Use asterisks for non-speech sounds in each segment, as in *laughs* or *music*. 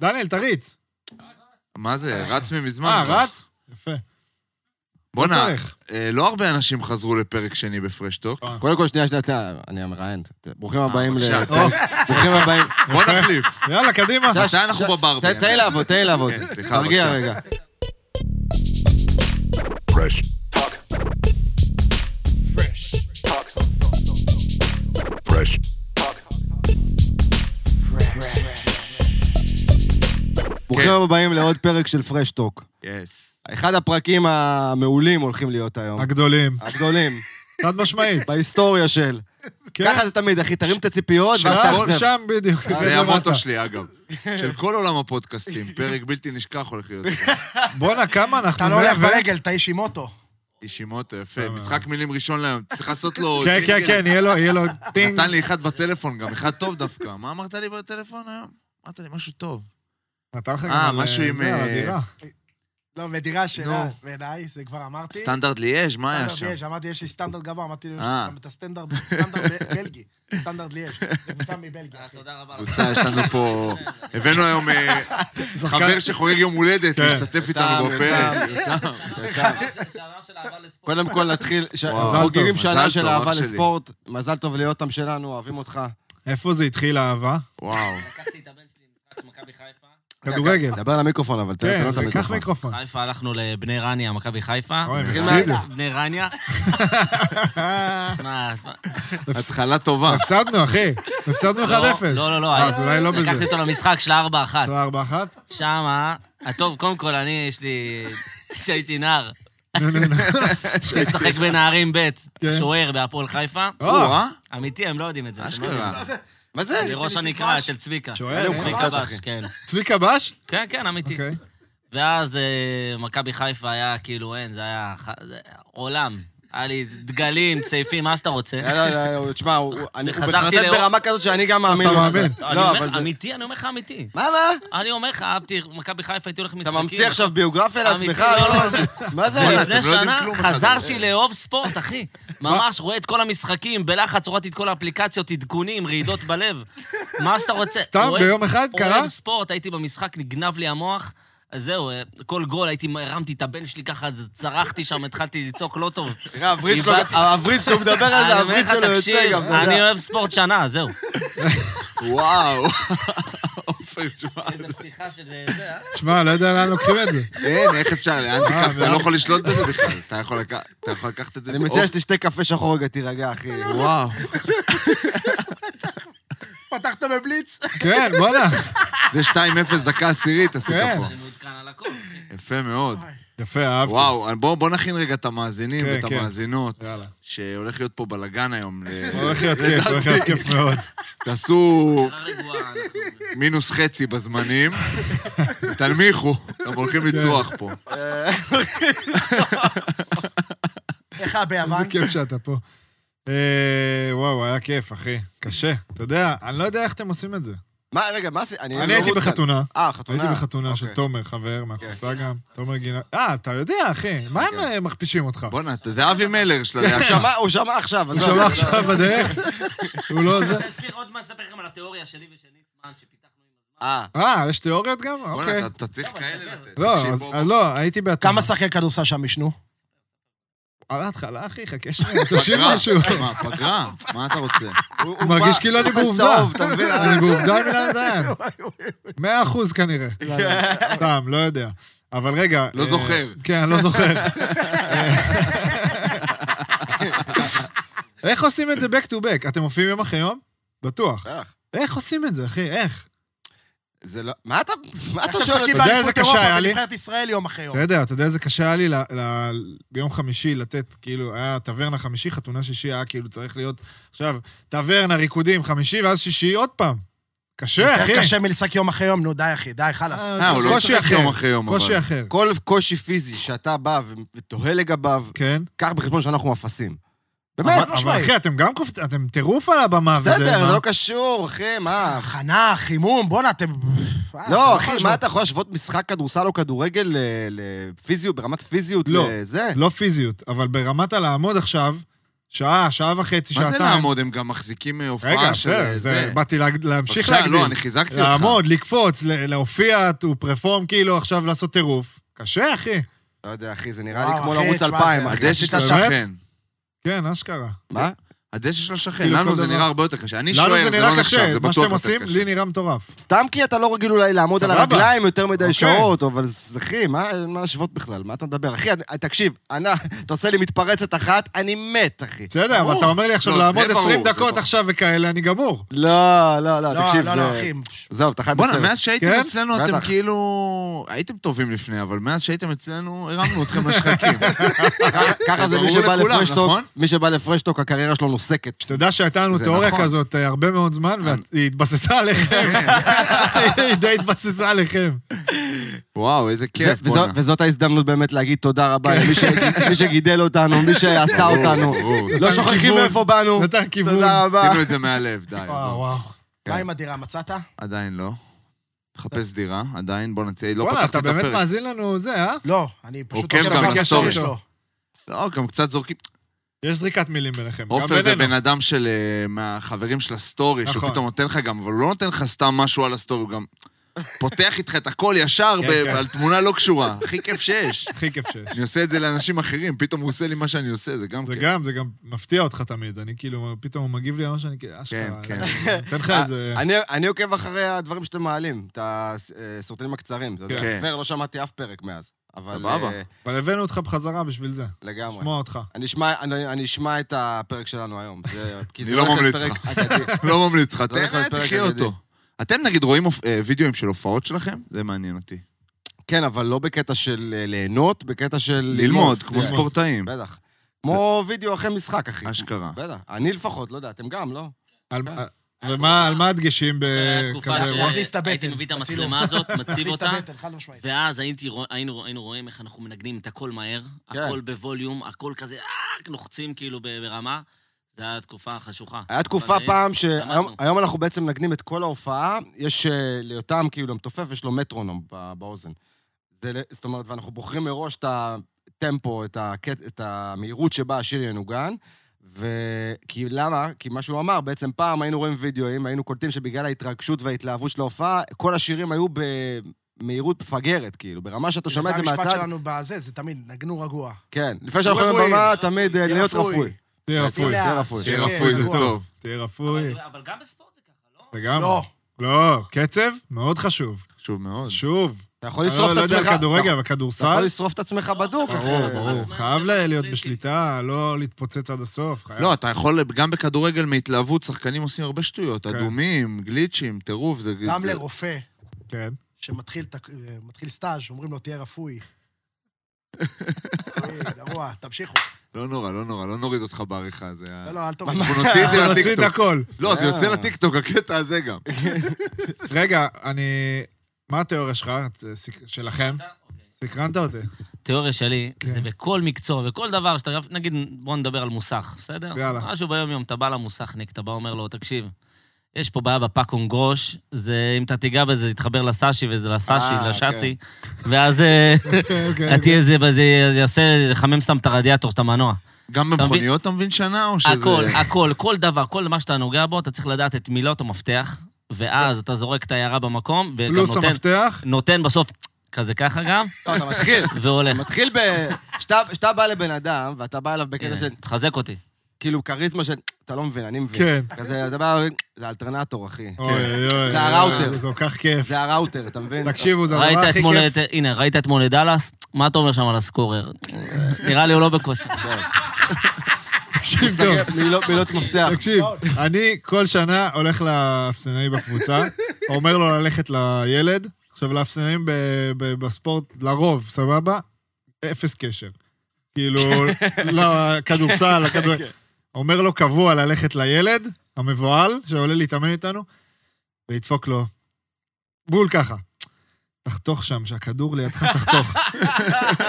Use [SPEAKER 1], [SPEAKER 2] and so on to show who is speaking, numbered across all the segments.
[SPEAKER 1] דניאל, תריץ.
[SPEAKER 2] מה זה, רץ ממזמן.
[SPEAKER 1] אה,
[SPEAKER 2] כבר.
[SPEAKER 1] רץ? יפה.
[SPEAKER 2] בואנה,
[SPEAKER 1] צריך. אה.
[SPEAKER 2] אה, לא הרבה אנשים חזרו לפרק שני בפרשטוק.
[SPEAKER 3] קודם כל, שנייה, שנייה, שנייה, אני המראיין. ברוכים הבאים ל...
[SPEAKER 2] אה, בבקשה.
[SPEAKER 3] *laughs* ברוכים הבאים.
[SPEAKER 2] בוא נחליף.
[SPEAKER 1] *laughs* יאללה, קדימה.
[SPEAKER 2] מתי אנחנו
[SPEAKER 3] ש-
[SPEAKER 2] בברבי?
[SPEAKER 3] תן- תן לי לעבוד, תן לי לעבוד.
[SPEAKER 2] כן, סליחה,
[SPEAKER 3] תרגיע
[SPEAKER 2] בבקשה.
[SPEAKER 3] רגע. ברוכים
[SPEAKER 2] כן.
[SPEAKER 3] הבאים לעוד פרק של פרשטוק.
[SPEAKER 2] יס.
[SPEAKER 3] אחד הפרקים המעולים הולכים להיות היום.
[SPEAKER 1] הגדולים.
[SPEAKER 3] הגדולים.
[SPEAKER 1] חד משמעית.
[SPEAKER 3] בהיסטוריה של.
[SPEAKER 1] כן.
[SPEAKER 3] ככה זה תמיד, אחי, תרים את הציפיות ואז
[SPEAKER 1] שם,
[SPEAKER 3] תאכזב.
[SPEAKER 1] כן? שם בדיוק.
[SPEAKER 2] זה
[SPEAKER 1] למטה.
[SPEAKER 2] המוטו שלי,
[SPEAKER 1] *laughs*
[SPEAKER 2] אגב. של כל עולם הפודקאסטים. פרק בלתי נשכח הולך להיות.
[SPEAKER 1] *laughs* בואנה, כמה אנחנו...
[SPEAKER 4] אתה לא הולך
[SPEAKER 1] מאה ו-
[SPEAKER 4] ברגל, אתה איש עם אוטו.
[SPEAKER 2] אישימוטו, אה, יפה. משחק מילים ראשון להם. צריך לעשות לו...
[SPEAKER 1] כן, כן, כן, יהיה לו, יהיה לו פינג.
[SPEAKER 2] נתן לי אחד בטלפון גם, אחד טוב דווקא. מה אמרת לי בטלפון היום? אמרת לי משהו טוב.
[SPEAKER 1] נתן לך גם
[SPEAKER 2] אה,
[SPEAKER 1] על
[SPEAKER 2] משהו
[SPEAKER 1] אה,
[SPEAKER 2] עם,
[SPEAKER 1] זה, על
[SPEAKER 2] אה,
[SPEAKER 1] הדירה.
[SPEAKER 4] לא, ודירה שלה,
[SPEAKER 2] נו.
[SPEAKER 4] בעיניי, זה כבר אמרתי.
[SPEAKER 2] סטנדרט ליאש, מה היה
[SPEAKER 4] סטנדרט
[SPEAKER 2] שם?
[SPEAKER 4] ליאש, אמרתי, יש לי סטנדרט גבוה, אמרתי, יש לי
[SPEAKER 2] אה.
[SPEAKER 4] גם את הסטנדרט סטנדרט ב- בלגי. סטנדרט ליאש. זה קבוצה
[SPEAKER 2] אה,
[SPEAKER 4] מבלגיה. אחי.
[SPEAKER 5] תודה רבה.
[SPEAKER 2] קבוצה, יש לנו פה... הבאנו היום אה,
[SPEAKER 1] *laughs*
[SPEAKER 2] חבר שחוגג יום הולדת,
[SPEAKER 1] כן.
[SPEAKER 2] להשתתף איתנו
[SPEAKER 3] יותם,
[SPEAKER 2] בפרק.
[SPEAKER 5] אוקיי.
[SPEAKER 1] *laughs*
[SPEAKER 5] שנה של אהבה לספורט.
[SPEAKER 3] קודם כל נתחיל, ש-
[SPEAKER 2] וואו.
[SPEAKER 1] מזל
[SPEAKER 3] חוגגים
[SPEAKER 1] טוב,
[SPEAKER 3] שנה
[SPEAKER 2] מזל
[SPEAKER 3] של
[SPEAKER 2] טוב,
[SPEAKER 3] אהבה
[SPEAKER 2] אח שלי.
[SPEAKER 3] לספורט. מזל טוב ליותם שלנו, אוהבים אותך.
[SPEAKER 1] איפה זה התחיל האהבה?
[SPEAKER 2] וואו.
[SPEAKER 5] לקחתי את הבן שלי למשחק של מכבי חיפה.
[SPEAKER 1] כדורגל.
[SPEAKER 3] דבר למיקרופון, אבל תן
[SPEAKER 1] כן,
[SPEAKER 3] לו את
[SPEAKER 1] קח
[SPEAKER 3] המיקרופון.
[SPEAKER 1] מיקרופון.
[SPEAKER 5] חיפה הלכנו לבני רניה, מכבי חיפה.
[SPEAKER 1] אוי, הם
[SPEAKER 3] נתחיל
[SPEAKER 1] הפסידו.
[SPEAKER 5] בני רניה. שמע,
[SPEAKER 2] התחלה טובה.
[SPEAKER 1] הפסדנו, אחי. הפסדנו 1-0.
[SPEAKER 5] לא, לא, לא.
[SPEAKER 1] אה, אז אולי לא
[SPEAKER 5] לקחתי
[SPEAKER 1] בזה.
[SPEAKER 5] אותו למשחק של ה-4-1.
[SPEAKER 1] לא, 4-1?
[SPEAKER 5] שמה, הטוב, קודם כל, אני, יש לי... כשהייתי נער,
[SPEAKER 1] נו, נו, נו.
[SPEAKER 5] אני משחק בנערים ב',
[SPEAKER 1] כן. אה.
[SPEAKER 5] שוער בהפועל חיפה.
[SPEAKER 1] או,
[SPEAKER 2] או-אה,
[SPEAKER 5] אמיתי, הם לא יודעים את זה. אתם לא יודעים.
[SPEAKER 2] אה? אשכרה.
[SPEAKER 3] מה זה?
[SPEAKER 5] לראש הנקרה של צביקה.
[SPEAKER 1] שוער, אה,
[SPEAKER 5] צביקה
[SPEAKER 3] חבש,
[SPEAKER 5] בש,
[SPEAKER 3] אחי.
[SPEAKER 5] כן.
[SPEAKER 1] צביקה בש?
[SPEAKER 5] כן, כן, אמיתי.
[SPEAKER 1] אוקיי.
[SPEAKER 5] ואז אה, מכבי חיפה היה כאילו, אין, זה היה ח- זה היה עולם. היה לי דגלים, צעיפים, מה שאתה רוצה.
[SPEAKER 3] יאללה, יאללה, לא, תשמע,
[SPEAKER 5] *laughs*
[SPEAKER 3] הוא אני- הוא
[SPEAKER 5] וחזרתי
[SPEAKER 3] מחרטט
[SPEAKER 5] לאור-
[SPEAKER 3] ברמה כזאת שאני גם מאמין
[SPEAKER 1] אתה
[SPEAKER 3] לו.
[SPEAKER 1] מאמין?
[SPEAKER 3] זה-
[SPEAKER 5] לא, אני
[SPEAKER 3] לא,
[SPEAKER 5] אומר
[SPEAKER 3] אבל
[SPEAKER 5] לך,
[SPEAKER 3] זה...
[SPEAKER 5] אמיתי, אני אומר לך אמיתי.
[SPEAKER 3] מה, מה?
[SPEAKER 5] אני אומר לך, אהבתי, מכבי חיפה, הייתי הולך
[SPEAKER 3] אתה
[SPEAKER 5] למשחקים.
[SPEAKER 3] ממציא עכשיו ביוגרפיה
[SPEAKER 5] אמיתי,
[SPEAKER 3] לעצמך?
[SPEAKER 5] לא,
[SPEAKER 3] לא,
[SPEAKER 5] לא, לא.
[SPEAKER 3] מה זה?
[SPEAKER 2] בואנה, אתם לא
[SPEAKER 5] לפני
[SPEAKER 2] יודעים
[SPEAKER 5] שנה
[SPEAKER 2] כלום אחד על השני.
[SPEAKER 5] חזרתי לאהוב ספורט, אחי. ממש, רואה את כל המשחקים, בלחץ, הורדתי את כל האפליקציות, עדכונים, רעידות בלב. מה שאתה רוצה.
[SPEAKER 1] סתם
[SPEAKER 5] רואה-
[SPEAKER 1] ביום אחד קרה?
[SPEAKER 5] אוהב ספורט, הייתי במשחק, נגנב לי המוח. אז זהו, אה, כל גול, הייתי, הרמתי את הבן שלי ככה, אז צרחתי שם, התחלתי לצעוק לא טוב.
[SPEAKER 3] תראה, הווריד שלו-
[SPEAKER 5] איבדתי.
[SPEAKER 3] הווריד שהוא מדבר על זה,
[SPEAKER 5] אני אומר
[SPEAKER 3] הווריד
[SPEAKER 5] לך,
[SPEAKER 3] שלו יוצא
[SPEAKER 5] תקשיב,
[SPEAKER 3] גם, אתה
[SPEAKER 5] אני
[SPEAKER 3] יודע.
[SPEAKER 5] אוהב ספורט *laughs* שנה, זהו.
[SPEAKER 2] וואו. עופר, תשמע.
[SPEAKER 5] איזה פתיחה של זה, אה?
[SPEAKER 1] שמע, לא יודע לאן לוקחים את זה.
[SPEAKER 2] אין, איך אפשר? לאן תיקח? אתה
[SPEAKER 1] ואז-
[SPEAKER 2] לא יכול לשלוט בזה בכלל. אתה יכול לק- אתה יכול לקחת את זה.
[SPEAKER 3] אני
[SPEAKER 2] באופ-
[SPEAKER 3] מציע שתשתה קפה שחור רגע, תירגע, אחי.
[SPEAKER 5] לא-
[SPEAKER 2] וואו.
[SPEAKER 4] פתחת בבליץ?
[SPEAKER 1] כן, בואנה.
[SPEAKER 2] זה 2-0 דקה עשירית, עשית
[SPEAKER 1] כן. אה,
[SPEAKER 2] פה.
[SPEAKER 5] אני מעודכן על הכל. אחי.
[SPEAKER 2] יפה מאוד.
[SPEAKER 1] יפה, אהבתי.
[SPEAKER 2] וואו, בואו בוא נכין רגע את המאזינים
[SPEAKER 1] כן,
[SPEAKER 2] ואת
[SPEAKER 1] כן.
[SPEAKER 2] המאזינות,
[SPEAKER 1] יאללה.
[SPEAKER 2] שהולך להיות פה בלאגן היום. ל-
[SPEAKER 1] הולך להיות כיף, הולך להיות כיף מאוד.
[SPEAKER 2] תעשו
[SPEAKER 5] שאלה רגועה, אנחנו-
[SPEAKER 2] מינוס
[SPEAKER 1] *laughs*
[SPEAKER 2] חצי בזמנים, תנמיכו, אתם הולכים לצרוח פה.
[SPEAKER 4] איך היה ביוון?
[SPEAKER 1] איזה כיף שאתה פה. אה, וואו, היה כיף, אחי. קשה. אתה יודע, אני לא יודע איך אתם עושים את זה.
[SPEAKER 3] מה, רגע, מה זה?
[SPEAKER 1] אני הייתי
[SPEAKER 3] מרותקן.
[SPEAKER 1] בחתונה.
[SPEAKER 3] אה, חתונה.
[SPEAKER 1] הייתי בחתונה של
[SPEAKER 3] אוקיי.
[SPEAKER 1] תומר, חבר מהקבוצה גם. תומר גינה... אה, אתה יודע, אחי. מה הם אה, מכפישים אותך?
[SPEAKER 2] בואנה, אתה- זה אבי מלר
[SPEAKER 1] *laughs*
[SPEAKER 2] של
[SPEAKER 3] הוא
[SPEAKER 2] הלהקה.
[SPEAKER 3] שמע- הוא שמע עכשיו,
[SPEAKER 1] הוא
[SPEAKER 3] עזוב.
[SPEAKER 1] שמע עכשיו בדרך? הוא לא זה?
[SPEAKER 5] אני אסביר עוד מה אספר לכם על התיאוריה שלי ושל ניסמן שפיתחנו עם הזמן.
[SPEAKER 3] אה,
[SPEAKER 1] אה, יש תיאוריות גם? אוקיי.
[SPEAKER 2] בואנה, אתה- אתה צריך כאלה לתת.
[SPEAKER 1] לא,
[SPEAKER 2] תקשיב,
[SPEAKER 1] אז
[SPEAKER 2] בוא,
[SPEAKER 1] אה, לא, הייתי בהתאמה.
[SPEAKER 4] כמה שחקי כדורסל שם ישנו?
[SPEAKER 1] על ההתחלה, אחי, חכה שנייה, תשאיר
[SPEAKER 2] פגרה.
[SPEAKER 1] משהו.
[SPEAKER 2] מה, פגרה? מה אתה
[SPEAKER 1] *laughs*
[SPEAKER 2] רוצה?
[SPEAKER 3] הוא-
[SPEAKER 1] הוא
[SPEAKER 3] בא-
[SPEAKER 1] מרגיש כאילו אני
[SPEAKER 3] הוא
[SPEAKER 1] בעובדה.
[SPEAKER 3] בצהוב, אתה מבין?
[SPEAKER 1] אני בעובדה עם אילן דיין. *laughs* מאה אחוז כנראה. סתם, לא יודע. אבל רגע...
[SPEAKER 2] לא
[SPEAKER 1] אה,
[SPEAKER 2] זוכר.
[SPEAKER 1] כן, אני לא זוכר.
[SPEAKER 2] *laughs*
[SPEAKER 1] איך עושים את זה back to back? אתם מופיעים יום אחרי יום? בטוח.
[SPEAKER 3] בטח.
[SPEAKER 1] איך עושים את זה, אחי? איך?
[SPEAKER 3] אה, זה לא... מה אתה מה
[SPEAKER 4] איך
[SPEAKER 3] אתה שואל אותי?
[SPEAKER 4] משחקים
[SPEAKER 1] יודע
[SPEAKER 4] באליפות
[SPEAKER 1] איזה קשה
[SPEAKER 4] אירופה
[SPEAKER 1] היה לי?
[SPEAKER 4] בנבחרת ישראל יום אחרי יום.
[SPEAKER 1] בסדר, אתה יודע איזה קשה היה לי ל- ל- ביום חמישי לתת, כאילו, היה טברנה חמישי, חתונה שישי, היה כאילו צריך להיות, עכשיו, טברנה, ריקודים, חמישי, ואז שישי עוד פעם. קשה, אחי.
[SPEAKER 4] יותר קשה מלשחק יום אחרי יום, נו די אחי, די, חלאס.
[SPEAKER 2] אה, הוא לא
[SPEAKER 1] קושי
[SPEAKER 2] משחק
[SPEAKER 1] אחר,
[SPEAKER 2] יום אחרי יום, אבל.
[SPEAKER 1] קושי אחר.
[SPEAKER 3] כל קושי פיזי שאתה בא ו- ותוהה לגביו,
[SPEAKER 1] כן.
[SPEAKER 3] קח בחשבון שאנחנו אפסים.
[SPEAKER 1] אבל-
[SPEAKER 3] באמת, לא
[SPEAKER 1] אבל
[SPEAKER 3] שמעי.
[SPEAKER 1] אחי, אתם גם קופצים, אתם טירוף על הבמה וזה.
[SPEAKER 3] בסדר,
[SPEAKER 1] מה? אה,
[SPEAKER 3] זה לא קשור, אחי, מה?
[SPEAKER 4] הכנה, חימום, בואנה, אתם... אה, אתה
[SPEAKER 3] לא,
[SPEAKER 4] יכול
[SPEAKER 3] אחי,
[SPEAKER 4] לשמוע.
[SPEAKER 3] מה אתה יכול להשוות משחק כדורסל או כדורגל ל- לפיזיות, ברמת פיזיות?
[SPEAKER 1] לא.
[SPEAKER 3] לזה?
[SPEAKER 1] לא פיזיות, אבל ברמת הלעמוד עכשיו, שעה, שעה וחצי,
[SPEAKER 2] מה זה
[SPEAKER 1] שעתיים.
[SPEAKER 2] לעמוד? הם גם מחזיקים אה,
[SPEAKER 1] רגע,
[SPEAKER 2] הופעה של...
[SPEAKER 1] בסדר,
[SPEAKER 2] אה,
[SPEAKER 1] זה- באתי להג- להמשיך
[SPEAKER 2] בבקשה,
[SPEAKER 1] להגדיל.
[SPEAKER 2] לא, אני חיזקתי אותך.
[SPEAKER 1] לעמוד, לקפוץ, ל- להופיע, to perform, כאילו, עכשיו לעשות טירוף. קשה, אחי.
[SPEAKER 3] לא יודע, אחי, זה נראה לי
[SPEAKER 4] וואו,
[SPEAKER 3] כמו
[SPEAKER 4] אחי,
[SPEAKER 3] לרוץ
[SPEAKER 4] תשמע,
[SPEAKER 3] אלפיים,
[SPEAKER 4] זה-
[SPEAKER 3] אחי.
[SPEAKER 2] הדשא של
[SPEAKER 1] באמת?
[SPEAKER 2] השכן.
[SPEAKER 1] כן, אשכרה.
[SPEAKER 3] מה?
[SPEAKER 2] הדשא של השכן.
[SPEAKER 1] כאילו,
[SPEAKER 2] לנו
[SPEAKER 1] כל
[SPEAKER 2] זה
[SPEAKER 1] דבר.
[SPEAKER 2] נראה הרבה יותר קשה. אני
[SPEAKER 1] לנו
[SPEAKER 2] שוער,
[SPEAKER 1] זה
[SPEAKER 2] זה לא
[SPEAKER 1] נראה
[SPEAKER 2] נחשב,
[SPEAKER 1] קשה,
[SPEAKER 2] זה
[SPEAKER 1] מה
[SPEAKER 2] בטוח
[SPEAKER 1] שאתם
[SPEAKER 2] יותר
[SPEAKER 1] עושים, לי
[SPEAKER 2] קשה.
[SPEAKER 1] נראה מטורף.
[SPEAKER 3] סתם כי אתה לא רגיל אולי לעמוד על
[SPEAKER 1] סבבה.
[SPEAKER 3] הרגליים יותר מדי
[SPEAKER 1] אוקיי.
[SPEAKER 3] שעות, אבל ס- אחי, מה אין מה להשוות בכלל? מה אתה מדבר? אחי, אני- תקשיב, אני- *laughs* אתה עושה לי מתפרצת אחת, אני מת, אחי.
[SPEAKER 1] בסדר, אבל
[SPEAKER 2] ברור.
[SPEAKER 1] אתה אומר לי עכשיו
[SPEAKER 2] לא, זה
[SPEAKER 1] לעמוד
[SPEAKER 2] ברור,
[SPEAKER 1] 20
[SPEAKER 2] זה
[SPEAKER 1] דקות
[SPEAKER 2] ברור.
[SPEAKER 1] עכשיו וכאלה, אני גמור.
[SPEAKER 3] לא, לא, לא, תקשיב,
[SPEAKER 4] לא, לא,
[SPEAKER 3] זה...
[SPEAKER 4] אחי.
[SPEAKER 3] זהו, אתה חי
[SPEAKER 2] בואנה,
[SPEAKER 3] בסרט.
[SPEAKER 2] מאז שהייתם
[SPEAKER 1] כן?
[SPEAKER 2] אצלנו, אתם
[SPEAKER 3] בטח.
[SPEAKER 2] כאילו... הייתם טובים לפני, אבל מאז שהייתם אצלנו, הרמנו אתכם
[SPEAKER 1] *laughs*
[SPEAKER 2] לשחקים.
[SPEAKER 3] ככה זה מי
[SPEAKER 2] ברור
[SPEAKER 3] שבא
[SPEAKER 2] לכולם,
[SPEAKER 3] לפרשטוק,
[SPEAKER 2] נכון?
[SPEAKER 3] מי שבא לפרשטוק, הקריירה שלו נוסקת.
[SPEAKER 1] אתה יודע שהייתה לנו
[SPEAKER 2] זה
[SPEAKER 1] תיאוריה
[SPEAKER 2] נכון.
[SPEAKER 1] כזאת אה, הרבה מאוד זמן, והיא התבססה
[SPEAKER 2] *laughs*
[SPEAKER 1] עליכם. *laughs* היא די התבססה עליכם.
[SPEAKER 2] וואו, איזה כיף,
[SPEAKER 3] זה- וזו-
[SPEAKER 2] כן, בואנה.
[SPEAKER 3] וזאת ההזדמנות באמת להגיד תודה רבה למי ש- מי שגידל אותנו, מי שעשה אותנו.
[SPEAKER 2] ברור.
[SPEAKER 3] לא שוכחים
[SPEAKER 1] כיוון.
[SPEAKER 3] מאיפה באנו.
[SPEAKER 1] נתן כיוון.
[SPEAKER 3] תודה רבה.
[SPEAKER 2] עשינו את זה מהלב, די.
[SPEAKER 1] וואו,
[SPEAKER 2] עזוב.
[SPEAKER 1] וואו.
[SPEAKER 4] מה עם הדירה, מצאת?
[SPEAKER 2] עדיין לא. מחפש דירה, עדיין, בוא נצא, לא
[SPEAKER 1] וואלה,
[SPEAKER 2] פתחתי
[SPEAKER 1] אתה
[SPEAKER 2] את
[SPEAKER 1] באמת
[SPEAKER 2] הפרק.
[SPEAKER 1] מאזין לנו זה, אה?
[SPEAKER 4] לא, אני פשוט...
[SPEAKER 2] עוקב
[SPEAKER 4] עכשיו
[SPEAKER 2] גם
[SPEAKER 4] רק
[SPEAKER 2] לסטורי.
[SPEAKER 4] יש לו.
[SPEAKER 2] לא, גם קצת זורקים.
[SPEAKER 1] יש זריקת מילים ביניכם, גם
[SPEAKER 2] עופר זה
[SPEAKER 1] בינינו.
[SPEAKER 2] בן אדם של... אה, מהחברים של הסטורי, שהוא
[SPEAKER 1] נכון.
[SPEAKER 2] פתאום נותן לך גם, אבל הוא לא נותן לך סתם משהו על הסטורי, הוא גם
[SPEAKER 1] *laughs*
[SPEAKER 2] פותח איתך את הכל ישר
[SPEAKER 1] כן,
[SPEAKER 2] ב-
[SPEAKER 1] כן.
[SPEAKER 2] על תמונה לא קשורה.
[SPEAKER 1] *laughs*
[SPEAKER 2] הכי כיף שיש.
[SPEAKER 1] הכי כיף
[SPEAKER 2] *laughs*
[SPEAKER 1] שיש.
[SPEAKER 2] אני עושה את זה לאנשים אחרים, פתאום הוא עושה לי מה שאני עושה, זה גם
[SPEAKER 1] זה
[SPEAKER 2] כיף.
[SPEAKER 1] גם, זה גם מפתיע אותך תמיד. אני כאילו, פתאום הוא מגיב לי על מה שאני כאילו, אשכרה.
[SPEAKER 2] כן. אה,
[SPEAKER 1] אני נותן לך איזה...
[SPEAKER 3] אני- אני עוקב אחרי הדברים שאתם מעלים, את הסרטונים הקצרים. אתה יודע,
[SPEAKER 2] כן.
[SPEAKER 3] פר, לא שמעתי אף פרק מאז. אבל...
[SPEAKER 2] סבבה.
[SPEAKER 3] אה,
[SPEAKER 1] אבל הבאנו אותך בחזרה בשביל זה.
[SPEAKER 3] לגמרי.
[SPEAKER 1] לשמוע אותך.
[SPEAKER 3] אני אשמע, אני, אני אשמע את הפרק שלנו היום.
[SPEAKER 2] *laughs*
[SPEAKER 3] זה, כי
[SPEAKER 2] אני לא
[SPEAKER 3] הולך להיות
[SPEAKER 2] ממליץ *laughs*
[SPEAKER 3] פרק אגדי.
[SPEAKER 2] לא ממליץ לך,
[SPEAKER 3] הולך להיות
[SPEAKER 2] תן,
[SPEAKER 3] פרק
[SPEAKER 2] תחיה
[SPEAKER 3] אגדי.
[SPEAKER 2] אותו. אתם נגיד רואים הופ- אה, וידאוים של הופעות שלכם? זה מעניין אותי.
[SPEAKER 3] כן, אבל לא בקטע של אה, ליהנות, בקטע של...
[SPEAKER 2] ללמוד, כמו
[SPEAKER 3] ללמוד.
[SPEAKER 2] ספורטאים.
[SPEAKER 3] בטח. כמו וידאו אחרי משחק, אחי.
[SPEAKER 2] אשכרה.
[SPEAKER 3] בטח. אני לפחות, לא יודע, אתם גם, לא?
[SPEAKER 1] על-
[SPEAKER 2] אה,
[SPEAKER 1] ומה על מה הדגשים
[SPEAKER 5] הייתה תקופה
[SPEAKER 3] אה,
[SPEAKER 1] בכזה...
[SPEAKER 5] ש-
[SPEAKER 1] וואו.
[SPEAKER 4] מכניס את הבטן,
[SPEAKER 5] הייתי מביא את
[SPEAKER 4] תצילו.
[SPEAKER 5] המצלמה הזאת, מציב
[SPEAKER 4] תכניס את
[SPEAKER 3] *laughs*
[SPEAKER 5] אותה,
[SPEAKER 4] הבטן, חד משמעית.
[SPEAKER 5] ואז הייתי רוא- היינו היינו רואים איך אנחנו מנגנים את הכל מהר,
[SPEAKER 3] כן.
[SPEAKER 5] הכל בווליום, הכל כזה, אה, נוחצים כאילו ב- ברמה. זו הייתה תקופה חשוכה.
[SPEAKER 3] היה תקופה
[SPEAKER 5] אבל, אה,
[SPEAKER 3] פעם ש... היום,
[SPEAKER 5] למדנו.
[SPEAKER 3] היום אנחנו בעצם מנגנים את כל ההופעה, יש אה, ליותם, כאילו, המתופף, יש לו מטרונום בא- באוזן. זה, ל- זאת אומרת, ואנחנו בוחרים מראש את הטמפו, את, הקט, את המהירות שבה השיר ינוגן, וכי למה? כי מה שהוא אמר, בעצם פעם היינו רואים וידאוים, היינו קולטים שבגלל ההתרגשות וההתלהבות של ההופעה, כל השירים היו במהירות מפגרת, כאילו, ברמה שאתה שומע את זה
[SPEAKER 4] המשפט
[SPEAKER 3] מהצד,
[SPEAKER 4] שלנו בזה, זה תמיד, נגנו רגוע.
[SPEAKER 3] כן. לפני שאנחנו
[SPEAKER 4] רפואי.
[SPEAKER 3] עולים במה, תמיד אה,
[SPEAKER 4] תהיה
[SPEAKER 3] להיות
[SPEAKER 4] רפואי.
[SPEAKER 3] רפוי.
[SPEAKER 1] תהיה רפוי.
[SPEAKER 3] תהיה
[SPEAKER 4] לאט,
[SPEAKER 3] רפוי.
[SPEAKER 2] אה, תהיה אה,
[SPEAKER 4] כן,
[SPEAKER 2] רפוי, זה
[SPEAKER 4] רגוע.
[SPEAKER 2] טוב.
[SPEAKER 1] תהיה רפוי.
[SPEAKER 5] אבל- אבל גם בספורט זה ככה, לא?
[SPEAKER 1] לגמרי.
[SPEAKER 4] לא.
[SPEAKER 1] לא, קצב מאוד חשוב.
[SPEAKER 2] חשוב מאוד.
[SPEAKER 1] שוב.
[SPEAKER 3] אתה יכול לשרוף את
[SPEAKER 1] לא יודע
[SPEAKER 3] עצמך.
[SPEAKER 1] על כדורגל,
[SPEAKER 3] אתה-
[SPEAKER 1] אבל
[SPEAKER 3] אתה יכול
[SPEAKER 1] כדורסל?
[SPEAKER 3] לשרוף את עצמך בדוק, אחי.
[SPEAKER 1] ברור, ברור.
[SPEAKER 5] עצמם,
[SPEAKER 1] חייב
[SPEAKER 5] הם
[SPEAKER 2] אה,
[SPEAKER 1] ל- להיות
[SPEAKER 5] מספיק.
[SPEAKER 1] בשליטה, לא להתפוצץ עד הסוף. חייב.
[SPEAKER 2] לא, אתה יכול, גם בכדורגל מהתלהבות, שחקנים עושים הרבה שטויות.
[SPEAKER 1] כן.
[SPEAKER 2] אדומים, גליצ'ים, טירוף, זה...
[SPEAKER 4] גם
[SPEAKER 2] זה-
[SPEAKER 4] לרופא
[SPEAKER 1] כן.
[SPEAKER 4] שמתחיל תק- אה, מתחיל סטאז', אומרים לו, תהיה
[SPEAKER 2] *laughs*
[SPEAKER 4] רפוי. רפוי, גרוע, תמשיכו.
[SPEAKER 2] לא נורא, לא נורא, לא נוריד אותך בעריכה, זה... ה-
[SPEAKER 4] לא, לא, אל תוריד.
[SPEAKER 2] אנחנו נוציא את זה
[SPEAKER 1] אנחנו נוציא את אה.
[SPEAKER 2] לטיקטוק.
[SPEAKER 1] הכל.
[SPEAKER 2] לא, זה יוצא לטיקטוק, הקטע הזה גם.
[SPEAKER 1] רגע, אני... מה התיאוריה שלך? ס- שלכם?
[SPEAKER 5] אוקיי.
[SPEAKER 1] סקרנת אותי.
[SPEAKER 5] התיאוריה שלי,
[SPEAKER 1] כן.
[SPEAKER 5] זה בכל מקצוע, בכל דבר שאתה, נגיד, בוא נדבר על מוסך, בסדר?
[SPEAKER 1] יאללה.
[SPEAKER 5] משהו ביום-יום, אתה בא למוסכניק, אתה בא, אומר לו, תקשיב, יש פה בעיה בפאקונג גרוש, זה, אם אתה תיגע בזה, זה יתחבר לסאשי וזה לסאשי,
[SPEAKER 3] אה,
[SPEAKER 5] לשאסי, ואז אה, *laughs*
[SPEAKER 1] אוקיי.
[SPEAKER 5] תהיה זה, וזה יעשה, יחמם סתם את הרדיאטור, את המנוע.
[SPEAKER 2] גם
[SPEAKER 5] מבין?
[SPEAKER 2] במכוניות אתה מבין שנה, או שזה...
[SPEAKER 5] הכל, הכל, כל דבר, כל מה שאתה נוגע בו, אתה צריך לדעת את מילות המפתח, ואז אתה זורק את היערה במקום, וגם
[SPEAKER 1] פלוס
[SPEAKER 5] נותן,
[SPEAKER 1] המפתח?
[SPEAKER 5] נותן בסוף, כזה ככה
[SPEAKER 3] *laughs*
[SPEAKER 5] גם,
[SPEAKER 3] לא, אתה מתחיל.
[SPEAKER 5] והולך.
[SPEAKER 3] אתה מתחיל ב... כשאתה- כשאתה בא לבן אדם, ואתה בא אליו
[SPEAKER 2] כן.
[SPEAKER 3] בקטע של...
[SPEAKER 5] כן, תחזק אותי.
[SPEAKER 3] כאילו, כריזמה של... אתה לא מבין, אני מבין.
[SPEAKER 1] כן.
[SPEAKER 3] כזה, אתה בא... זה האלטרנטור, אחי.
[SPEAKER 5] כן.
[SPEAKER 1] אוי, אוי.
[SPEAKER 3] זה הראוטר.
[SPEAKER 1] זה כל כך כיף.
[SPEAKER 3] זה הראוטר, אתה מבין?
[SPEAKER 1] תקשיבו, זה הדבר
[SPEAKER 5] ראית
[SPEAKER 1] הכי
[SPEAKER 5] אתמול
[SPEAKER 1] כיף.
[SPEAKER 5] את... הנה, ראית אתמול את דאלאס? מה אתה אומר שם על הסקורר? נראה לי הוא לא בכושר.
[SPEAKER 1] תקשיב
[SPEAKER 3] הוא
[SPEAKER 1] טוב.
[SPEAKER 3] מסתכל- מילות- מילות מפתח.
[SPEAKER 1] תקשיב, אני כל שנה הולך לאפסנאי בקבוצה, אומר לו ללכת לילד. עכשיו, לאפסנאים ב- ב- בספורט, לרוב, סבבה? אפס קשר. כאילו, לא, לכדורסל, לכדורגל. אומר לו קבוע ללכת לילד, המבוהל, שעולה להתאמן איתנו, וידפוק לו בול ככה. תחתוך שם, שהכדור לידך תחתוך.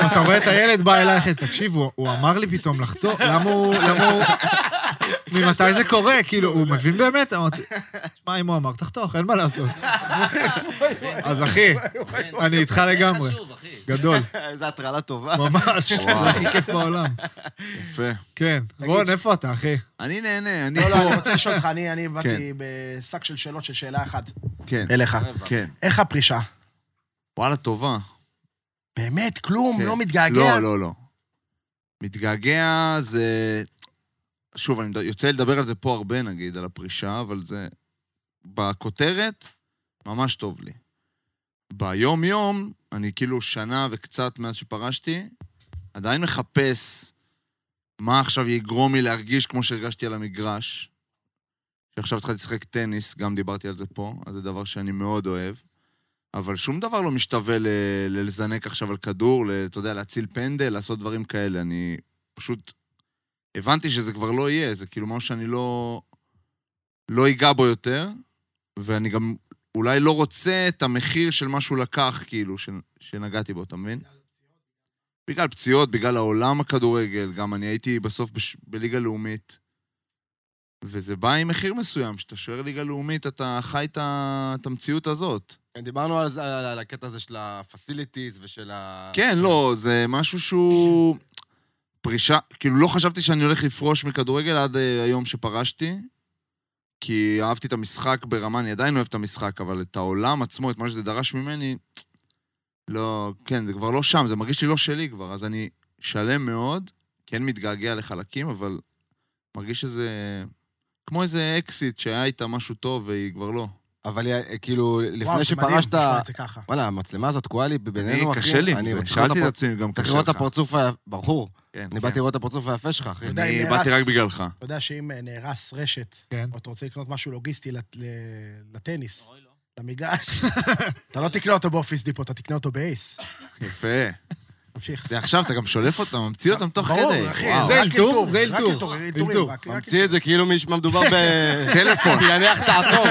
[SPEAKER 1] אתה רואה את הילד בא אלייך, תקשיב, הוא- הוא אמר לי פתאום לחתוך, למה הוא... למה הוא... ממתי זה קורה? כאילו, הוא מבין באמת? אמרתי, שמע, אם הוא אמר, תחתוך, אין מה לעשות. אז אחי,
[SPEAKER 5] כן.
[SPEAKER 1] אני *laughs* איתך לגמרי.
[SPEAKER 5] חשוב, אחי.
[SPEAKER 1] גדול,
[SPEAKER 3] איזו הטרלה טובה.
[SPEAKER 1] ממש,
[SPEAKER 2] וואו.
[SPEAKER 1] זה הכי כיף בעולם.
[SPEAKER 2] יפה.
[SPEAKER 1] כן, רון, איפה אתה, אחי?
[SPEAKER 2] אני נהנה, אני
[SPEAKER 4] לא, לא, אני
[SPEAKER 2] פה.
[SPEAKER 4] רוצה לשאול אותך, אני אני באתי
[SPEAKER 2] כן.
[SPEAKER 4] בשק של שאלות של שאלה אחת.
[SPEAKER 2] כן,
[SPEAKER 4] אליך.
[SPEAKER 2] כן.
[SPEAKER 4] איך הפרישה?
[SPEAKER 2] וואלה, טובה.
[SPEAKER 4] באמת, כלום,
[SPEAKER 2] כן.
[SPEAKER 4] לא מתגעגע?
[SPEAKER 2] לא, לא, לא. מתגעגע זה... שוב, אני מד- יוצא לדבר על זה פה הרבה, נגיד, על הפרישה, אבל זה... בכותרת, ממש טוב לי. ביום-יום, אני כאילו שנה וקצת מאז שפרשתי, עדיין מחפש מה עכשיו יגרום לי להרגיש כמו שהרגשתי על המגרש. שעכשיו התחלתי לשחק טניס, גם דיברתי על זה פה, אז זה דבר שאני מאוד אוהב. אבל שום דבר לא משתווה ל- ללזנק עכשיו על כדור, ל- אתה יודע, להציל פנדל, לעשות דברים כאלה. אני פשוט הבנתי שזה כבר לא יהיה, זה כאילו משהו שאני לא, לא אגע בו יותר, ואני גם אולי לא רוצה את המחיר של מה שהוא לקח, כאילו, ש- שנגעתי בו, אתה מבין? בגלל פציעות, בגלל העולם הכדורגל, גם אני הייתי בסוף בש... בליגה לאומית. וזה בא עם מחיר מסוים, כשאתה שוער ליגה לאומית, אתה חי את ה- את המציאות הזאת.
[SPEAKER 3] דיברנו על זה, על על הקטע הזה של ה-facilities ושל ה...
[SPEAKER 2] כן, לא, זה משהו שהוא... פרישה, כאילו לא חשבתי שאני הולך לפרוש מכדורגל עד אה, היום שפרשתי, כי אהבתי את המשחק ברמה, אני עדיין אוהב את המשחק, אבל את העולם עצמו, את מה שזה דרש ממני, לא, כן, זה כבר לא שם, זה מרגיש לי לא שלי כבר, אז אני שלם מאוד, כן מתגעגע לחלקים, אבל מרגיש שזה... כמו איזה אקזיט שהיה איתה משהו טוב והיא כבר לא.
[SPEAKER 3] אבל היא- כאילו,
[SPEAKER 4] וואו,
[SPEAKER 3] לפני
[SPEAKER 4] זה מדהים,
[SPEAKER 3] שפרשת...
[SPEAKER 4] לשמוע את זה ככה.
[SPEAKER 3] וואלה, המצלמה הזאת תקועה לי
[SPEAKER 2] אני,
[SPEAKER 3] בינינו, כן, אחי.
[SPEAKER 2] אה, קשה לי עם
[SPEAKER 3] אני
[SPEAKER 2] זה,
[SPEAKER 3] צריך לראות
[SPEAKER 2] שאלתי את
[SPEAKER 3] הפר-
[SPEAKER 2] עצמי גם
[SPEAKER 3] צריך
[SPEAKER 2] קשה
[SPEAKER 3] לראות את
[SPEAKER 2] לך.
[SPEAKER 3] הפרצוף ה... ברור.
[SPEAKER 2] כן,
[SPEAKER 3] אני
[SPEAKER 2] כן.
[SPEAKER 3] באתי לראות את הפרצוף היפה שלך, אחי.
[SPEAKER 4] יודע,
[SPEAKER 2] אני
[SPEAKER 4] אם
[SPEAKER 2] באתי
[SPEAKER 4] נהרס-
[SPEAKER 2] רק בגללך.
[SPEAKER 4] אתה יודע שאם אה, נהרס רשת,
[SPEAKER 1] כן.
[SPEAKER 4] או אתה רוצה לקנות משהו לוגיסטי לט- ל- לטניס,
[SPEAKER 5] אוי, לא.
[SPEAKER 4] למגרש, *laughs* אתה לא תקנה אותו באופיס דיפו, אתה תקנה אותו באייס.
[SPEAKER 2] יפה.
[SPEAKER 4] תמשיך.
[SPEAKER 2] ועכשיו אתה גם שולף אותם, ממציא אותם תוך כדי.
[SPEAKER 4] ברור, אחי,
[SPEAKER 2] וואו.
[SPEAKER 1] זה
[SPEAKER 4] רק
[SPEAKER 1] אלתור?
[SPEAKER 4] אלתור,
[SPEAKER 1] זה
[SPEAKER 4] רק
[SPEAKER 1] אלתור.
[SPEAKER 4] אלתור,
[SPEAKER 1] אלתור.
[SPEAKER 4] אלתורים, רק- רק
[SPEAKER 3] ממציא את זה כאילו מישהו, מה מדובר ב...
[SPEAKER 1] *laughs*
[SPEAKER 2] טלפון.
[SPEAKER 3] יניח תעתור.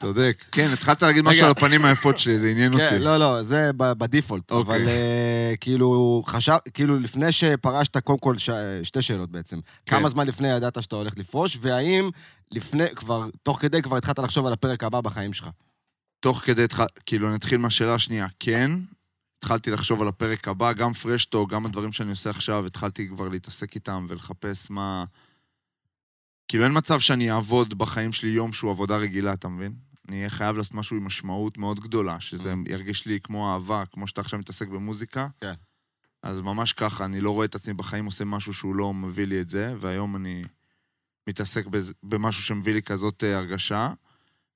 [SPEAKER 2] צודק. כן, התחלת להגיד משהו על הפנים היפות שלי, זה עניין
[SPEAKER 1] אוקיי.
[SPEAKER 3] כן,
[SPEAKER 2] אותי.
[SPEAKER 3] לא, לא, זה ב- בדיפולט.
[SPEAKER 2] אוקיי.
[SPEAKER 3] אבל אה, כאילו, חשב... כאילו, לפני שפרשת, קודם כל, ש... שתי שאלות בעצם. כמה זמן לפני ידעת שאתה הולך לפרוש, והאם לפני, כבר, תוך כדי כבר התחלת לחשוב על הפרק הבא בחיים שלך?
[SPEAKER 2] תוך כדי, התח- כאילו, אני אתחיל מהשאלה השנייה. כן, התחלתי לחשוב על הפרק הבא, גם פרשטו, גם הדברים שאני עושה עכשיו, התחלתי כבר להתעסק איתם ולחפש מה... כאילו, אין מצב שאני אעבוד בחיים שלי יום שהוא עבודה רגילה, אתה מבין? אני אהיה חייב לעשות משהו עם משמעות מאוד גדולה, שזה ירגיש לי כמו אהבה, כמו שאתה עכשיו מתעסק במוזיקה.
[SPEAKER 3] כן.
[SPEAKER 2] אז ממש ככה, אני לא רואה את עצמי בחיים עושה משהו שהוא לא מביא לי את זה, והיום אני מתעסק בז- במשהו שמביא לי כזאת אה, הרגשה.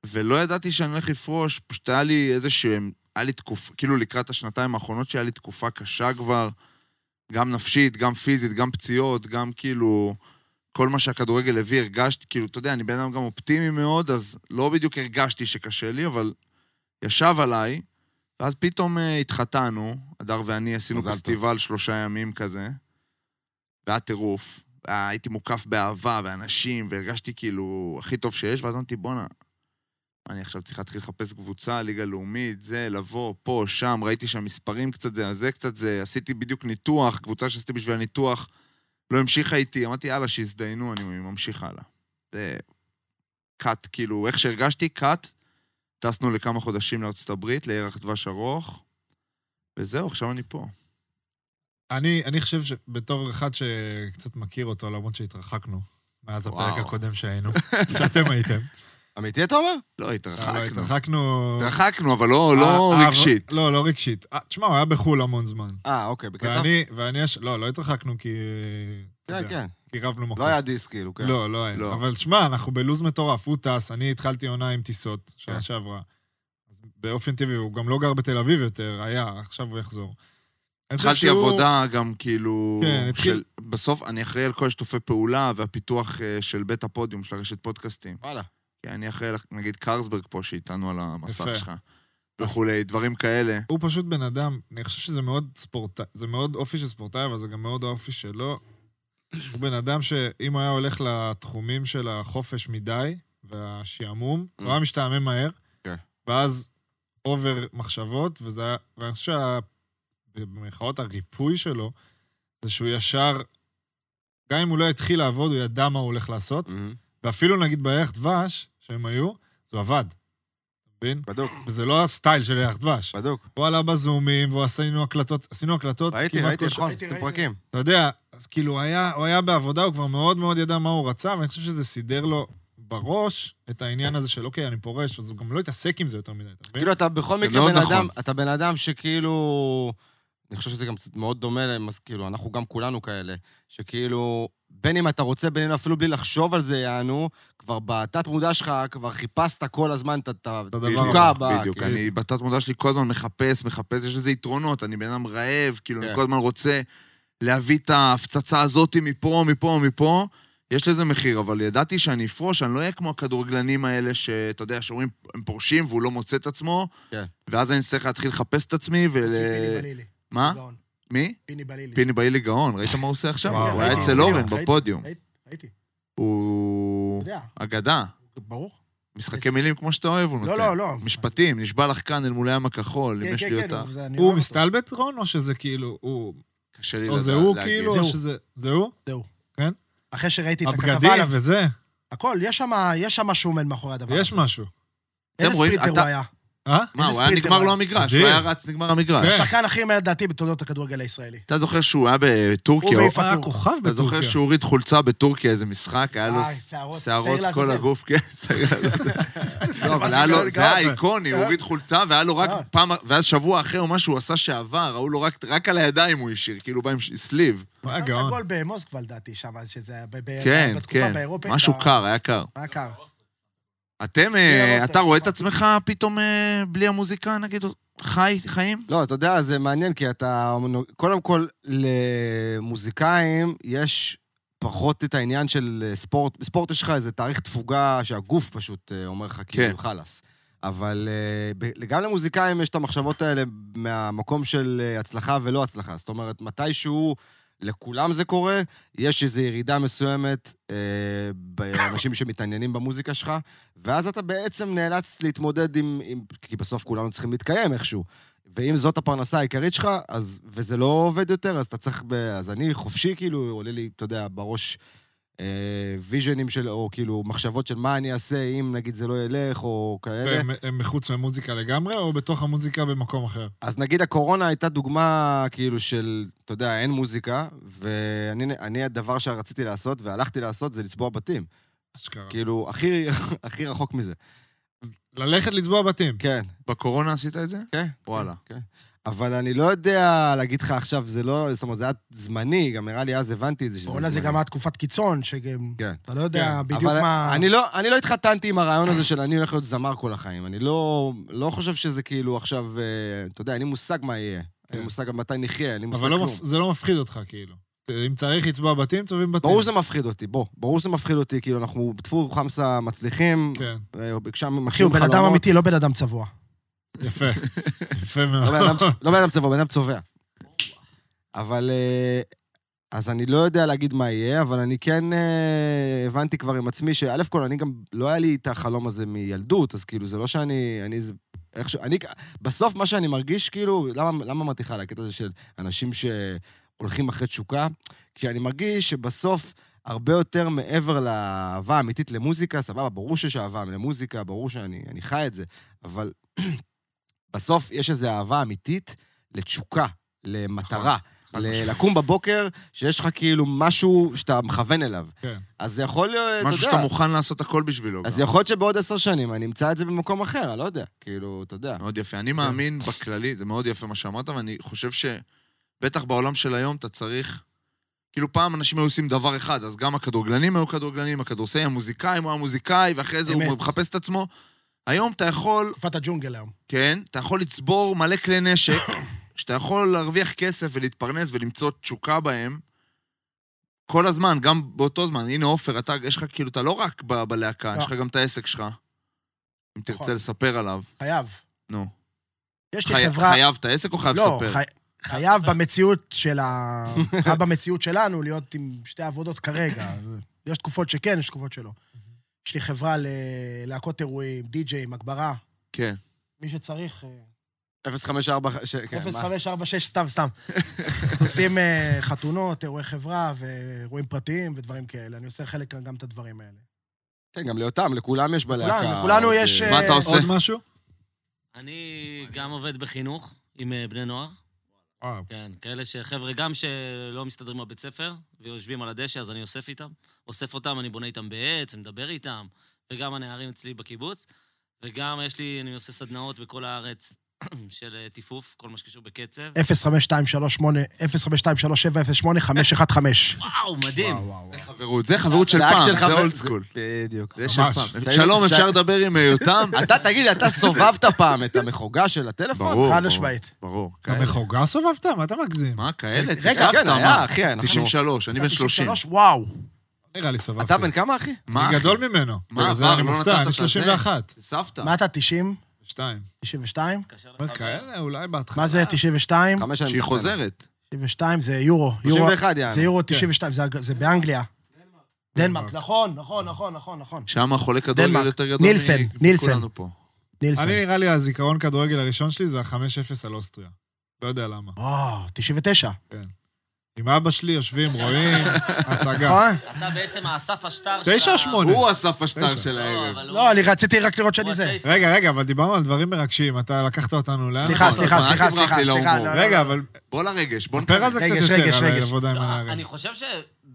[SPEAKER 2] ולא ידעתי שאני הולך לפרוש, פשוט היה לי איזה שהם, היה לי תקופה, כאילו לקראת השנתיים האחרונות שהיה לי תקופה קשה כבר, גם נפשית, גם פיזית, גם פציעות, גם כאילו, כל מה שהכדורגל הביא, הרגשתי, כאילו, אתה יודע, אני בן אדם גם אופטימי מאוד, אז לא בדיוק הרגשתי שקשה לי, אבל ישב עליי, ואז פתאום אה, התחתנו, הדר ואני עשינו
[SPEAKER 3] מזל טוב.
[SPEAKER 2] פסטיבל שלושה ימים כזה, והיה טירוף. והיה- הייתי מוקף באהבה ואנשים, והרגשתי כאילו הכי טוב שיש, ואז אמרתי, בואנה, אני עכשיו צריך להתחיל לחפש קבוצה, ליגה לאומית, זה, לבוא, פה, שם, ראיתי שהמספרים קצת זה, זה קצת זה, עשיתי בדיוק ניתוח, קבוצה שעשיתי בשביל הניתוח, לא המשיכה איתי, אמרתי, יאללה, שיזדיינו, אני ממשיך הלאה. זה קאט, כאילו, איך שהרגשתי, קאט, טסנו לכמה חודשים לארצות הברית, לירח דבש ארוך, וזהו, עכשיו אני פה.
[SPEAKER 1] אני, אני חושב שבתור אחד שקצת מכיר אותו, למרות שהתרחקנו מאז
[SPEAKER 2] וואו.
[SPEAKER 1] הפרק הקודם שהיינו, שאתם הייתם.
[SPEAKER 3] אמיתי אתה אומר?
[SPEAKER 2] לא,
[SPEAKER 1] אבל
[SPEAKER 2] התרחקנו.
[SPEAKER 1] אה, התרחקנו...
[SPEAKER 2] התרחקנו, אבל לא, לא
[SPEAKER 1] אה, אה,
[SPEAKER 2] רגשית.
[SPEAKER 1] לא, לא רגשית. אה, תשמע, הוא היה בחו"ל המון זמן.
[SPEAKER 3] אה, אוקיי, בקטע...
[SPEAKER 1] ואני, ואני, יש- לא, לא התרחקנו כי... אתה
[SPEAKER 3] כן,
[SPEAKER 1] יודע,
[SPEAKER 3] כן.
[SPEAKER 1] כי רבנו מכות.
[SPEAKER 3] לא היה דיס, כאילו, כן.
[SPEAKER 1] אוקיי. לא, לא היה.
[SPEAKER 2] לא.
[SPEAKER 1] אבל שמע, אנחנו בלוז מטורף. הוא טס, אני התחלתי עונה עם טיסות, שנה
[SPEAKER 3] כן.
[SPEAKER 1] שעברה. אז באופן טבעי, הוא גם לא גר בתל אביב יותר, היה, עכשיו הוא יחזור. אני חושב
[SPEAKER 2] התחלתי
[SPEAKER 1] שהוא-
[SPEAKER 2] עבודה גם כאילו...
[SPEAKER 1] כן, התחיל-
[SPEAKER 2] של- בסוף אני אחראי על כל השתופי פעולה והפיתוח אה, של בית הפודיום של הרשת פודקאסטים.
[SPEAKER 3] וואלה.
[SPEAKER 2] כי אני אחראי, לך- נגיד, קרסברג פה, שאיתנו על המסך
[SPEAKER 1] יפה.
[SPEAKER 2] שלך. וכולי, דברים כאלה.
[SPEAKER 1] הוא פשוט בן אדם, אני חושב שזה מאוד ספורטאי, זה מאוד אופי של ספורטאי, אבל זה גם מאוד האופי שלו. הוא בן אדם שאם הוא היה הולך לתחומים של החופש מדי, והשעמום, הוא היה משתעמם מהר,
[SPEAKER 3] כן.
[SPEAKER 1] ואז אובר מחשבות, וזה היה, ואני חושב שה... במירכאות הריפוי שלו, זה שהוא ישר גם אם הוא לא התחיל לעבוד, הוא ידע מה הוא הולך לעשות.
[SPEAKER 3] מהמם.
[SPEAKER 1] ואפילו נגיד בירח דבש, שהם היו, זה עבד. מבין?
[SPEAKER 3] בדוק,
[SPEAKER 1] וזה לא הסטייל של ירח דבש.
[SPEAKER 3] בדוק.
[SPEAKER 1] הוא עלה בזומים, והוא עשינו הקלטות, עשינו הקלטות
[SPEAKER 3] ראיתי,
[SPEAKER 1] כמעט
[SPEAKER 3] ראיתי,
[SPEAKER 1] כל
[SPEAKER 3] נכון,
[SPEAKER 4] ראיתי,
[SPEAKER 3] עשיתם
[SPEAKER 4] ראיתי.
[SPEAKER 3] פרקים.
[SPEAKER 1] אתה יודע, אז כאילו, הוא היה, הוא היה בעבודה, הוא כבר מאוד מאוד ידע מה הוא רצה, ואני חושב שזה סידר לו בראש את העניין הזה של, אוקיי, אני פורש, אז הוא גם לא התעסק עם זה יותר מדי, אתה מבין?
[SPEAKER 3] כאילו, אתה בכל
[SPEAKER 2] לא
[SPEAKER 3] מקרה בן
[SPEAKER 2] נכון.
[SPEAKER 3] אדם, אתה בן אדם שכאילו... אני חושב שזה גם קצת מאוד דומה להם, אז כאילו, אנחנו גם כולנו כאלה, שכאילו, בין אם אתה רוצה, בין אם אפילו בלי לחשוב על זה, יענו, כבר בתת-מודע שלך, כבר חיפשת כל הזמן את- את
[SPEAKER 1] הדבר
[SPEAKER 3] התשוקה הבאה.
[SPEAKER 2] בדיוק,
[SPEAKER 3] כאילו.
[SPEAKER 2] אני בתת מודע שלי כל הזמן מחפש, מחפש, יש לזה יתרונות, אני בן אדם רעב, כאילו,
[SPEAKER 3] כן.
[SPEAKER 2] אני כל הזמן רוצה להביא את ההפצצה הזאת מפה, מפה, מפה. יש לזה מחיר, אבל ידעתי שאני אפרוש, אני לא אהיה כמו הכדורגלנים האלה שאתה יודע, שאומרים, הם פורשים והוא לא מוצא את עצמו,
[SPEAKER 3] כן.
[SPEAKER 2] ואז אני אצטרך להתחיל לחפש את עצמי ול...
[SPEAKER 4] פיני בלילי.
[SPEAKER 2] אה, מה?
[SPEAKER 4] גאון.
[SPEAKER 2] מי?
[SPEAKER 4] פיני בלילי.
[SPEAKER 2] פיני בעילי גאון, ראית מה הוא עושה עכשיו?
[SPEAKER 1] וואו,
[SPEAKER 2] הוא היה
[SPEAKER 1] ראיתי,
[SPEAKER 2] אצל אורן
[SPEAKER 4] ראיתי,
[SPEAKER 2] בפודיום.
[SPEAKER 4] ראיתי, ראיתי, אתה
[SPEAKER 2] הוא
[SPEAKER 4] יודע,
[SPEAKER 2] אגדה.
[SPEAKER 4] ברור.
[SPEAKER 2] משחקי מילים כמו שאתה אוהב, הוא
[SPEAKER 4] לא,
[SPEAKER 2] נותן.
[SPEAKER 4] לא, לא.
[SPEAKER 2] משפטים, נשבע לך כאן אל מול הים הכחול, אם
[SPEAKER 4] כן,
[SPEAKER 2] יש
[SPEAKER 4] כן,
[SPEAKER 2] לי
[SPEAKER 4] כן,
[SPEAKER 2] אותה.
[SPEAKER 4] זה- אני אוהב
[SPEAKER 1] הוא
[SPEAKER 4] אותו.
[SPEAKER 1] מסתלבט, רון, או שזה כאילו, הוא...
[SPEAKER 2] קשה לי
[SPEAKER 1] או
[SPEAKER 2] לדעת
[SPEAKER 1] זה הוא
[SPEAKER 2] לא, להגיד.
[SPEAKER 1] כאילו,
[SPEAKER 4] זה
[SPEAKER 1] או
[SPEAKER 4] הוא.
[SPEAKER 1] שזה... זה הוא?
[SPEAKER 4] אחרי שראיתי את הכתבה
[SPEAKER 1] הבגדים
[SPEAKER 4] עליו,
[SPEAKER 1] וזה,
[SPEAKER 4] הכל, יש שם, יש שם שמן מאחורי הדבר הזה.
[SPEAKER 1] יש משהו.
[SPEAKER 4] איזה
[SPEAKER 2] אתם רואים,
[SPEAKER 4] ספרינטר
[SPEAKER 2] אתה-
[SPEAKER 4] הוא היה.
[SPEAKER 1] אה?
[SPEAKER 2] מה,
[SPEAKER 4] איזה
[SPEAKER 2] הוא היה
[SPEAKER 4] ספרינטר
[SPEAKER 2] נגמר
[SPEAKER 4] הוא
[SPEAKER 2] לו
[SPEAKER 4] היה.
[SPEAKER 2] המגרש,
[SPEAKER 1] אדיר.
[SPEAKER 2] הוא היה רץ, נגמר המגרש.
[SPEAKER 1] כן.
[SPEAKER 4] השחקן הכי מהר לדעתי בתולדות הכדורגל הישראלי.
[SPEAKER 1] אה,
[SPEAKER 2] אתה זוכר שהוא היה בטורקיה,
[SPEAKER 4] הוא
[SPEAKER 2] או-
[SPEAKER 4] ואיפה-
[SPEAKER 1] היה
[SPEAKER 4] פטור.
[SPEAKER 1] כוכב
[SPEAKER 2] אתה זוכר
[SPEAKER 1] בטורקיה.
[SPEAKER 2] שהוא הוריד חולצה בטורקיה, איזה משחק, היה לו
[SPEAKER 4] אה, שערות,
[SPEAKER 2] שערות
[SPEAKER 4] שעיר לעזאזל.
[SPEAKER 2] כל הגוף, כן, *laughs* שעיר
[SPEAKER 4] *laughs*
[SPEAKER 2] לעזאזל. לא, אבל היה לו, זה היה איקוני, הוא הוריד חולצה, והיה לו רק
[SPEAKER 4] אה.
[SPEAKER 2] פעם, ואז שבוע אחרי או משהו, הוא עשה שעבר, ראו לו רק- רק על הידיים הוא השאיר, כאילו בא עם ש- סליב.
[SPEAKER 1] הוא היה
[SPEAKER 4] נתן את
[SPEAKER 1] גאון.
[SPEAKER 4] הגול במוסקבה לדעתי שם, אז שזה היה ב- ב-
[SPEAKER 2] כן,
[SPEAKER 4] בתקופה
[SPEAKER 2] כן,
[SPEAKER 4] באירופית.
[SPEAKER 2] משהו
[SPEAKER 4] ה-
[SPEAKER 2] קר, היה קר.
[SPEAKER 4] היה קר.
[SPEAKER 2] אתם, אה,
[SPEAKER 4] רוסטר,
[SPEAKER 2] אתה רואה את
[SPEAKER 4] סליחה.
[SPEAKER 2] עצמך פתאום אה, בלי המוזיקה, נגיד, חי, חיים?
[SPEAKER 3] לא, אתה יודע, זה מעניין, כי אתה... קודם כל, למוזיקאים יש פחות את העניין של אה, ספורט. בספורט יש לך איזה תאריך תפוגה שהגוף פשוט אה, אומר לך, כאילו, חלאס. אבל אה, ב- גם למוזיקאים יש את המחשבות האלה מהמקום של אה, הצלחה ולא הצלחה. זאת אומרת, מתישהו, לכולם זה קורה, יש איזו ירידה מסוימת אה, באנשים שמתעניינים במוזיקה שלך, ואז אתה בעצם נאלץ להתמודד עם, עם... כי בסוף כולנו צריכים להתקיים איכשהו. ואם זאת הפרנסה העיקרית שלך, אז, וזה לא עובד יותר, אז אתה צריך... ב, אז אני חופשי, כאילו, עולה לי, אתה יודע, בראש אה, ויז'נים של, או כאילו, מחשבות של מה אני אעשה אם, נגיד, זה לא ילך, או כאלה.
[SPEAKER 1] והם- הם מחוץ למוזיקה לגמרי, או בתוך המוזיקה במקום אחר?
[SPEAKER 3] אז נגיד הקורונה הייתה דוגמה כאילו של, אתה יודע, אין מוזיקה, ואני אני הדבר שרציתי לעשות והלכתי לעשות זה לצבוע בתים.
[SPEAKER 1] אשכרה.
[SPEAKER 3] כאילו, הכי, הכי רחוק מזה.
[SPEAKER 1] ללכת לצבוע בתים.
[SPEAKER 3] כן,
[SPEAKER 2] בקורונה עשית את זה?
[SPEAKER 3] כן.
[SPEAKER 2] וואלה.
[SPEAKER 3] כן. אבל אני לא יודע להגיד לך עכשיו, זה לא, זאת אומרת, זה היה זמני, גם נראה לי אז הבנתי את זה שזה זמני.
[SPEAKER 4] בעונה זה גם היה תקופת קיצון, שגם...
[SPEAKER 3] כן.
[SPEAKER 4] אתה לא יודע
[SPEAKER 1] כן,
[SPEAKER 4] בדיוק
[SPEAKER 3] אבל
[SPEAKER 4] מה...
[SPEAKER 3] אני לא, אני לא התחתנתי עם הרעיון הזה של אני הולך להיות זמר כל החיים. אני לא, לא חושב שזה כאילו עכשיו, אה, אתה יודע, אין לי מושג מה יהיה. אין לי מושג גם מתי נחיה, אין לי מושג
[SPEAKER 1] אבל לא
[SPEAKER 3] כלום.
[SPEAKER 1] מפ- זה לא מפחיד אותך, כאילו. אם צריך לצבוע בתים, צובעים בתים.
[SPEAKER 3] ברור שזה מפחיד אותי, בוא. ברור שזה מפחיד אותי, כאילו, אנחנו טפו חמסה מצליחים,
[SPEAKER 1] כן,
[SPEAKER 3] אה, שם
[SPEAKER 4] אחי, הוא
[SPEAKER 3] מכירים
[SPEAKER 4] בן
[SPEAKER 3] חלומות.
[SPEAKER 4] אדם אמיתי, לא בן אדם צבוע.
[SPEAKER 1] יפה. יפה
[SPEAKER 3] לא בן אדם
[SPEAKER 1] מאוד.
[SPEAKER 3] צ- לא בן אדם צבוע, בן אדם צובע. אבל... אה, אז אני לא יודע להגיד מה יהיה, אבל אני כן אה, הבנתי כבר עם עצמי שא' כל, אני גם, לא היה לי את החלום הזה מילדות, אז כאילו, זה לא שאני, אני איזה... איך ש... אני, בסוף מה שאני מרגיש, כאילו, למה, למה אמרתי לך על הקטע הזה של אנשים שהולכים אחרי תשוקה? כי אני מרגיש שבסוף, הרבה יותר מעבר לאהבה האמיתית למוזיקה, סבבה, ברור שיש אהבה למוזיקה, ברור שאני אני חי את זה, אבל *clears throat* בסוף יש איזו אהבה אמיתית לתשוקה, למטרה.
[SPEAKER 2] נכון.
[SPEAKER 3] ל- לקום בבוקר, שיש לך כאילו משהו שאתה מכוון אליו.
[SPEAKER 1] כן.
[SPEAKER 3] אז זה יכול להיות, אתה יודע...
[SPEAKER 2] משהו שאתה מוכן לעשות הכל בשבילו.
[SPEAKER 3] אז
[SPEAKER 2] גם.
[SPEAKER 3] יכול להיות שבעוד עשר שנים אני אמצא את זה במקום אחר, אני לא יודע. כאילו, אתה יודע.
[SPEAKER 2] מאוד יפה. אני מאמין בכללי, זה מאוד יפה מה שאמרת, ואני חושב שבטח בעולם של היום אתה צריך... כאילו פעם אנשים היו עושים דבר אחד, אז גם הכדורגלנים היו כדורגלנים, הכדורסאים, המוזיקאים, הוא היה מוזיקאי, ואחרי זה הוא
[SPEAKER 4] אמת.
[SPEAKER 2] מחפש את עצמו. היום אתה יכול,
[SPEAKER 4] תקופת הג'ונגל היום.
[SPEAKER 2] כן, אתה יכול לצבור מלא כלי נשק, *coughs* שאתה יכול להרוויח כסף ולהתפרנס ולמצוא תשוקה בהם. כל הזמן, גם באותו זמן. הנה, עופר, אתה, יש לך כאילו, אתה לא רק ב- בלהקה,
[SPEAKER 4] לא.
[SPEAKER 2] יש לך גם את העסק שלך. אם תרצה
[SPEAKER 4] נכון.
[SPEAKER 2] לספר עליו.
[SPEAKER 4] חייב.
[SPEAKER 2] נו.
[SPEAKER 4] יש
[SPEAKER 2] חי-
[SPEAKER 4] לי חברה...
[SPEAKER 2] חייב את העסק או חייב
[SPEAKER 4] לא,
[SPEAKER 2] לספר?
[SPEAKER 4] חי- חייב במציאות של ה... חייב במציאות שלנו להיות עם שתי עבודות כרגע. יש תקופות שכן, יש תקופות שלא. יש לי חברה ללהקות אירועים, די-ג'יי, מגברה,
[SPEAKER 2] כן.
[SPEAKER 4] מי שצריך... אה,
[SPEAKER 3] 0546, ש- כן, מה?
[SPEAKER 4] 0546,
[SPEAKER 2] *laughs*
[SPEAKER 4] סתם, סתם. עושים אה, חתונות, אירועי חברה ואירועים פרטיים ודברים כאלה. אני עושה חלק גם את הדברים האלה.
[SPEAKER 3] כן, גם ליותם, לכולם יש בלהקה.
[SPEAKER 4] לכולנו
[SPEAKER 3] עוד,
[SPEAKER 4] יש,
[SPEAKER 3] אה,
[SPEAKER 2] מה אתה עושה?
[SPEAKER 1] עוד משהו?
[SPEAKER 5] אני גם עובד בחינוך עם אה, בני נוער.
[SPEAKER 1] וואו.
[SPEAKER 5] כן, כאלה שחבר'ה גם שלא מסתדרים בבית ספר, ויושבים על הדשא, אז אני אוסף איתם. אוסף אותם, אני בונה איתם בעץ, אני מדבר איתם, וגם הנערים אצלי בקיבוץ. וגם יש לי, אני עושה סדנאות בכל הארץ *clears throat* של אה, טיפוף, כל מה שקשור
[SPEAKER 1] אה,
[SPEAKER 5] בקצב.
[SPEAKER 4] 05238-05237-08515.
[SPEAKER 5] וואו, מדהים.
[SPEAKER 2] חברות, זה חברות של
[SPEAKER 3] זה רק
[SPEAKER 2] פעם,
[SPEAKER 3] שלך
[SPEAKER 2] זה
[SPEAKER 3] ו-
[SPEAKER 2] אולד סקול.
[SPEAKER 3] בדיוק.
[SPEAKER 2] זה של
[SPEAKER 1] ממש.
[SPEAKER 2] פעם. שלום, אפשר לדבר עם אה,
[SPEAKER 3] *laughs*
[SPEAKER 2] יותם?
[SPEAKER 3] אתה, תגיד, אתה סובבת פעם את המחוגה של הטלפון?
[SPEAKER 2] ברור.
[SPEAKER 4] חד
[SPEAKER 2] ברור,
[SPEAKER 4] משמעית.
[SPEAKER 2] ברור. כאלה.
[SPEAKER 1] במחוגה סובבת? מה אתה מגזים?
[SPEAKER 2] מה, כאלה?
[SPEAKER 3] רגע,
[SPEAKER 2] סבתא,
[SPEAKER 3] כן, היה,
[SPEAKER 2] מה?
[SPEAKER 3] אחי, אנחנו...
[SPEAKER 2] 93, אני בן 30.
[SPEAKER 4] 93, וואו.
[SPEAKER 1] נראה לי סובבתי.
[SPEAKER 3] אתה בן כמה, אחי?
[SPEAKER 2] מה,
[SPEAKER 1] אני
[SPEAKER 2] אחי?
[SPEAKER 1] גדול ממנו.
[SPEAKER 2] מה,
[SPEAKER 1] בגלל זה
[SPEAKER 2] בר,
[SPEAKER 1] אני
[SPEAKER 2] לא
[SPEAKER 1] מופתע,
[SPEAKER 2] נתת את
[SPEAKER 1] אני
[SPEAKER 2] הזה?
[SPEAKER 1] 31.
[SPEAKER 2] סבתא.
[SPEAKER 4] מה אתה, 90?
[SPEAKER 1] 2.
[SPEAKER 4] 92?
[SPEAKER 5] מתקשר
[SPEAKER 1] אומר,
[SPEAKER 5] לחבר.
[SPEAKER 1] כאלה, אולי בהתחלה.
[SPEAKER 4] מה זה 92?
[SPEAKER 3] חמש שנים. כן.
[SPEAKER 2] שהיא חוזרת.
[SPEAKER 4] 92 זה יורו. יורו-
[SPEAKER 3] 91 יענו.
[SPEAKER 4] זה יורו 92, זה- זה באנגליה. דנמרק, נכון, נכון, נכון, נכון, נכון.
[SPEAKER 2] שם החולה כדורגל
[SPEAKER 4] דנמרק.
[SPEAKER 2] יותר גדול
[SPEAKER 4] נילסן,
[SPEAKER 2] מכולנו
[SPEAKER 4] נילסן.
[SPEAKER 2] פה.
[SPEAKER 4] נילסון.
[SPEAKER 1] אני נראה לי הזיכרון כדורגל הראשון שלי זה ה-5-0 על אוסטריה. לא יודע למה.
[SPEAKER 4] וואו, 99.
[SPEAKER 1] עם אבא שלי יושבים, רואים, הצגה.
[SPEAKER 4] נכון?
[SPEAKER 5] אתה בעצם האסף השטר של ה...
[SPEAKER 1] תשע שמונה.
[SPEAKER 2] הוא אסף השטר
[SPEAKER 1] תשע.
[SPEAKER 2] של
[SPEAKER 5] לא,
[SPEAKER 2] הערב.
[SPEAKER 5] אבל הוא-
[SPEAKER 4] לא, אני רציתי רק לראות
[SPEAKER 5] הוא
[SPEAKER 4] שאני זה.
[SPEAKER 5] הצ'ייסר.
[SPEAKER 1] רגע, רגע, אבל דיברנו על דברים מרגשים, אתה לקחת אותנו לאן?
[SPEAKER 4] סליחה, סליחה,
[SPEAKER 2] אל
[SPEAKER 4] סליחה,
[SPEAKER 2] תברח
[SPEAKER 4] סליחה,
[SPEAKER 2] לי
[SPEAKER 4] סליחה.
[SPEAKER 2] להומור.
[SPEAKER 4] לא, לא,
[SPEAKER 1] רגע,
[SPEAKER 4] לא.
[SPEAKER 1] אבל
[SPEAKER 2] בוא לרגש, בוא
[SPEAKER 1] ספר על זה
[SPEAKER 2] נקרב.
[SPEAKER 1] קצת
[SPEAKER 4] רגש, רגש,
[SPEAKER 1] יותר, על
[SPEAKER 4] רגש.
[SPEAKER 1] עבודה עם הנערים.
[SPEAKER 5] אני חושב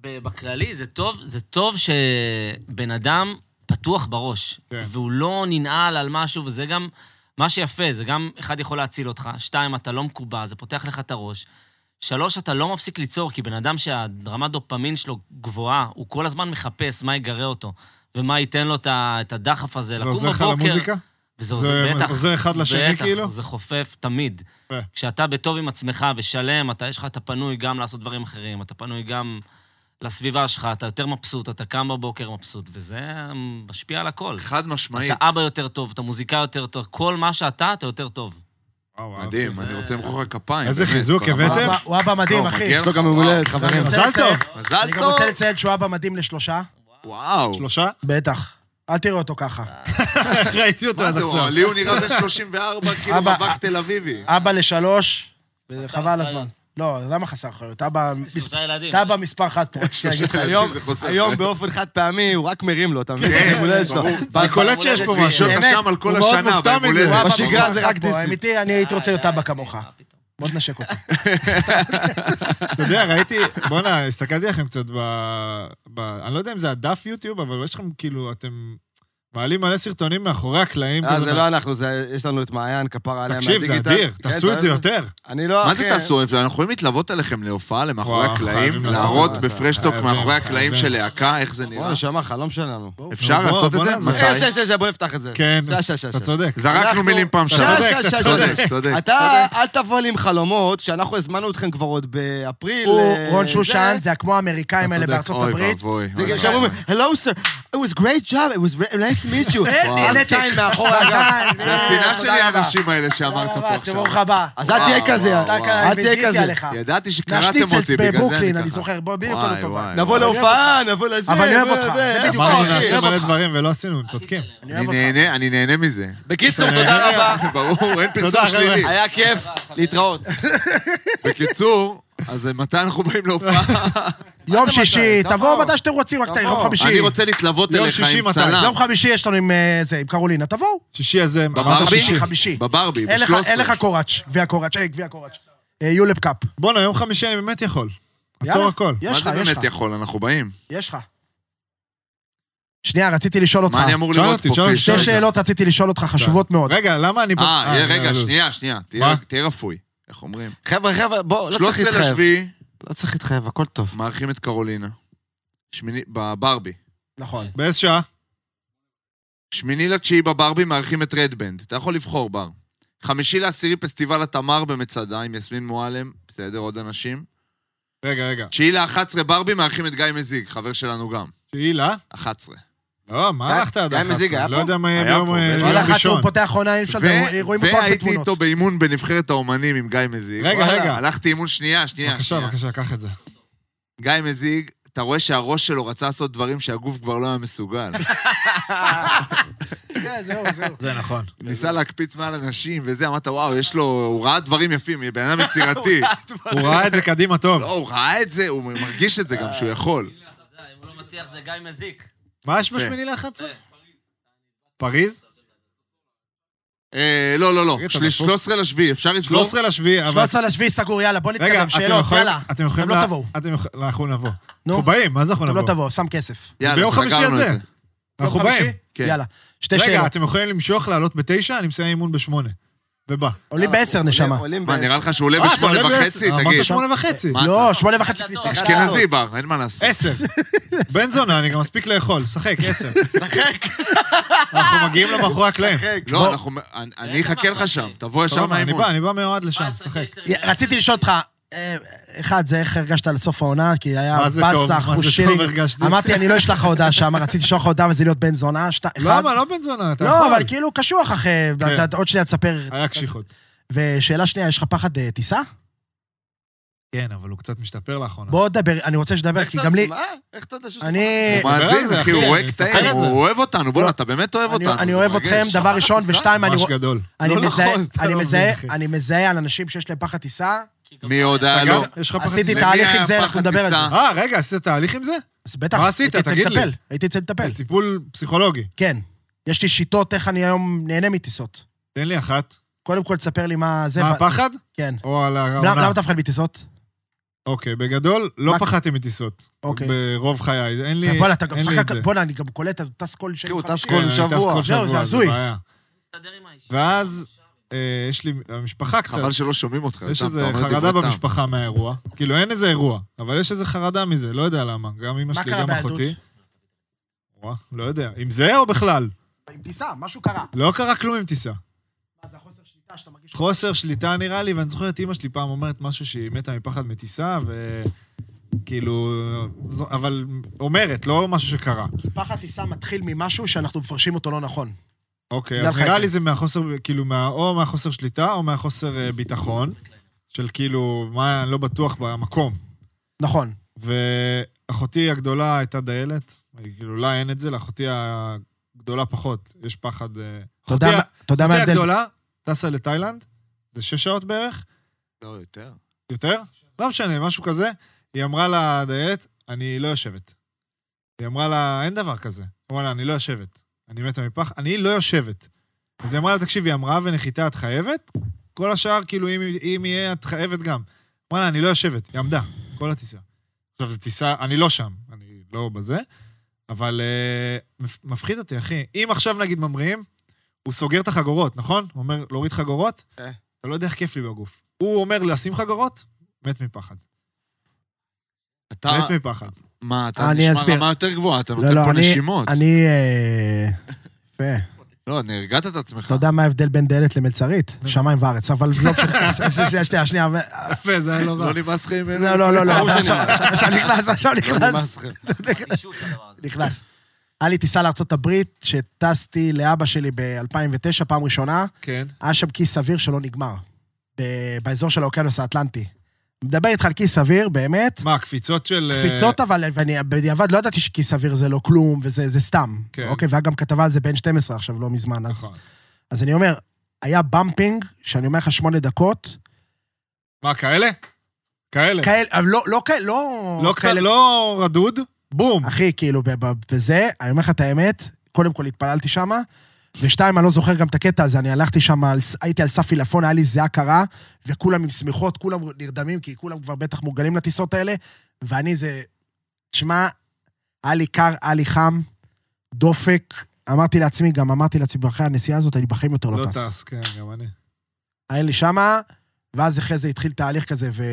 [SPEAKER 5] שבכללי זה טוב, זה טוב שבן אדם פתוח בראש,
[SPEAKER 1] כן.
[SPEAKER 5] והוא לא ננעל על משהו, וזה גם מה שיפה, זה גם, אחד יכול להציל אותך, שתיים, אתה לא מקובע, זה פותח לך את הראש. שלוש, אתה לא מפסיק ליצור, כי בן אדם שהרמת דופמין שלו גבוהה, הוא כל הזמן מחפש מה יגרה אותו, ומה ייתן לו את ה- את הדחף הזה
[SPEAKER 1] זה
[SPEAKER 5] לקום
[SPEAKER 1] עוזר
[SPEAKER 5] בבוקר.
[SPEAKER 1] לך למוזיקה?
[SPEAKER 5] וזה
[SPEAKER 1] זה
[SPEAKER 5] עוזר, בטח.
[SPEAKER 1] עוזר אחד לשני,
[SPEAKER 5] בטח,
[SPEAKER 1] כאילו? כן.
[SPEAKER 5] זה חופף תמיד.
[SPEAKER 1] יפה.
[SPEAKER 5] כשאתה בטוב עם עצמך ושלם, אתה, יש לך, אתה פנוי גם לעשות דברים אחרים, אתה פנוי גם לסביבה שלך, אתה יותר מבסוט, אתה קם בבוקר מבסוט, וזה משפיע על הכל.
[SPEAKER 2] חד משמעית.
[SPEAKER 5] אתה אבא יותר טוב, אתה מוזיקאי יותר טוב, כל מה שאתה, אתה יותר טוב.
[SPEAKER 1] וואו, אהבתי.
[SPEAKER 2] מדהים, אני רוצה למחוא לך כפיים.
[SPEAKER 1] איזה
[SPEAKER 2] באמת,
[SPEAKER 1] חיזוק
[SPEAKER 2] ברמה.
[SPEAKER 1] הבאתם?
[SPEAKER 4] הוא אבא- הוא אבא מדהים,
[SPEAKER 2] לא,
[SPEAKER 4] אחי.
[SPEAKER 2] מגיע
[SPEAKER 3] יש לו
[SPEAKER 2] לך,
[SPEAKER 3] גם יום
[SPEAKER 2] וואו.
[SPEAKER 3] הולדת, כן? חברים.
[SPEAKER 4] אני רוצה
[SPEAKER 1] מזל
[SPEAKER 4] לציין-
[SPEAKER 1] טוב.
[SPEAKER 2] מזל
[SPEAKER 4] אני גם
[SPEAKER 2] טוב.
[SPEAKER 4] רוצה לציין שהוא אבא מדהים לשלושה.
[SPEAKER 2] וואו.
[SPEAKER 1] שלושה? *laughs*
[SPEAKER 4] בטח. אל תראה אותו ככה.
[SPEAKER 1] איך ראיתי אותו
[SPEAKER 2] מה
[SPEAKER 1] עד
[SPEAKER 2] זה, הוא-
[SPEAKER 1] עכשיו?
[SPEAKER 2] לי הוא נראה בן 34,
[SPEAKER 1] *laughs*
[SPEAKER 2] כאילו
[SPEAKER 4] אבא,
[SPEAKER 2] רווק תל אביבי.
[SPEAKER 4] אבא לשלוש, וחבל
[SPEAKER 5] אחריות.
[SPEAKER 4] הזמן. לא, למה חסר אחריות? אבא מס-
[SPEAKER 5] שלושה ילדים.
[SPEAKER 4] אתה אבא מספר אחת פה, רציתי להגיד לך.
[SPEAKER 2] ילדים.
[SPEAKER 3] היום,
[SPEAKER 2] זה חוסר
[SPEAKER 3] היום
[SPEAKER 2] אחריות.
[SPEAKER 3] באופן חד פעמי, הוא רק מרים לו, אתה מבין? זה מולדת שלו.
[SPEAKER 2] ברור.
[SPEAKER 1] אני קולט שיש פה
[SPEAKER 5] באמת,
[SPEAKER 1] משהו.
[SPEAKER 2] ראשון
[SPEAKER 4] באמת,
[SPEAKER 2] שם על כל
[SPEAKER 1] הוא מאוד
[SPEAKER 2] השנה,
[SPEAKER 1] מופתע
[SPEAKER 2] ביום
[SPEAKER 1] מזה.
[SPEAKER 2] הולדת.
[SPEAKER 1] אבא
[SPEAKER 4] מספר
[SPEAKER 3] בשגרה זה
[SPEAKER 4] אחת
[SPEAKER 3] רק
[SPEAKER 4] פה,
[SPEAKER 3] דיסים.
[SPEAKER 4] אמיתי, אני הייתי רוצה להיות
[SPEAKER 5] די,
[SPEAKER 4] אבא
[SPEAKER 5] די,
[SPEAKER 4] כמוך.
[SPEAKER 5] מה אה, פתאום.
[SPEAKER 4] בוא תנשק אותה.
[SPEAKER 1] אתה יודע, ראיתי, בואנה, הסתכלתי לכם קצת ב... ב- אני לא יודע אם זה הדף יוטיוב, אבל יש לכם כאילו, אתם מעלים מלא סרטונים מאחורי הקלעים.
[SPEAKER 3] אה,
[SPEAKER 1] כזה.
[SPEAKER 3] זה לא אנחנו, זה- יש לנו את מעיין, כפרה עליה
[SPEAKER 1] תקשיב, זה
[SPEAKER 3] מהדיגיטל.
[SPEAKER 1] אדיר,
[SPEAKER 3] כן,
[SPEAKER 1] תעשו את זה
[SPEAKER 3] אתה-
[SPEAKER 1] יותר.
[SPEAKER 3] אני לא,
[SPEAKER 2] מה
[SPEAKER 3] אחי,
[SPEAKER 2] זה תעשו? אנחנו יכולים להתלוות אליכם להופעה למאחורי
[SPEAKER 1] אוקיי. וואו,
[SPEAKER 2] הקלעים,
[SPEAKER 1] חייבים לעשות
[SPEAKER 2] להראות
[SPEAKER 3] את זה.
[SPEAKER 2] בפרשטוק
[SPEAKER 1] חייבים,
[SPEAKER 2] מאחורי
[SPEAKER 1] חייבים.
[SPEAKER 2] הקלעים של להקה, איך זה נראה.
[SPEAKER 3] בואנה, שמע, חלום שלנו.
[SPEAKER 2] אפשר
[SPEAKER 1] בוא,
[SPEAKER 2] לעשות את
[SPEAKER 1] בוא
[SPEAKER 2] זה?
[SPEAKER 1] נעזור.
[SPEAKER 3] אה, שנייה,
[SPEAKER 2] מתי?
[SPEAKER 3] שנייה, שנייה, בוא נפתח את זה.
[SPEAKER 1] כן,
[SPEAKER 3] שנייה, שנייה, שנייה,
[SPEAKER 1] אתה צודק.
[SPEAKER 2] זרקנו
[SPEAKER 3] אנחנו-
[SPEAKER 2] מילים פעם
[SPEAKER 1] אתה
[SPEAKER 2] שעברה.
[SPEAKER 1] צודק,
[SPEAKER 3] שש, שש, שש,
[SPEAKER 2] צודק,
[SPEAKER 3] שש.
[SPEAKER 2] צודק.
[SPEAKER 3] אתה, אל תבוא לי עם חלומות, שאנחנו הזמנו אתכם כבר עוד באפריל.
[SPEAKER 4] הוא
[SPEAKER 3] אה,
[SPEAKER 4] רון
[SPEAKER 3] זה.
[SPEAKER 4] שושן, זה כמו
[SPEAKER 2] אתה
[SPEAKER 4] האמריקאים האלה
[SPEAKER 2] צודק.
[SPEAKER 4] בארצות
[SPEAKER 2] אוי
[SPEAKER 4] הברית.
[SPEAKER 2] ואבוי,
[SPEAKER 3] זה
[SPEAKER 2] אוי
[SPEAKER 3] גם שאומרים,
[SPEAKER 2] ואבוי.
[SPEAKER 3] Hello sir, it was great job, it was very nice to meet *laughs* you.
[SPEAKER 4] אין לי
[SPEAKER 3] וואו.
[SPEAKER 4] נתק.
[SPEAKER 3] הזין מאחורי הגב.
[SPEAKER 4] הזין,
[SPEAKER 2] זה השנאה
[SPEAKER 4] אה,
[SPEAKER 2] שלי,
[SPEAKER 4] תודה רבה.
[SPEAKER 2] האנשים האלה שאמרת
[SPEAKER 4] תודה
[SPEAKER 2] פה
[SPEAKER 4] רבה,
[SPEAKER 2] עכשיו.
[SPEAKER 4] תבורך הבא.
[SPEAKER 3] אז אל תהיה
[SPEAKER 2] וואו,
[SPEAKER 4] אה,
[SPEAKER 3] כזה,
[SPEAKER 2] וואו,
[SPEAKER 3] אל
[SPEAKER 2] וואו.
[SPEAKER 4] אתה
[SPEAKER 3] אל תהיה
[SPEAKER 4] ביזיתי
[SPEAKER 3] כזה.
[SPEAKER 4] עליך.
[SPEAKER 2] ידעתי שקראתם
[SPEAKER 4] מהשניצלס
[SPEAKER 2] אותי, בגלל זה אני
[SPEAKER 4] בברוקלין, אני
[SPEAKER 2] ככה.
[SPEAKER 4] זוכר, בוא, בדיוק כל
[SPEAKER 2] וואי,
[SPEAKER 4] הטובה.
[SPEAKER 2] וואי,
[SPEAKER 3] נבוא
[SPEAKER 2] וואי.
[SPEAKER 3] להופעה, נבוא לזה.
[SPEAKER 4] אבל אני אוהב
[SPEAKER 3] ו-
[SPEAKER 4] אותך, זה
[SPEAKER 3] ו-
[SPEAKER 4] בדיוק
[SPEAKER 3] אה,
[SPEAKER 1] אמרנו
[SPEAKER 3] אחי,
[SPEAKER 1] נעשה
[SPEAKER 3] אוהב
[SPEAKER 1] מלא
[SPEAKER 3] אותך.
[SPEAKER 1] דברים ולא עשינו, הם צודקים.
[SPEAKER 4] אני
[SPEAKER 2] אני
[SPEAKER 4] אוהב אותך.
[SPEAKER 2] נהנה, אני נהנה מזה.
[SPEAKER 3] בקיצור, תודה רבה.
[SPEAKER 4] אה.
[SPEAKER 2] ברור, אין פרסום
[SPEAKER 1] תודה, חבר'ה.
[SPEAKER 2] שלילי.
[SPEAKER 3] היה כיף, להתראות.
[SPEAKER 2] בקיצור, אז מתי אנחנו באים
[SPEAKER 4] *laughs*
[SPEAKER 2] להופעה?
[SPEAKER 4] יום
[SPEAKER 3] מה זה
[SPEAKER 4] שישי,
[SPEAKER 3] מתי?
[SPEAKER 4] תבואו
[SPEAKER 3] תבואו.
[SPEAKER 4] מתי שאתם רוצים, רק תבואו. יום
[SPEAKER 3] תבואו.
[SPEAKER 4] חמישי.
[SPEAKER 2] אני רוצה להתלוות
[SPEAKER 1] יום
[SPEAKER 2] אליך
[SPEAKER 1] שישי,
[SPEAKER 2] עם
[SPEAKER 1] מתי?
[SPEAKER 2] צלם.
[SPEAKER 4] יום חמישי יש לנו עם אה, זה, עם קרולינה, תבואו.
[SPEAKER 1] שישי הזה, אמרת
[SPEAKER 2] בברבי?
[SPEAKER 1] שישי.
[SPEAKER 4] חמישי.
[SPEAKER 2] בברבי,
[SPEAKER 4] אין לך-
[SPEAKER 2] ב-13.
[SPEAKER 4] אין לך קוראץ', גביע קוראץ', אה, גביע קוראץ'. אה, יולפ קאפ.
[SPEAKER 1] בואנה, יום חמישי אני באמת יכול. עצור
[SPEAKER 4] יאללה,
[SPEAKER 1] הכל.
[SPEAKER 2] מה
[SPEAKER 4] יש לך,
[SPEAKER 2] זה
[SPEAKER 4] יש
[SPEAKER 2] באמת
[SPEAKER 4] לך,
[SPEAKER 2] יכול? אנחנו באים.
[SPEAKER 4] יש לך. שנייה, רציתי לשאול אותך.
[SPEAKER 2] מה אני אמור
[SPEAKER 1] שאל
[SPEAKER 2] לראות
[SPEAKER 1] אותי,
[SPEAKER 2] פה?
[SPEAKER 1] שאל אותי,
[SPEAKER 2] פיש?
[SPEAKER 1] שאל
[SPEAKER 4] שתי
[SPEAKER 1] רגע.
[SPEAKER 4] שאלות רציתי לשאול אותך, חשובות מאוד.
[SPEAKER 1] רגע, למה אני...
[SPEAKER 2] אה, יהיה, רגע,
[SPEAKER 1] לוז.
[SPEAKER 2] שנייה, שנייה. תהיה-
[SPEAKER 1] מה?
[SPEAKER 2] תהיה רפוי. איך אומרים?
[SPEAKER 3] חבר'ה, חבר'ה, בואו, לא צריך
[SPEAKER 2] 13
[SPEAKER 3] להתחייב.
[SPEAKER 2] לשביעי,
[SPEAKER 3] לא צריך להתחייב, הכל טוב.
[SPEAKER 2] מארחים את קרולינה. שמיני- בברבי.
[SPEAKER 4] נכון.
[SPEAKER 1] באיזה שעה?
[SPEAKER 2] שמיני לתשיעי בברבי מארחים את רדבנד. אתה יכול לבחור בר. חמישי לעשירי פסטיבל התמר במצדה עם יסמין מועלם, בסדר, עוד אנשים.
[SPEAKER 1] רגע, רגע.
[SPEAKER 2] תשיעי ל-11 ברבי מארחים את גיא מזיג, חבר שלנו גם.
[SPEAKER 1] שאלה?
[SPEAKER 2] 11.
[SPEAKER 1] לא, מה
[SPEAKER 3] גיא-
[SPEAKER 1] הלכת עד
[SPEAKER 3] גיא
[SPEAKER 1] 11?
[SPEAKER 3] מזיג היה
[SPEAKER 1] לא
[SPEAKER 3] פה?
[SPEAKER 1] יודע מה יהיה
[SPEAKER 2] היה
[SPEAKER 1] ביום
[SPEAKER 2] פה,
[SPEAKER 1] אה,
[SPEAKER 2] בטח.
[SPEAKER 1] ביום
[SPEAKER 4] שאלה אחת
[SPEAKER 1] ראשון.
[SPEAKER 4] שהוא פותח עונה, אי אפשר,
[SPEAKER 2] ו-
[SPEAKER 4] אתם רואים אותו רק
[SPEAKER 2] והייתי
[SPEAKER 4] בתמונות.
[SPEAKER 2] איתו באימון בנבחרת האומנים עם גיא מזיג.
[SPEAKER 1] רגע,
[SPEAKER 2] וואלה,
[SPEAKER 1] רגע.
[SPEAKER 2] הלכתי אימון שנייה, שנייה.
[SPEAKER 1] בבקשה,
[SPEAKER 2] שנייה.
[SPEAKER 1] בבקשה, קח את זה.
[SPEAKER 2] גיא מזיג, אתה רואה שהראש שלו רצה לעשות דברים שהגוף כבר לא היה מסוגל.
[SPEAKER 4] כן, זהו, זהו.
[SPEAKER 1] זה נכון.
[SPEAKER 2] ניסה להקפיץ מעל אנשים וזה, אמרת, וואו, יש לו, הוא ראה דברים יפים, בן
[SPEAKER 1] *laughs*
[SPEAKER 2] אדם יצירתי.
[SPEAKER 1] הוא ראה את זה קדימה טוב.
[SPEAKER 2] לא, הוא ראה את זה, הוא מרגיש את זה גם שהוא יכול.
[SPEAKER 5] אם הוא לא מצליח זה גיא מזיק.
[SPEAKER 1] מה יש בשמיני ל-11? פריז?
[SPEAKER 2] אה, לא, לא, לא,
[SPEAKER 1] תגיד, אתה
[SPEAKER 2] של-
[SPEAKER 1] דפוק?
[SPEAKER 2] 13 לשביעי, אפשר לסגור?
[SPEAKER 1] 13 לשביעי, אבל...
[SPEAKER 4] 13 לשביעי סגור, יאללה, בוא
[SPEAKER 1] רגע,
[SPEAKER 4] נתקדם,
[SPEAKER 1] אתם
[SPEAKER 4] שאלות,
[SPEAKER 1] יכולים...
[SPEAKER 4] יאללה.
[SPEAKER 1] אתם יכולים...
[SPEAKER 4] אתם לא
[SPEAKER 1] לה-
[SPEAKER 4] תבואו.
[SPEAKER 1] אתם יכולים... אנחנו נבוא.
[SPEAKER 4] נו.
[SPEAKER 1] אנחנו באים, מה זה אנחנו
[SPEAKER 4] אתם לא
[SPEAKER 1] נבוא?
[SPEAKER 4] תבואו, שם כסף.
[SPEAKER 2] יאללה,
[SPEAKER 1] ביום חמישי
[SPEAKER 2] סגרנו
[SPEAKER 1] הזה.
[SPEAKER 2] את זה.
[SPEAKER 1] אנחנו
[SPEAKER 4] יום חמישי?
[SPEAKER 1] באים.
[SPEAKER 2] כן.
[SPEAKER 4] יאללה, שתי
[SPEAKER 1] רגע,
[SPEAKER 4] שאלות.
[SPEAKER 1] אתם יכולים למשוך, לעלות בתשע? אני מסיים אימון בשמונה. ובא.
[SPEAKER 4] עולים בעשר, נשמה.
[SPEAKER 3] עולים
[SPEAKER 2] מה,
[SPEAKER 3] בעשר.
[SPEAKER 2] נראה לך שהוא עולה
[SPEAKER 1] אה, אתה עולה
[SPEAKER 2] בשמונה
[SPEAKER 1] בעשר?
[SPEAKER 2] וחצי?
[SPEAKER 1] אמרת
[SPEAKER 2] תגיד.
[SPEAKER 1] שמונה וחצי.
[SPEAKER 2] מה
[SPEAKER 4] לא,
[SPEAKER 2] אתה?
[SPEAKER 4] שמונה וחצי
[SPEAKER 5] אתה
[SPEAKER 4] כניסה.
[SPEAKER 5] אשכנזי.
[SPEAKER 2] אשכנזי בר, אין מה לעשות.
[SPEAKER 4] *laughs*
[SPEAKER 1] עשר. בן זונה, אני גם מספיק לאכול. שחק, עשר. שחק. אנחנו מגיעים למאחורי הקלעים.
[SPEAKER 2] לא, אנחנו... אני- אני אחכה לך שם, תבוא ישר
[SPEAKER 1] סבבה, אני
[SPEAKER 2] מהאימון.
[SPEAKER 1] בא, אני בא מיועד לשם, שחק.
[SPEAKER 4] רציתי לשאול אותך, אה, אחד, זה איך הרגשת על סוף העונה, כי היה
[SPEAKER 1] מה זה טוב,
[SPEAKER 4] באסה,
[SPEAKER 1] מה
[SPEAKER 4] חוש
[SPEAKER 1] זה טוב
[SPEAKER 4] שילינג.
[SPEAKER 1] הרגשתי.
[SPEAKER 4] אמרתי, אני לא אשלח לך הודעה שם, רציתי לשלוח לך הודעה וזה להיות בן זונה, שת- אחד.
[SPEAKER 1] למה? לא בן זונה, אתה יכול.
[SPEAKER 4] לא, אבל כאילו קשוח אחרי,
[SPEAKER 1] כן.
[SPEAKER 4] אתה- עוד שנייה תספר.
[SPEAKER 1] היה קשיחות.
[SPEAKER 4] ושאלה שנייה, יש לך פחד אה, טיסה?
[SPEAKER 1] כן, אבל הוא קצת משתפר לאחרונה.
[SPEAKER 4] בוא דבר, אני רוצה שתדבר,
[SPEAKER 3] איך
[SPEAKER 4] כי
[SPEAKER 3] אתה-
[SPEAKER 4] גם לי...
[SPEAKER 3] מה? איך אתה יודע שזה...
[SPEAKER 4] אני...
[SPEAKER 2] הוא מאזין,
[SPEAKER 1] זה,
[SPEAKER 2] אחי,
[SPEAKER 1] אחי,
[SPEAKER 2] הוא
[SPEAKER 1] אני
[SPEAKER 2] רואה
[SPEAKER 1] מספר
[SPEAKER 2] קטעים,
[SPEAKER 1] את זה.
[SPEAKER 2] הוא אוהב אותנו, בואנה,
[SPEAKER 4] לא.
[SPEAKER 2] אתה באמת אוהב
[SPEAKER 4] אני-
[SPEAKER 2] אותנו.
[SPEAKER 4] אני
[SPEAKER 2] זה
[SPEAKER 4] אוהב
[SPEAKER 2] מרגש.
[SPEAKER 4] אתכם, דבר ראשון, ושתיים, אני
[SPEAKER 1] ממש
[SPEAKER 4] רוא-
[SPEAKER 1] גדול.
[SPEAKER 4] אני
[SPEAKER 1] לא
[SPEAKER 4] מזהה-
[SPEAKER 1] נכון, אתה
[SPEAKER 4] אני
[SPEAKER 1] לא
[SPEAKER 4] מזהה-
[SPEAKER 1] מבין, אחי.
[SPEAKER 4] אני מזהה על אנשים שיש להם פחד טיסה,
[SPEAKER 2] מי עוד היה
[SPEAKER 1] אגב,
[SPEAKER 2] לו?
[SPEAKER 1] יש לך פחד
[SPEAKER 4] עשיתי
[SPEAKER 1] מזה?
[SPEAKER 2] למי
[SPEAKER 4] תהליך עם
[SPEAKER 2] היה
[SPEAKER 4] זה, אנחנו
[SPEAKER 2] פחד
[SPEAKER 4] נדבר על זה.
[SPEAKER 2] טיסה?
[SPEAKER 1] אה, רגע, עשית תהליך עם זה?
[SPEAKER 4] אז בטח,
[SPEAKER 1] מה עשית?
[SPEAKER 4] הייתי אצל
[SPEAKER 1] תגיד לי.
[SPEAKER 4] מטפל, הייתי אצל מטפל,
[SPEAKER 1] טיפול פסיכולוגי.
[SPEAKER 4] כן. יש לי שיטות איך אני היום נהנה מטיסות.
[SPEAKER 1] תן לי אחת.
[SPEAKER 4] קודם כל, תספר לי מה זה...
[SPEAKER 1] מה
[SPEAKER 4] ו-
[SPEAKER 1] הפחד? לא,
[SPEAKER 4] כן.
[SPEAKER 1] או על
[SPEAKER 4] למה
[SPEAKER 1] העונה?
[SPEAKER 4] למה אתה מפחד מטיסות?
[SPEAKER 1] אוקיי, בגדול, לא
[SPEAKER 4] מה-
[SPEAKER 1] פחדתי מטיסות.
[SPEAKER 4] אוקיי.
[SPEAKER 1] ברוב חיי, אין לי אין לי את זה.
[SPEAKER 4] כן, בואנה, אתה גם שחק... בואנה, אני גם קולט, אתה טס כל שני
[SPEAKER 3] אחי, הוא טס
[SPEAKER 4] חמישי.
[SPEAKER 1] כן,
[SPEAKER 3] כל
[SPEAKER 1] אני טס
[SPEAKER 3] שבוע.
[SPEAKER 1] כל
[SPEAKER 4] זהו, זה
[SPEAKER 1] שבוע,
[SPEAKER 4] הזוי.
[SPEAKER 1] בעיה. ואז, אה, יש לי, המשפחה קצת.
[SPEAKER 2] חבל שלא שומעים אותך.
[SPEAKER 1] יש
[SPEAKER 2] יותם, אתה
[SPEAKER 1] איזו
[SPEAKER 2] אומר דברי
[SPEAKER 1] חרדה
[SPEAKER 2] טעם.
[SPEAKER 1] במשפחה מהאירוע. כאילו, אין איזה אירוע, אבל יש איזו חרדה מזה, לא יודע למה. גם אמא
[SPEAKER 4] מה
[SPEAKER 1] שלי,
[SPEAKER 4] קרה
[SPEAKER 1] גם
[SPEAKER 4] בילדות?
[SPEAKER 1] אחותי. וואה, לא יודע. עם זה או בכלל?
[SPEAKER 4] עם טיסה, משהו קרה.
[SPEAKER 1] לא קרה כלום עם טיסה.
[SPEAKER 4] מה זה החוסר שליטה שאתה מרגיש?
[SPEAKER 1] חוסר שליטה נראה לי, ואני זוכר את אימא שלי פעם אומרת משהו שהיא מתה מפחד מטיסה, וכאילו... זו- אבל אומרת, לא משהו שקרה.
[SPEAKER 4] פחד טיסה מתחיל ממשהו שאנחנו מפרשים אותו לא נכון.
[SPEAKER 1] אוקיי,
[SPEAKER 4] בגלל
[SPEAKER 1] אז נראה
[SPEAKER 4] חצי.
[SPEAKER 1] לי זה מהחוסר, כאילו, מה, או מהחוסר שליטה או מהחוסר אה, ביטחון, של כאילו, מה, אני לא בטוח במקום.
[SPEAKER 4] נכון.
[SPEAKER 1] ואחותי הגדולה הייתה דיילת, כאילו, לה אין את זה, לאחותי הגדולה פחות, יש פחד... אה,
[SPEAKER 4] אתה יודע
[SPEAKER 1] אחותי
[SPEAKER 4] מה- אתה יודע מה
[SPEAKER 1] אחותי
[SPEAKER 4] ההבדל?
[SPEAKER 1] הגדולה טסה לתאילנד, זה שש שעות בערך,
[SPEAKER 2] לא, יותר.
[SPEAKER 1] יותר? לא משנה, משהו כזה. היא אמרה לדיילת, אני לא יושבת. היא אמרה לה, אין דבר כזה. היא אמרה לה, אני לא יושבת. אני מתה מפח, אני לא יושבת. אז היא אמרה לה, תקשיבי, המראה ונחיתה את חייבת? כל השאר, כאילו, אם, אם יהיה, את חייבת גם. אמרה לה, אני לא יושבת. היא עמדה, כל הטיסה. עכשיו, זו טיסה, אני לא שם, אני לא בזה, אבל uh, מפחיד אותי, אחי. אם עכשיו, נגיד, ממריאים, הוא סוגר את החגורות, נכון? הוא אומר, להוריד חגורות?
[SPEAKER 3] אה.
[SPEAKER 1] אתה לא יודע איך כיף לי בגוף. הוא אומר, לשים חגורות? מת מפחד.
[SPEAKER 2] אתה,
[SPEAKER 1] מת מפחד. *laughs*
[SPEAKER 2] מה, אתה
[SPEAKER 4] אני
[SPEAKER 2] נשמע
[SPEAKER 4] אסביר.
[SPEAKER 2] רמה יותר גבוהה, אתה
[SPEAKER 4] לא,
[SPEAKER 2] נותן
[SPEAKER 4] לא,
[SPEAKER 2] פה
[SPEAKER 4] אני-
[SPEAKER 2] נשימות.
[SPEAKER 4] אני... אה, יפה.
[SPEAKER 2] לא, נרגעת את עצמך.
[SPEAKER 4] אתה יודע מה ההבדל בין דיילת למלצרית? שמיים וארץ, אבל
[SPEAKER 1] *laughs*
[SPEAKER 4] לא משנה. שנייה, שנייה, שנייה.
[SPEAKER 1] יפה, זה היה לא רע.
[SPEAKER 2] לא נמאס לך עם איזה...
[SPEAKER 4] לא, לא, לא, לא.
[SPEAKER 3] ברור
[SPEAKER 4] עכשיו *laughs*
[SPEAKER 3] שנמאס.
[SPEAKER 4] עכשיו- עכשיו נכנס,
[SPEAKER 1] לא
[SPEAKER 4] עכשיו נכנס.
[SPEAKER 3] נמאס לכם.
[SPEAKER 4] נכנס. היה לי טיסה לארה"ב, שטסתי לאבא שלי ב-2009, פעם ראשונה.
[SPEAKER 1] כן.
[SPEAKER 4] היה שם כיס אוויר שלא נגמר. ב- באזור של האוקיינוס האטלנטי. מדבר איתך על כיס אוויר, באמת.
[SPEAKER 1] מה, קפיצות של... אה,
[SPEAKER 4] קפיצות אבל, ואני בדיעבד לא ידעתי שכיס אוויר זה לא כלום, וזה זה סתם.
[SPEAKER 1] כן.
[SPEAKER 4] אוקיי, והיה גם כתבה על זה בין 12 עכשיו, לא מזמן. אז,
[SPEAKER 1] נכון.
[SPEAKER 4] אז אני אומר, היה במפינג, שאני אומר לך שמונה דקות,
[SPEAKER 1] מה, כאלה? כאלה.
[SPEAKER 4] כאלה, אבל לא, לא כאלה, לא...
[SPEAKER 1] כן. לא כאלה, לא רדוד, בום.
[SPEAKER 4] אחי, כאילו, ב- ב- בזה, אני אומר לך את האמת, קודם כל התפללתי שמה, ושתיים, אני לא זוכר גם את הקטע הזה, אני הלכתי שם, על ס- הייתי על סף עילפון, היה לי זיעה קרה, וכולם עם שמיכות, כולם נרדמים, כי כולם כבר בטח מורגלים לטיסות האלה, ואני זה... תשמע, היה לי קר, היה לי חם, דופק. אמרתי לעצמי, גם אמרתי לעצמי, אחרי הנסיעה הזאת, אני בחיים יותר
[SPEAKER 1] לא
[SPEAKER 4] לא טס.
[SPEAKER 1] טס, כן, גם אני.
[SPEAKER 4] היה לי שמה, ואז אחרי זה התחיל תהליך כזה, ו...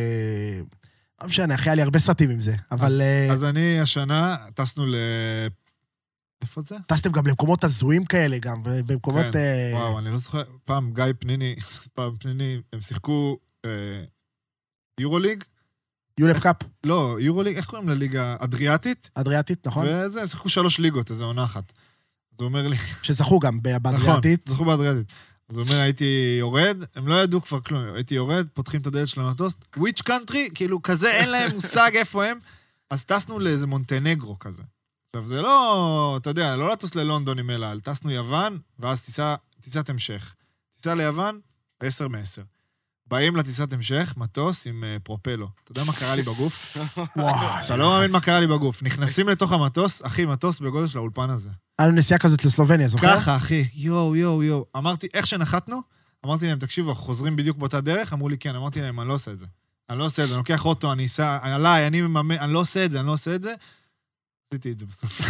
[SPEAKER 4] לא משנה, אחי, היה לי הרבה סרטים עם זה, אבל... אה,
[SPEAKER 1] אז אני השנה, טסנו ל... איפה זה?
[SPEAKER 4] טסתם גם למקומות הזויים כאלה גם, במקומות...
[SPEAKER 1] כן,
[SPEAKER 4] אה,
[SPEAKER 1] וואו, אני לא זוכר. פעם גיא פניני, *laughs* פעם פניני, הם שיחקו אה, יורוליג?
[SPEAKER 4] יולפ קאפ,
[SPEAKER 1] לא, יורוליג, איך קוראים לליגה? אדריאטית?
[SPEAKER 4] אדריאטית, נכון?
[SPEAKER 1] וזה, הם שיחקו שלוש ליגות, איזה עונה אחת. אז הוא אומר לי,
[SPEAKER 4] שזכו גם ב-
[SPEAKER 1] נכון,
[SPEAKER 4] באדריאטית.
[SPEAKER 1] זכו באדריאטית. אז הוא אומר, הייתי יורד, הם לא ידעו כבר כלום, הייתי יורד, פותחים את הדלת של המטוס, וויץ' קאנטרי, כאילו כזה, אין להם מושג איפה הם. אז טסנו לאיזה מונטנגרו כזה. עכשיו, זה לא, אתה יודע, לא לטוס ללונדון עם אל על, טסנו יוון, ואז טיסה, טיסת המשך. טיסה ליוון, 10 מ-10. באים לטיסת המשך, מטוס עם אה, פרופלו. אתה יודע מה קרה לי בגוף? *laughs*
[SPEAKER 4] וואו.
[SPEAKER 1] אתה לא מאמין מה קרה לי בגוף. נכנסים לתוך המטוס, אחי, מטוס בגודל של האולפן הזה.
[SPEAKER 4] היה לנו נסיעה כזאת לסלובניה,
[SPEAKER 5] נכון?
[SPEAKER 4] זוכר?
[SPEAKER 1] ככה, אחי, יואו, יואו, יואו. אמרתי, איך שנחתנו, אמרתי להם, תקשיבו, אנחנו חוזרים בדיוק באותה דרך? אמרו לי, כן. אמרתי להם, אני לא עושה את זה. אני לא עושה את זה, אני לוקח אוטו, אני אסע, אני- עליי, אני מממן, אני לא עושה את זה, אני לא עושה את זה. עשיתי את זה
[SPEAKER 5] *laughs*
[SPEAKER 1] בסוף.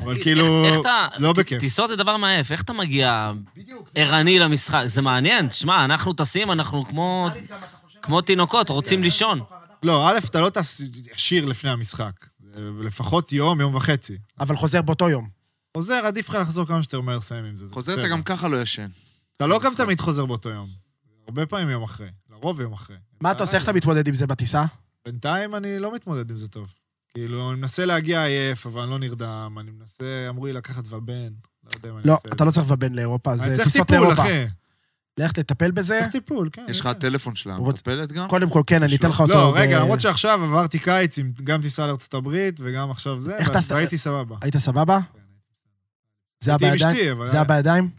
[SPEAKER 1] אבל
[SPEAKER 5] איך-
[SPEAKER 1] כאילו,
[SPEAKER 5] איך אתה-
[SPEAKER 1] לא
[SPEAKER 5] ט-
[SPEAKER 1] בכיף.
[SPEAKER 5] טיסות זה דבר מעייף, איך אתה מגיע
[SPEAKER 4] בדיוק.
[SPEAKER 5] ערני למשחק? זה מעניין, תשמע, אנחנו טסים, אנחנו כמו... כמו תינוקות,
[SPEAKER 3] אה,
[SPEAKER 5] רוצים לישון.
[SPEAKER 1] לא, א', אתה לא טס ישיר לפני המשחק. לפחות יום, יום וחצי.
[SPEAKER 4] אבל חוזר באותו יום.
[SPEAKER 1] עוזר, עדיף לך לחזור כמה שיותר מהר לסיים עם זה. זה
[SPEAKER 2] חוזר, אתה
[SPEAKER 1] בסדר.
[SPEAKER 2] גם ככה לא
[SPEAKER 4] *laughs*
[SPEAKER 2] ישן.
[SPEAKER 1] אתה לא גם
[SPEAKER 2] משחק.
[SPEAKER 1] תמיד חוזר באותו יום. הרבה פעמים יום אחרי. לרוב יום אחרי.
[SPEAKER 4] מה אתה עושה, איך אתה מתמודד עם זה בטיסה?
[SPEAKER 1] בינתיים אה, אני לא מתמודד עם זה טוב. כאילו, אני מנסה להגיע עייף, אבל אני לא נרדם. אני מנסה, אמרו לי לקחת ובן. לא יודע אם אני
[SPEAKER 4] לא,
[SPEAKER 1] אעשה את
[SPEAKER 4] אתה
[SPEAKER 1] זה.
[SPEAKER 4] לא צריך לבן לאירופה,
[SPEAKER 1] אני
[SPEAKER 4] זה
[SPEAKER 1] צריך
[SPEAKER 4] טיסות
[SPEAKER 1] טיפול,
[SPEAKER 4] לאירופה.
[SPEAKER 1] אחי.
[SPEAKER 4] לך תטפל
[SPEAKER 1] *laughs*
[SPEAKER 4] בזה.
[SPEAKER 1] צריך טיפול, כן.
[SPEAKER 2] יש לך
[SPEAKER 1] כן.
[SPEAKER 2] הטלפון שלה,
[SPEAKER 4] הוא רוצ-
[SPEAKER 2] מטפלת גם?
[SPEAKER 4] קודם כל, כן, אני אתן לך אותו.
[SPEAKER 1] לא,
[SPEAKER 4] ב-
[SPEAKER 1] רגע, למרות שעכשיו עברתי קיץ, עם- גם טיסה לארצות הברית, וגם עכשיו זה,
[SPEAKER 4] איך
[SPEAKER 1] ואז
[SPEAKER 4] טסת?
[SPEAKER 1] והייתי סבבה.
[SPEAKER 4] היית סבבה? זה היה
[SPEAKER 1] הייתי עם
[SPEAKER 4] בידיים?
[SPEAKER 1] אשתי, אבל...
[SPEAKER 4] זה היה בידיים?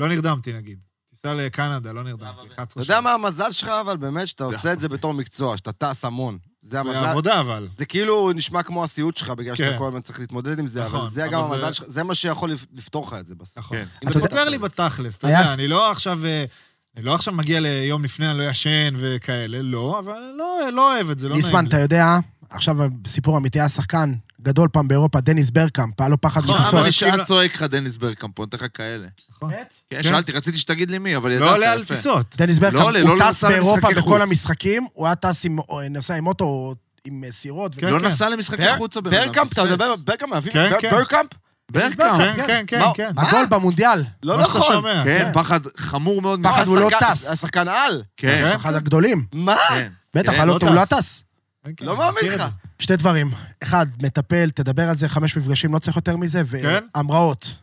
[SPEAKER 1] לא נרדמתי, נגיד. טיסה לקנדה, לא נרדמתי.
[SPEAKER 5] אבל-
[SPEAKER 1] 11
[SPEAKER 3] אתה יודע מה המזל שלך, אבל באמת, שאתה עושה את זה בתור מקצוע, שאתה טס המון. זה
[SPEAKER 1] שעות.
[SPEAKER 3] המזל.
[SPEAKER 1] בעבודה, אבל.
[SPEAKER 3] זה כאילו נשמע כמו הסיוט שלך, בגלל
[SPEAKER 1] כן.
[SPEAKER 3] שאתה כל הזמן צריך להתמודד עם זה, אבל
[SPEAKER 1] נכון,
[SPEAKER 3] זה
[SPEAKER 1] אבל
[SPEAKER 3] גם
[SPEAKER 1] זה-
[SPEAKER 3] המזל שלך, זה מה שיכול לפ- לפתור לך את זה בסוף.
[SPEAKER 1] נכון.
[SPEAKER 2] כן.
[SPEAKER 1] אם
[SPEAKER 4] אתה
[SPEAKER 1] זה
[SPEAKER 4] יודע-
[SPEAKER 1] פותר לי בתכלס, אתה
[SPEAKER 4] היה
[SPEAKER 1] יודע,
[SPEAKER 4] ס-
[SPEAKER 1] אני לא עכשיו... אה, אני לא עכשיו מגיע ליום לפני, אני לא ישן וכאלה, לא, אבל לא, לא אוהב את זה, לא נעים לי.
[SPEAKER 4] ליסמן, אתה יודע, עכשיו סיפור אמיתי, היה שחקן גדול פעם באירופה, דניס ברקאמפ, היה לו פחד
[SPEAKER 1] נכון,
[SPEAKER 4] מטיסות.
[SPEAKER 1] אבל-
[SPEAKER 2] אני
[SPEAKER 1] אנשים
[SPEAKER 2] שעה
[SPEAKER 1] לא-
[SPEAKER 2] צועק לך דניס ברקאמפ, אני נותן לך כאלה. כן,
[SPEAKER 1] כן.
[SPEAKER 2] שאלתי, רציתי שתגיד לי מי, אבל ידעת,
[SPEAKER 1] לא עולה על
[SPEAKER 2] יפה.
[SPEAKER 1] טיסות.
[SPEAKER 4] דניס ברקאמפ,
[SPEAKER 2] עולה,
[SPEAKER 4] הוא
[SPEAKER 2] לא
[SPEAKER 4] טס
[SPEAKER 2] נסע
[SPEAKER 4] באירופה
[SPEAKER 2] למשחקי
[SPEAKER 4] בכל
[SPEAKER 2] חוץ.
[SPEAKER 4] המשחקים, הוא היה טס עם, או, נוסע עם אוטו, או עם אה, סירות.
[SPEAKER 1] כן,
[SPEAKER 2] לא
[SPEAKER 1] כן.
[SPEAKER 2] נסע למשחקי חוץ הבן אדם.
[SPEAKER 3] ברקאמפ, אתה
[SPEAKER 2] פספס.
[SPEAKER 3] מדבר, ברקאמפ מאביב?
[SPEAKER 1] כן, כן.
[SPEAKER 3] ברקאמפ?
[SPEAKER 2] ברקאמפ.
[SPEAKER 1] כן, כן, כן,
[SPEAKER 3] מה-
[SPEAKER 2] אה?
[SPEAKER 1] כן.
[SPEAKER 4] הגול במונדיאל,
[SPEAKER 3] לא
[SPEAKER 1] מה שאתה
[SPEAKER 3] נכון.
[SPEAKER 1] שומע,
[SPEAKER 2] כן, פחד חמור מאוד.
[SPEAKER 4] פחד
[SPEAKER 2] מ-
[SPEAKER 4] הוא לא
[SPEAKER 3] השחקן-
[SPEAKER 4] טס.
[SPEAKER 3] השחקן על.
[SPEAKER 1] אה?
[SPEAKER 2] כן,
[SPEAKER 4] אחד הגדולים.
[SPEAKER 3] מה?
[SPEAKER 2] כן.
[SPEAKER 4] בטח,
[SPEAKER 2] כן,
[SPEAKER 4] היה לו
[SPEAKER 1] לא
[SPEAKER 4] אותו, הוא לא
[SPEAKER 1] טס.
[SPEAKER 4] טס.
[SPEAKER 1] כן, כן,
[SPEAKER 3] לא
[SPEAKER 1] אני
[SPEAKER 3] מאמין
[SPEAKER 1] מכיר את
[SPEAKER 3] לך.
[SPEAKER 1] זה.
[SPEAKER 4] שתי דברים. אחד, מטפל, תדבר על זה, חמש מפגשים, לא צריך יותר מזה.
[SPEAKER 1] כן?
[SPEAKER 4] והמראות.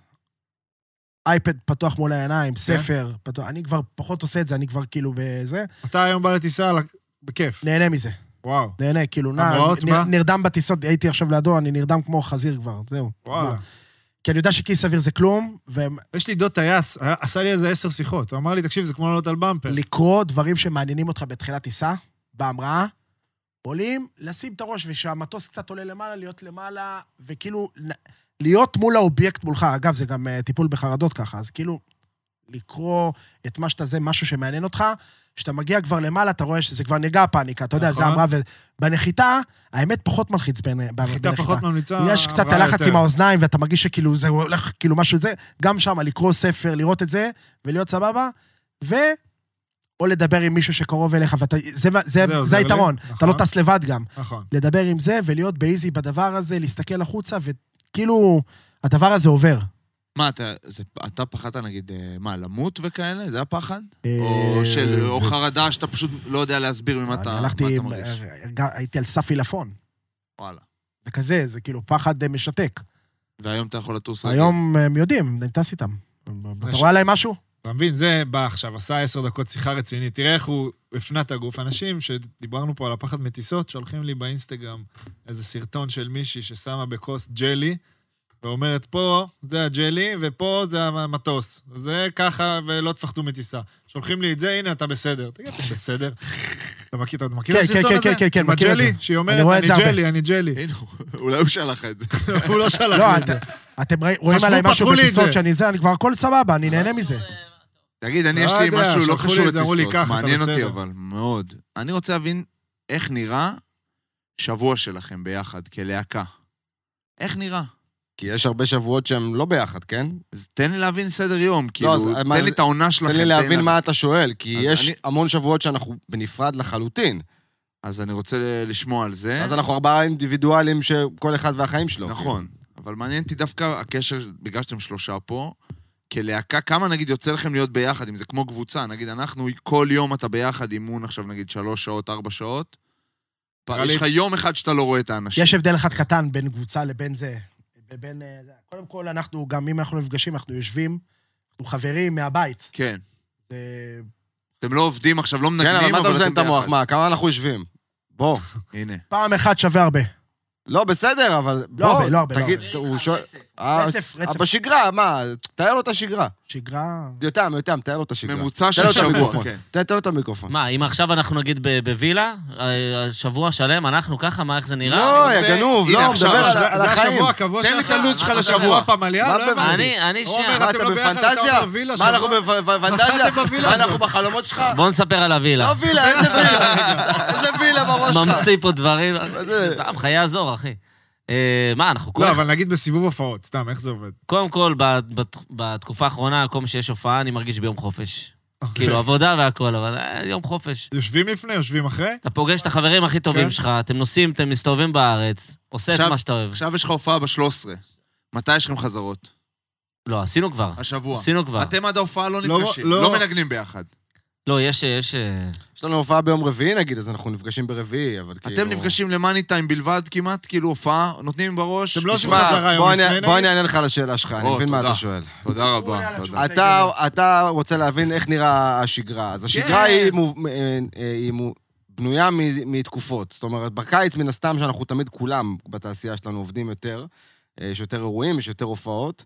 [SPEAKER 4] אייפד פתוח מול העיניים,
[SPEAKER 2] כן.
[SPEAKER 4] ספר פתוח. אני כבר פחות עושה את זה, אני כבר כאילו בזה.
[SPEAKER 1] אתה היום בא לטיסה, על ה- בכיף.
[SPEAKER 4] נהנה מזה.
[SPEAKER 1] וואו,
[SPEAKER 4] נהנה, כאילו, נע,
[SPEAKER 1] המראות,
[SPEAKER 4] נר-
[SPEAKER 1] מה?
[SPEAKER 4] נרדם בטיסות, הייתי עכשיו לידו, אני נרדם כמו חזיר כבר, זהו.
[SPEAKER 1] וואלה.
[SPEAKER 4] מה? כי אני יודע שכיס אוויר זה כלום, ולקרוא
[SPEAKER 1] יש לי דוד טייס, היה- עשה לי איזה עשר שיחות. הוא אמר לי, תקשיב, זה כמו לעלות על במפר.
[SPEAKER 4] דברים שמעניינים אותך בתחילת טיסה, בהמראה, עולים, לשים את הראש, וכשהמטוס קצת עולה למעלה, להיות למעלה, וכאילו, נ- להיות מול האובייקט מולך. אגב, זה גם אה, טיפול בחרדות ככה, אז כאילו, לקרוא את מה שאתה זה, משהו שמעניין אותך, כשאתה מגיע כבר למעלה, אתה רואה שזה כבר נרגע הפאניקה, אתה יודע, זה
[SPEAKER 1] נכון.
[SPEAKER 4] המראה, ובנחיתה, האמת פחות מלחיץ בנ-
[SPEAKER 1] חיטה
[SPEAKER 4] בנחיתה.
[SPEAKER 1] פחות ממליצה.
[SPEAKER 4] יש קצת
[SPEAKER 1] אמרה
[SPEAKER 4] הלחץ
[SPEAKER 1] אה, יותר.
[SPEAKER 4] עם האוזניים, ואתה מרגיש שכאילו זה הולך, כאילו משהו זה, גם שם, לקרוא ספר, לראות את זה, ולהיות סבבה, ו... או לדבר עם מישהו שקרוב אליך, ואתה... זה, זה,
[SPEAKER 1] זה
[SPEAKER 4] זה,
[SPEAKER 1] עוזר לי,
[SPEAKER 4] היתרון, אתה לא
[SPEAKER 1] נכון.
[SPEAKER 4] טס לבד גם.
[SPEAKER 1] נכון.
[SPEAKER 4] לדבר עם זה, ולהיות באיזי בדבר הזה, להסתכל החוצה, וכאילו, הדבר הזה עובר.
[SPEAKER 2] מה, אתה- זה- אתה פחדת נגיד, אה, מה, למות וכאלה? זה הפחד?
[SPEAKER 4] אה,
[SPEAKER 2] או של- או חרדה שאתה פשוט לא יודע להסביר ממה אתה
[SPEAKER 4] אני
[SPEAKER 2] מה
[SPEAKER 4] הלכתי,
[SPEAKER 2] אתה
[SPEAKER 4] עם-
[SPEAKER 2] מרגיש?
[SPEAKER 4] הרגע- הייתי על סף עילפון.
[SPEAKER 2] וואלה.
[SPEAKER 4] זה כזה, זה כאילו פחד אה, משתק.
[SPEAKER 2] והיום אתה יכול לטוס רגיל.
[SPEAKER 4] היום אה, הם יודעים, אני טס איתם. אתה
[SPEAKER 1] יש-
[SPEAKER 4] רואה עליי משהו?
[SPEAKER 1] אתה מבין, זה בא עכשיו, עשה עשר דקות שיחה רצינית, תראה איך הוא הפנה את הגוף. אנשים שדיברנו פה על הפחד מטיסות, שולחים לי באינסטגרם איזה סרטון של מישהי ששמה בכוס ג'לי, ואומרת, פה זה הג'לי ופה זה המטוס. זה ככה, ולא תפחדו מטיסה. שולחים לי את זה, הנה, אתה בסדר. תגיד, אתה בסדר? אתה מכיר אתה מכיר את
[SPEAKER 4] כן,
[SPEAKER 1] הסרטון
[SPEAKER 4] כן,
[SPEAKER 1] הזה?
[SPEAKER 4] כן, כן, כן,
[SPEAKER 1] עם
[SPEAKER 4] מכיר את
[SPEAKER 1] הג'לי,
[SPEAKER 4] זה.
[SPEAKER 1] שהיא
[SPEAKER 4] אני רואה
[SPEAKER 1] אומרת,
[SPEAKER 4] את
[SPEAKER 1] אני
[SPEAKER 4] זה הרבה."
[SPEAKER 1] ג'לי, אני
[SPEAKER 4] *laughs*
[SPEAKER 1] ג'לי.
[SPEAKER 2] הנה, הוא- אולי הוא שלח את זה.
[SPEAKER 1] הוא לא שלח
[SPEAKER 4] לא,
[SPEAKER 1] לי את זה.
[SPEAKER 4] את- אתם ראי- רואים עליי
[SPEAKER 1] פתחו
[SPEAKER 4] משהו
[SPEAKER 1] לי את
[SPEAKER 4] בטיסות
[SPEAKER 1] זה.
[SPEAKER 4] שאני זה, אני כבר הכל סבבה, אני נהנה מזה.
[SPEAKER 2] תגיד, אני
[SPEAKER 1] לא
[SPEAKER 2] יש לי
[SPEAKER 1] יודע,
[SPEAKER 2] משהו לא
[SPEAKER 1] שלחו לי
[SPEAKER 2] קשור
[SPEAKER 1] את זה, אמרו לי,
[SPEAKER 2] לטיסות,
[SPEAKER 1] "ככה, אתה
[SPEAKER 2] מעניין אותי
[SPEAKER 1] בסדר".
[SPEAKER 2] אבל, מאוד. אני רוצה להבין איך נראה שבוע שלכם ביחד, כלהקה. איך נראה?
[SPEAKER 3] כי יש הרבה שבועות שהם לא ביחד, כן?
[SPEAKER 2] אז תן לי להבין סדר יום, כאילו,
[SPEAKER 3] לא, אז מה-
[SPEAKER 2] תן לי את העונה שלכם.
[SPEAKER 3] תן לי להבין מה אתה שואל, כי
[SPEAKER 2] אז
[SPEAKER 3] יש
[SPEAKER 2] אני-
[SPEAKER 3] המון שבועות שאנחנו בנפרד לחלוטין.
[SPEAKER 2] אז אני רוצה ל- לשמוע על זה.
[SPEAKER 3] אז אנחנו ארבעה אינדיבידואלים שכל אחד והחיים שלו.
[SPEAKER 2] נכון. אבל מעניין אותי דווקא הקשר, בגלל שאתם שלושה פה, כלהקה, כמה נגיד יוצא לכם להיות ביחד, אם זה כמו קבוצה, נגיד אנחנו, כל יום אתה ביחד אימון עכשיו נגיד שלוש שעות, ארבע שעות, פ-
[SPEAKER 1] נראה
[SPEAKER 2] יש
[SPEAKER 1] לי-
[SPEAKER 2] לך יום אחד שאתה לא רואה את האנשים.
[SPEAKER 4] יש הבדל אחד קטן בין קבוצה לבין זה, לבין... אה, זה. קודם כל, אנחנו גם, אם אנחנו נפגשים, אנחנו יושבים, אנחנו חברים מהבית.
[SPEAKER 2] כן.
[SPEAKER 4] זה-
[SPEAKER 2] אתם לא עובדים עכשיו, לא
[SPEAKER 3] כן,
[SPEAKER 2] מנגנים,
[SPEAKER 3] אבל מה אתה מזיין
[SPEAKER 2] אתם
[SPEAKER 3] את המוח?
[SPEAKER 2] ביחד.
[SPEAKER 3] מה, כמה אנחנו יושבים? בוא.
[SPEAKER 2] הנה.
[SPEAKER 4] פעם אחת שווה הרבה.
[SPEAKER 3] לא, בסדר, אבל...
[SPEAKER 4] לא הרבה,
[SPEAKER 3] בוא,
[SPEAKER 4] לא הרבה, לא
[SPEAKER 3] תגיד,
[SPEAKER 5] הרבה.
[SPEAKER 3] הוא שואל...
[SPEAKER 5] רצף,
[SPEAKER 3] אה,
[SPEAKER 4] רצף,
[SPEAKER 3] אה,
[SPEAKER 4] רצף.
[SPEAKER 3] בשגרה, מה? תאר לו את השגרה.
[SPEAKER 4] שגרה...
[SPEAKER 3] יותם, יותם, תאר לו את השגרה.
[SPEAKER 2] ממוצע
[SPEAKER 3] תן לו
[SPEAKER 2] של
[SPEAKER 3] את
[SPEAKER 2] שבוע.
[SPEAKER 3] המיקרופון.
[SPEAKER 2] כן.
[SPEAKER 3] תן תן לו את המיקרופון.
[SPEAKER 5] מה, אם עכשיו אנחנו נגיד ב- בווילה, אה, שבוע שלם, אנחנו ככה, מה, איך זה נראה?
[SPEAKER 3] לא,
[SPEAKER 2] אני
[SPEAKER 3] יא
[SPEAKER 2] רוצה-
[SPEAKER 3] גנוב,
[SPEAKER 2] הנה,
[SPEAKER 3] לא, הוא
[SPEAKER 2] עכשיו,
[SPEAKER 3] מדבר על
[SPEAKER 2] זה-
[SPEAKER 3] על
[SPEAKER 1] זה
[SPEAKER 3] החיים.
[SPEAKER 1] השבוע הקבוע
[SPEAKER 2] תן
[SPEAKER 1] שלך?
[SPEAKER 2] לי את הלו"ז שלך
[SPEAKER 1] מה,
[SPEAKER 2] לשבוע.
[SPEAKER 1] אתה פמליה?
[SPEAKER 3] מה
[SPEAKER 1] לא
[SPEAKER 3] בבית?
[SPEAKER 1] הבנתי.
[SPEAKER 5] אני, אני,
[SPEAKER 1] הוא אומר,
[SPEAKER 5] שנייה.
[SPEAKER 3] מה,
[SPEAKER 1] אתם
[SPEAKER 3] אתה
[SPEAKER 1] לא ביחד, אתה
[SPEAKER 3] בפנטזיה?
[SPEAKER 1] אומר וילה
[SPEAKER 3] מה,
[SPEAKER 1] שבוע.
[SPEAKER 3] אנחנו בפנטזיה?
[SPEAKER 1] אתם בווילה
[SPEAKER 3] מה,
[SPEAKER 1] הזאת?
[SPEAKER 3] אנחנו בחלומות שלך?
[SPEAKER 5] בואו נספר על הווילה.
[SPEAKER 3] לא וילה, איזה וילה? איזה וילה בראש שלך?
[SPEAKER 5] ממציא פה דברים.
[SPEAKER 3] זה?
[SPEAKER 5] סתם, חיי הזור, אחי. אה, מה, אנחנו כל
[SPEAKER 1] לא, אבל נגיד בסיבוב הופעות, סתם, איך זה עובד?
[SPEAKER 5] קודם כל, בת- בת- בתקופה האחרונה, כל פעם שיש הופעה, אני מרגיש ביום
[SPEAKER 1] *laughs*
[SPEAKER 5] חופש. כאילו, עבודה והכול, אבל אה, יום חופש.
[SPEAKER 1] אוקיי. יושבים לפני, יושבים אחרי?
[SPEAKER 5] אתה פוגש את החברים הכי
[SPEAKER 1] כן.
[SPEAKER 5] טובים שלך, אתם נוסעים, אתם מסתובבים בארץ, עושה את
[SPEAKER 2] עכשיו-
[SPEAKER 5] מה שאתה אוהב.
[SPEAKER 2] עכשיו יש לך הופעה ב-13. מתי יש לכם חזרות?
[SPEAKER 5] לא, עשינו כבר.
[SPEAKER 2] השבוע.
[SPEAKER 5] עשינו כבר.
[SPEAKER 2] אתם עד ההופעה לא
[SPEAKER 1] לא-
[SPEAKER 2] נפגשים,
[SPEAKER 1] לא-
[SPEAKER 2] לא מנגנים ביחד.
[SPEAKER 5] לא, יש... יש... אה,
[SPEAKER 3] יש לנו הופעה ביום רביעי נגיד, אז אנחנו נפגשים ברביעי, אבל כאילו...
[SPEAKER 2] אתם נפגשים למאני טיים בלבד כמעט, כאילו הופעה, נותנים בראש.
[SPEAKER 1] אתם לא
[SPEAKER 2] תשמע,
[SPEAKER 1] עושים חזרה יום
[SPEAKER 3] בוא
[SPEAKER 1] לפני,
[SPEAKER 3] אני-
[SPEAKER 1] נגיד?
[SPEAKER 3] בוא אני אענה לך על השאלה שלך, אני
[SPEAKER 2] או,
[SPEAKER 3] מבין מה
[SPEAKER 2] תודה.
[SPEAKER 3] אתה שואל.
[SPEAKER 2] תודה
[SPEAKER 4] הוא עונה על
[SPEAKER 2] רבה,
[SPEAKER 4] התשובה.
[SPEAKER 2] תודה.
[SPEAKER 3] אתה, אתה רוצה להבין איך נראה השגרה. אז השגרה
[SPEAKER 2] כן.
[SPEAKER 3] היא, מוב... אה, אה, היא מו... בנויה מ... מתקופות. זאת אומרת, בקיץ מן הסתם שאנחנו תמיד כולם בתעשייה שלנו עובדים יותר, אה, יש יותר אירועים, יש יותר הופעות.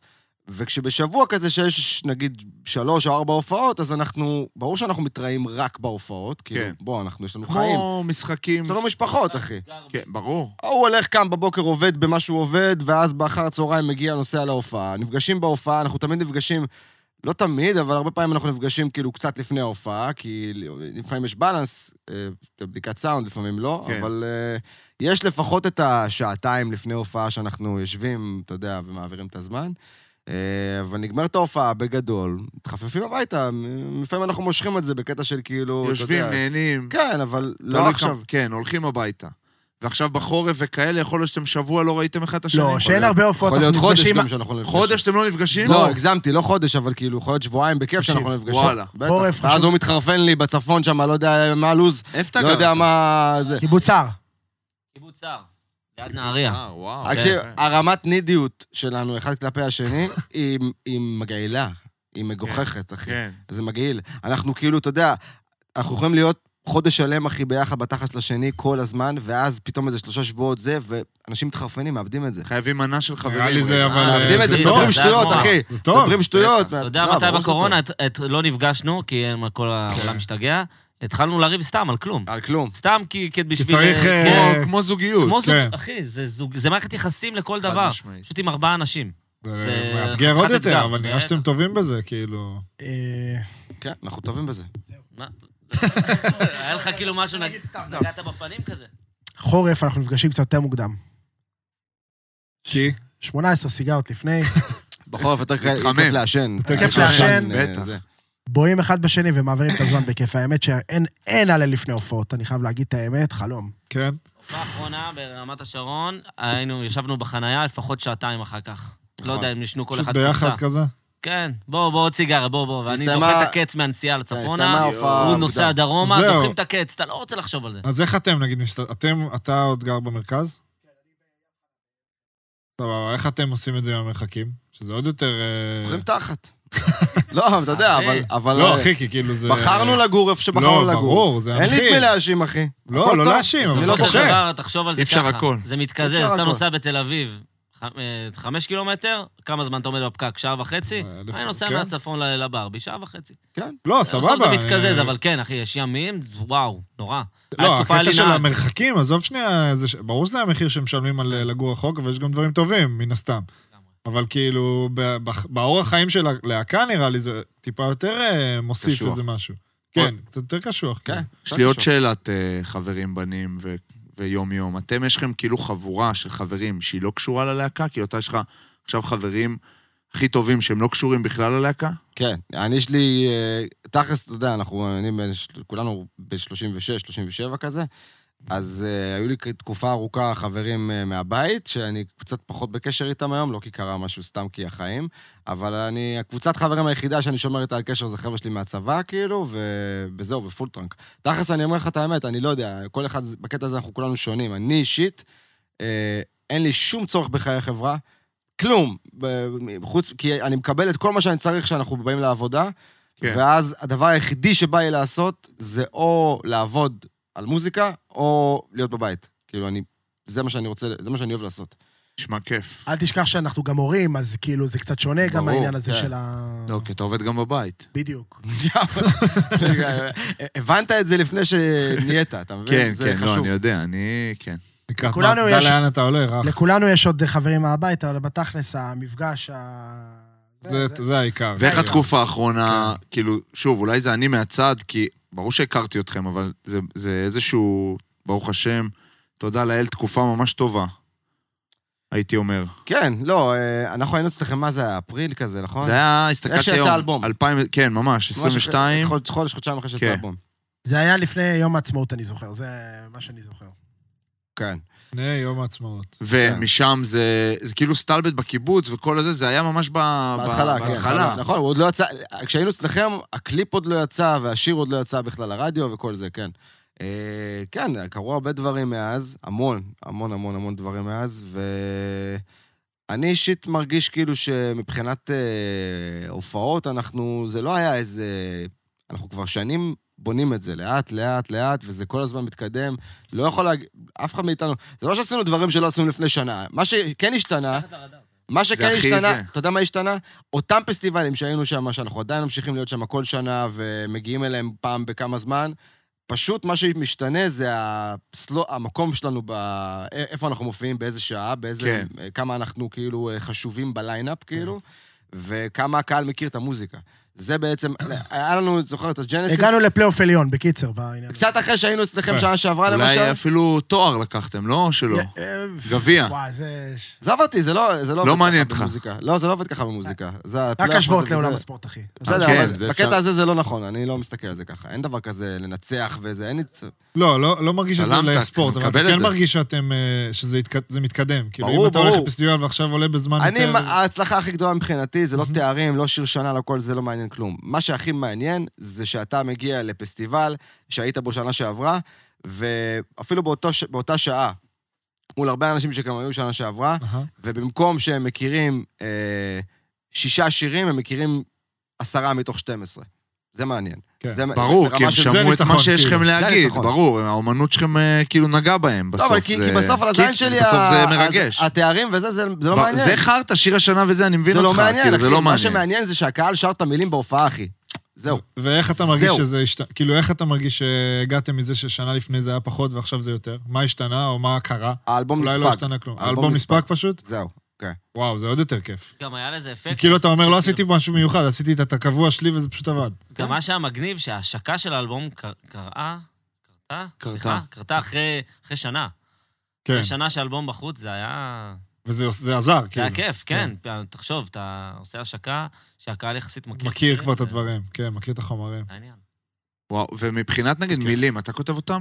[SPEAKER 3] וכשבשבוע כזה שיש נגיד שלוש או ארבע הופעות, אז אנחנו, ברור שאנחנו מתראים רק בהופעות, כאילו,
[SPEAKER 2] כן.
[SPEAKER 3] בוא, אנחנו, יש לנו חיים.
[SPEAKER 2] כמו משחקים.
[SPEAKER 3] יש לנו משפחות, אחי.
[SPEAKER 2] כן, ברור.
[SPEAKER 3] הוא הולך, קם בבוקר, עובד במה שהוא עובד, ואז באחר הצהריים מגיע, נוסע להופעה. נפגשים בהופעה, אנחנו תמיד נפגשים, לא תמיד, אבל הרבה פעמים אנחנו נפגשים כאילו קצת לפני ההופעה, כי לפעמים יש בלנס, אה, בדיקת סאונד, לפעמים לא,
[SPEAKER 2] כן.
[SPEAKER 3] כן. אבל אה, יש לפחות את השעתיים לפני הופעה שאנחנו יושבים, אתה יודע, ומעבירים את הזמן. אה, אבל נגמרת ההופעה בגדול, מתחפפים הביתה, מ- לפעמים אנחנו מושכים את זה בקטע של כאילו, אתה
[SPEAKER 2] יושבים,
[SPEAKER 3] יודע,
[SPEAKER 2] נהנים.
[SPEAKER 3] כן, אבל
[SPEAKER 2] תלוי
[SPEAKER 3] לא
[SPEAKER 2] כמה-
[SPEAKER 3] עכשיו.
[SPEAKER 2] כן, הולכים הביתה. ועכשיו בחורף וכאלה, יכול להיות שאתם שבוע לא ראיתם אחד את השני.
[SPEAKER 4] לא, שאין הרבה הופעות,
[SPEAKER 3] יכול להיות
[SPEAKER 4] אנחנו
[SPEAKER 3] חודש
[SPEAKER 4] נפגשים...
[SPEAKER 3] גם שאנחנו נפגשים.
[SPEAKER 2] חודש אתם לא נפגשים?
[SPEAKER 3] לא, הגזמתי, לא חודש, אבל כאילו, יכול להיות שבועיים בכיף
[SPEAKER 4] תקשיב,
[SPEAKER 3] שאנחנו נפגשים.
[SPEAKER 2] וואלה.
[SPEAKER 3] בטח.
[SPEAKER 4] חורף,
[SPEAKER 3] ואז
[SPEAKER 4] חשוב.
[SPEAKER 3] הוא מתחרפן לי בצפון שם, לא יודע מה הלו"ז,
[SPEAKER 2] איפה אתה
[SPEAKER 3] לא
[SPEAKER 2] גר?
[SPEAKER 3] יודע מה זה.
[SPEAKER 4] קיבוץ הר.
[SPEAKER 5] קיבוץ סער. ליד נהריה.
[SPEAKER 2] אה, וואו.
[SPEAKER 3] תקשיב,
[SPEAKER 2] כן.
[SPEAKER 3] הרמת נידיות שלנו, אחד כלפי השני, היא- היא מגעילה, היא מגוחכת, אחי.
[SPEAKER 2] כן.
[SPEAKER 3] זה מגעיל. אנחנו כאילו, אתה יודע, אנחנו יכולים להיות חודש שלם, אחי, ביחד בתחת לשני כל הזמן, ואז פתאום איזה שלושה שבועות זה, ואנשים מתחרפנים, מאבדים את זה.
[SPEAKER 2] חייבים מנה של חברים.
[SPEAKER 1] נראה לי זה,
[SPEAKER 5] אה,
[SPEAKER 1] אבל...
[SPEAKER 3] מאבדים
[SPEAKER 1] אה,
[SPEAKER 3] את
[SPEAKER 1] זה
[SPEAKER 3] זה,
[SPEAKER 1] טוב.
[SPEAKER 5] זה זה
[SPEAKER 3] מדברים שטויות,
[SPEAKER 5] הדמורה.
[SPEAKER 3] אחי.
[SPEAKER 1] זה טוב.
[SPEAKER 3] מדברים שטויות.
[SPEAKER 5] אתה יודע
[SPEAKER 3] לא,
[SPEAKER 5] מתי
[SPEAKER 3] ברור שזה
[SPEAKER 5] בקורונה
[SPEAKER 3] טוב.
[SPEAKER 5] את- את- לא נפגשנו, כי הם- כל
[SPEAKER 2] כן.
[SPEAKER 5] העולם השתגע, התחלנו לריב סתם על כלום.
[SPEAKER 3] על כלום.
[SPEAKER 5] סתם כי כי בשביל...
[SPEAKER 1] צריך,
[SPEAKER 5] כן,
[SPEAKER 1] אה,
[SPEAKER 2] כמו- כמו זוגיות.
[SPEAKER 5] כמו זוג,
[SPEAKER 1] כן.
[SPEAKER 5] אחי, זה זוג- זה מערכת יחסים לכל
[SPEAKER 2] חד
[SPEAKER 5] דבר.
[SPEAKER 2] משמעית.
[SPEAKER 5] פשוט עם ארבעה אנשים.
[SPEAKER 1] זה
[SPEAKER 5] זה
[SPEAKER 1] מאתגר עוד
[SPEAKER 5] חתיכת
[SPEAKER 1] יותר,
[SPEAKER 5] אתגר,
[SPEAKER 1] אבל נראה
[SPEAKER 5] בטח.
[SPEAKER 1] שאתם טובים בזה, כאילו...
[SPEAKER 4] אה,
[SPEAKER 3] כן, אנחנו טובים בזה.
[SPEAKER 2] *laughs*
[SPEAKER 5] מה? היה לך כאילו משהו, נג- נגעת בפנים כזה?
[SPEAKER 4] חורף, אנחנו נפגשים קצת יותר מוקדם.
[SPEAKER 1] כי?
[SPEAKER 4] 18 סיגרות לפני, *laughs*
[SPEAKER 3] בחורף יותר
[SPEAKER 2] מתחמם.
[SPEAKER 3] כיף לעשן.
[SPEAKER 4] יותר
[SPEAKER 3] כיף
[SPEAKER 4] כיף לעשן.
[SPEAKER 3] אה,
[SPEAKER 2] בטח.
[SPEAKER 3] זה.
[SPEAKER 4] בואים אחד בשני ומעבירים את הזמן בכיף. האמת שאין אין הלל לפני הופעות, אני חייב להגיד את האמת, חלום.
[SPEAKER 1] כן?
[SPEAKER 5] הופעה האחרונה ברמת השרון, היינו, ישבנו בחנייה לפחות שעתיים אחר כך. לא
[SPEAKER 3] נכון.
[SPEAKER 5] יודע אם ישנו כל
[SPEAKER 1] פשוט
[SPEAKER 5] אחד
[SPEAKER 1] ביחד
[SPEAKER 5] קופסה.
[SPEAKER 1] כזה?
[SPEAKER 5] כן, בוא, בוא עוד סיגרה, בוא, בוא. ואני
[SPEAKER 3] הסתיימה-
[SPEAKER 5] דוחה את הקץ מהנסיעה
[SPEAKER 3] הסתיימה
[SPEAKER 5] לצפונה,
[SPEAKER 3] ההופעה
[SPEAKER 5] הוא
[SPEAKER 3] מוקדם.
[SPEAKER 5] נוסע דרומה,
[SPEAKER 1] זהו.
[SPEAKER 5] דוחים את הקץ, אתה לא רוצה לחשוב על זה.
[SPEAKER 1] אז איך אתם, נגיד, משת... אתם, אתה עוד גר במרכז? סבבה, איך אתם עושים את זה עם המרחקים? שזה עוד יותר... אה,
[SPEAKER 3] אוכלים תחת. *laughs* לא, אבל אתה יודע,
[SPEAKER 5] אחי.
[SPEAKER 3] אבל... אבל- אה,
[SPEAKER 1] לא, אחי, כי כאילו זה...
[SPEAKER 3] בחרנו לגור איפה שבחרנו
[SPEAKER 1] לא,
[SPEAKER 3] לגור.
[SPEAKER 1] ברור, זה
[SPEAKER 3] אין לי את
[SPEAKER 1] המחיר.
[SPEAKER 3] מי להאשים, אחי.
[SPEAKER 1] לא,
[SPEAKER 3] הכל
[SPEAKER 1] לא
[SPEAKER 3] טוב.
[SPEAKER 1] להאשים,
[SPEAKER 3] זה
[SPEAKER 1] אבל
[SPEAKER 3] לא
[SPEAKER 5] בסופו של
[SPEAKER 1] קשה.
[SPEAKER 5] דבר, תחשוב על זה
[SPEAKER 2] אי
[SPEAKER 5] ככה.
[SPEAKER 2] אפשר הכל.
[SPEAKER 5] זה
[SPEAKER 3] אי
[SPEAKER 5] מתקזז,
[SPEAKER 3] אפשר
[SPEAKER 5] אתה
[SPEAKER 3] הכל.
[SPEAKER 5] נוסע בתל אביב, ח- אה, חמש קילומטר, כמה זמן אתה עומד בפקק? שעה וחצי?
[SPEAKER 1] אה, לפ-
[SPEAKER 5] אני נוסע
[SPEAKER 1] כן.
[SPEAKER 5] מהצפון ל- לברבי, שעה וחצי.
[SPEAKER 1] לא, סבבה.
[SPEAKER 5] בסוף זה
[SPEAKER 1] אה,
[SPEAKER 5] מתקזז, אבל כן, אחי, יש ימים, וואו, נורא.
[SPEAKER 1] לא,
[SPEAKER 5] התקופה
[SPEAKER 1] הקטע של
[SPEAKER 5] הלינה-
[SPEAKER 1] המרחקים, עזוב שנייה, זה ש- ברור שזה המחיר שמשלמים על אה, לגור רחוק, אבל יש גם דברים טובים, מן הסתם. אבל כאילו, ב- בח- באורח חיים של הלהקה, נראה לי, זה טיפה יותר אה, מוסיף
[SPEAKER 2] קשוח.
[SPEAKER 1] איזה משהו. כן, קצת יותר קשוח.
[SPEAKER 3] כן.
[SPEAKER 1] כאילו.
[SPEAKER 2] יש לי עוד שאלת אה, חברים, בנים ו- ויום-יום. אתם, יש לכם כאילו חבורה של חברים שהיא לא קשורה ללהקה? כאילו, אתה יש לך עכשיו חברים הכי טובים שהם לא קשורים בכלל ללהקה?
[SPEAKER 3] כן, אני יש לי... אה, תכלס, אתה יודע, אנחנו... אני בן ש- כולנו ב-36, 37 כזה. אז אה, היו לי תקופה ארוכה חברים אה, מהבית, שאני קצת פחות בקשר איתם היום, לא כי קרה משהו, סתם כי החיים. אבל אני, הקבוצת חברים היחידה שאני שומר איתה על קשר זה חבר'ה שלי מהצבא, כאילו, וזהו, ופול טראנק. תכלס, אני אומר לך את האמת, אני לא יודע, כל אחד, בקטע הזה אנחנו כולנו שונים. אני אישית, אה, אין לי שום צורך בחיי חברה, כלום. ב- חוץ, כי אני מקבל את כל מה שאני צריך כשאנחנו באים לעבודה,
[SPEAKER 2] כן.
[SPEAKER 3] כן. ואז הדבר היחידי שבא לי לעשות זה או לעבוד על מוזיקה, או להיות בבית. כאילו, אני... זה מה שאני רוצה, זה מה שאני אוהב
[SPEAKER 2] *laughs*
[SPEAKER 3] לעשות. *laughs*
[SPEAKER 2] נשמע כיף.
[SPEAKER 4] אל תשכח שאנחנו גם הורים, אז כאילו זה קצת שונה גם
[SPEAKER 2] ברור,
[SPEAKER 4] העניין הזה
[SPEAKER 3] כן.
[SPEAKER 4] של ה...
[SPEAKER 2] לא, כי אתה עובד גם בבית.
[SPEAKER 4] בדיוק.
[SPEAKER 3] הבנת את זה לפני שנהיית, אתה מבין?
[SPEAKER 2] כן,
[SPEAKER 3] זה
[SPEAKER 2] כן, לא,
[SPEAKER 3] חשוב.
[SPEAKER 2] אני יודע, אני... כן.
[SPEAKER 1] לקראת מה,
[SPEAKER 4] לכולנו
[SPEAKER 1] תדע
[SPEAKER 4] יש-
[SPEAKER 1] לאן אתה הולך, אח.
[SPEAKER 4] לכולנו יש עוד חברים מהבית, אבל בתכלס, המפגש ה...
[SPEAKER 1] זה- זה העיקר.
[SPEAKER 2] ואיך
[SPEAKER 1] כן.
[SPEAKER 2] התקופה האחרונה, כאילו, שוב, אולי זה אני מהצד, כי ברור שהכרתי אתכם, אבל זה- זה איזשהו, ברוך השם, תודה לאל, תקופה ממש טובה, הייתי אומר.
[SPEAKER 3] כן, לא, אה, אנחנו היינו אצלכם, מה זה היה? אפריל כזה, נכון?
[SPEAKER 2] זה היה, הסתכלתי היום.
[SPEAKER 3] איך שיצא האלבום.
[SPEAKER 2] 2000, כן, ממש,
[SPEAKER 3] ממש אה,
[SPEAKER 2] 22.
[SPEAKER 3] חודש, חודש, חודשיים אחרי שיצא
[SPEAKER 2] כן.
[SPEAKER 3] האלבום.
[SPEAKER 4] זה היה לפני יום העצמאות, אני זוכר, זה מה שאני זוכר.
[SPEAKER 3] כן.
[SPEAKER 1] לפני יום העצמאות.
[SPEAKER 2] ומשם זה, זה כאילו סטלבט בקיבוץ וכל הזה, זה היה ממש ב...
[SPEAKER 3] בהתחלה,
[SPEAKER 2] ב-
[SPEAKER 3] כן.
[SPEAKER 2] בהתחלה.
[SPEAKER 3] נכון, הוא עוד לא יצא, כשהיינו אצלכם, הקליפ עוד לא יצא, והשיר עוד לא יצא בכלל לרדיו וכל זה, כן. אה, כן, קרו הרבה דברים מאז, המון, המון המון המון דברים מאז, ואני אישית מרגיש כאילו שמבחינת אה, הופעות, אנחנו, זה לא היה איזה... אנחנו כבר שנים בונים את זה, לאט, לאט, לאט, וזה כל הזמן מתקדם. לא יכול להגיד, אף אחד מאיתנו, זה לא שעשינו דברים שלא עשינו לפני שנה. מה שכן
[SPEAKER 1] אה?
[SPEAKER 3] השתנה, מה שכן
[SPEAKER 2] הכי
[SPEAKER 3] השתנה,
[SPEAKER 2] זה.
[SPEAKER 3] אתה יודע מה השתנה? אותם פסטיבלים שהיינו שם, שאנחנו עדיין ממשיכים להיות שם כל שנה ומגיעים אליהם פעם בכמה זמן, פשוט מה שמשתנה זה הסלו, המקום שלנו, ב... איפה אנחנו מופיעים, באיזה שעה, באיזה...
[SPEAKER 2] כן.
[SPEAKER 3] כמה אנחנו כאילו אה, חשובים בליינאפ, כאילו, וכמה הקהל מכיר את המוזיקה. זה בעצם, *clears throat* היה לנו, זוכר את הג'נסיס?
[SPEAKER 4] הגענו לפלייאוף עליון, בקיצר, בעניין. הזה.
[SPEAKER 3] קצת אחרי שהיינו אצלכם
[SPEAKER 1] כן.
[SPEAKER 3] שנה שעברה, למשל.
[SPEAKER 2] אולי אפילו תואר לקחתם, לא? או שלא.
[SPEAKER 4] אה,
[SPEAKER 2] גביע.
[SPEAKER 4] וואי, זה...
[SPEAKER 3] עזוב אותי, זה לא, זה לא,
[SPEAKER 2] לא
[SPEAKER 3] עובד
[SPEAKER 2] מעניין
[SPEAKER 3] ככה
[SPEAKER 2] אותך.
[SPEAKER 3] במוזיקה. לא, זה לא עובד ככה במוזיקה. לא, זה
[SPEAKER 4] רק
[SPEAKER 3] הפלייאוף
[SPEAKER 4] השוואות
[SPEAKER 3] הזה וזה.
[SPEAKER 4] לעולם הספורט, אחי.
[SPEAKER 3] בסדר,
[SPEAKER 2] כן,
[SPEAKER 3] אבל
[SPEAKER 2] זה
[SPEAKER 3] בקטע
[SPEAKER 2] אפשר.
[SPEAKER 3] הזה זה לא נכון, אני לא מסתכל על זה ככה. אין דבר כזה לנצח וזה, אין לי... צ-
[SPEAKER 1] לא, לא, לא מרגיש את זה
[SPEAKER 2] צלמת,
[SPEAKER 1] לספורט, אבל אתה
[SPEAKER 2] מקבל את
[SPEAKER 1] כן
[SPEAKER 2] זה.
[SPEAKER 1] מרגיש שאתם, אה, שזה התק- זה מתקדם. כאילו,
[SPEAKER 3] ברור,
[SPEAKER 1] אם אתה
[SPEAKER 3] ברור.
[SPEAKER 1] הולך לפסטיבל ועכשיו עולה בזמן
[SPEAKER 3] אני,
[SPEAKER 1] יותר...
[SPEAKER 3] מה- ההצלחה הכי גדולה מבחינתי זה לא תארים, לא שיר שנה, לא כל זה, לא מעניין כלום. מה שהכי מעניין זה שאתה מגיע לפסטיבל שהיית בו שנה שעברה, ואפילו באותו ש- באותה שעה, מול הרבה אנשים שגם היו שנה שעברה,
[SPEAKER 1] אהה.
[SPEAKER 3] ובמקום שהם מכירים אה, שישה שירים, הם מכירים עשרה מתוך 12. זה מעניין.
[SPEAKER 1] כן.
[SPEAKER 3] זה-
[SPEAKER 2] ברור,
[SPEAKER 3] ברמה
[SPEAKER 2] כי הם
[SPEAKER 3] של-
[SPEAKER 1] זה
[SPEAKER 2] שמעו את
[SPEAKER 1] ניצחון,
[SPEAKER 2] מה שיש
[SPEAKER 1] כאילו.
[SPEAKER 2] לכם
[SPEAKER 1] זה
[SPEAKER 2] להגיד,
[SPEAKER 3] ניצחון.
[SPEAKER 2] ברור, האומנות שלכם אה, כאילו נגעה בהם בסוף.
[SPEAKER 3] לא, אבל כי,
[SPEAKER 2] זה-
[SPEAKER 3] כי בסוף על הזין
[SPEAKER 2] כי-
[SPEAKER 3] שלי,
[SPEAKER 2] בסוף זה
[SPEAKER 3] ה-
[SPEAKER 2] מרגש.
[SPEAKER 3] אז התארים וזה, זה, זה לא
[SPEAKER 2] ב-
[SPEAKER 3] מעניין.
[SPEAKER 2] זה חרטא, שיר השנה וזה, אני מבין
[SPEAKER 3] זה לא
[SPEAKER 2] אותך,
[SPEAKER 3] מעניין,
[SPEAKER 2] כאילו,
[SPEAKER 3] אחי.
[SPEAKER 2] זה לא
[SPEAKER 3] מה
[SPEAKER 2] מעניין.
[SPEAKER 3] שמעניין זה שהקהל שר את המילים בהופעה, אחי. זהו.
[SPEAKER 1] ואיך אתה מרגיש
[SPEAKER 3] זהו.
[SPEAKER 1] שזה השתנה? כאילו, איך אתה מרגיש שהגעתם מזה ששנה לפני זה היה פחות ועכשיו זה יותר? מה השתנה או מה קרה?
[SPEAKER 3] האלבום
[SPEAKER 1] אולי לא
[SPEAKER 3] נספג.
[SPEAKER 1] השתנה כלום.
[SPEAKER 3] האלבום
[SPEAKER 1] האלבום
[SPEAKER 3] נספג.
[SPEAKER 1] נספג פשוט?
[SPEAKER 3] זהו. אוקיי.
[SPEAKER 1] וואו, זה עוד יותר כיף.
[SPEAKER 5] גם היה לזה אפקט.
[SPEAKER 1] כי כאילו, אתה אומר, לא
[SPEAKER 5] שכאילו-
[SPEAKER 1] עשיתי משהו מיוחד, עשיתי את הקבוע שלי וזה פשוט עבד.
[SPEAKER 5] גם מה שהיה מגניב, שההשקה של האלבום קר- קראה, קרתה?
[SPEAKER 2] קרתה.
[SPEAKER 5] סליחה, קרתה אחרי אחרי שנה.
[SPEAKER 1] כן,
[SPEAKER 5] אחרי שנה שהאלבום בחוץ, זה היה...
[SPEAKER 1] וזה זה עזר,
[SPEAKER 5] זה
[SPEAKER 1] כאילו.
[SPEAKER 5] היה כיף, כן. תחשוב, אתה עושה השקה שהקהל יחסית מכיר.
[SPEAKER 1] מכיר כבר את
[SPEAKER 5] זה-
[SPEAKER 1] הדברים, כן, מכיר את החומרים.
[SPEAKER 5] זה העניין.
[SPEAKER 2] וואו, ומבחינת נגיד
[SPEAKER 3] כן.
[SPEAKER 2] מילים, אתה כותב אותם?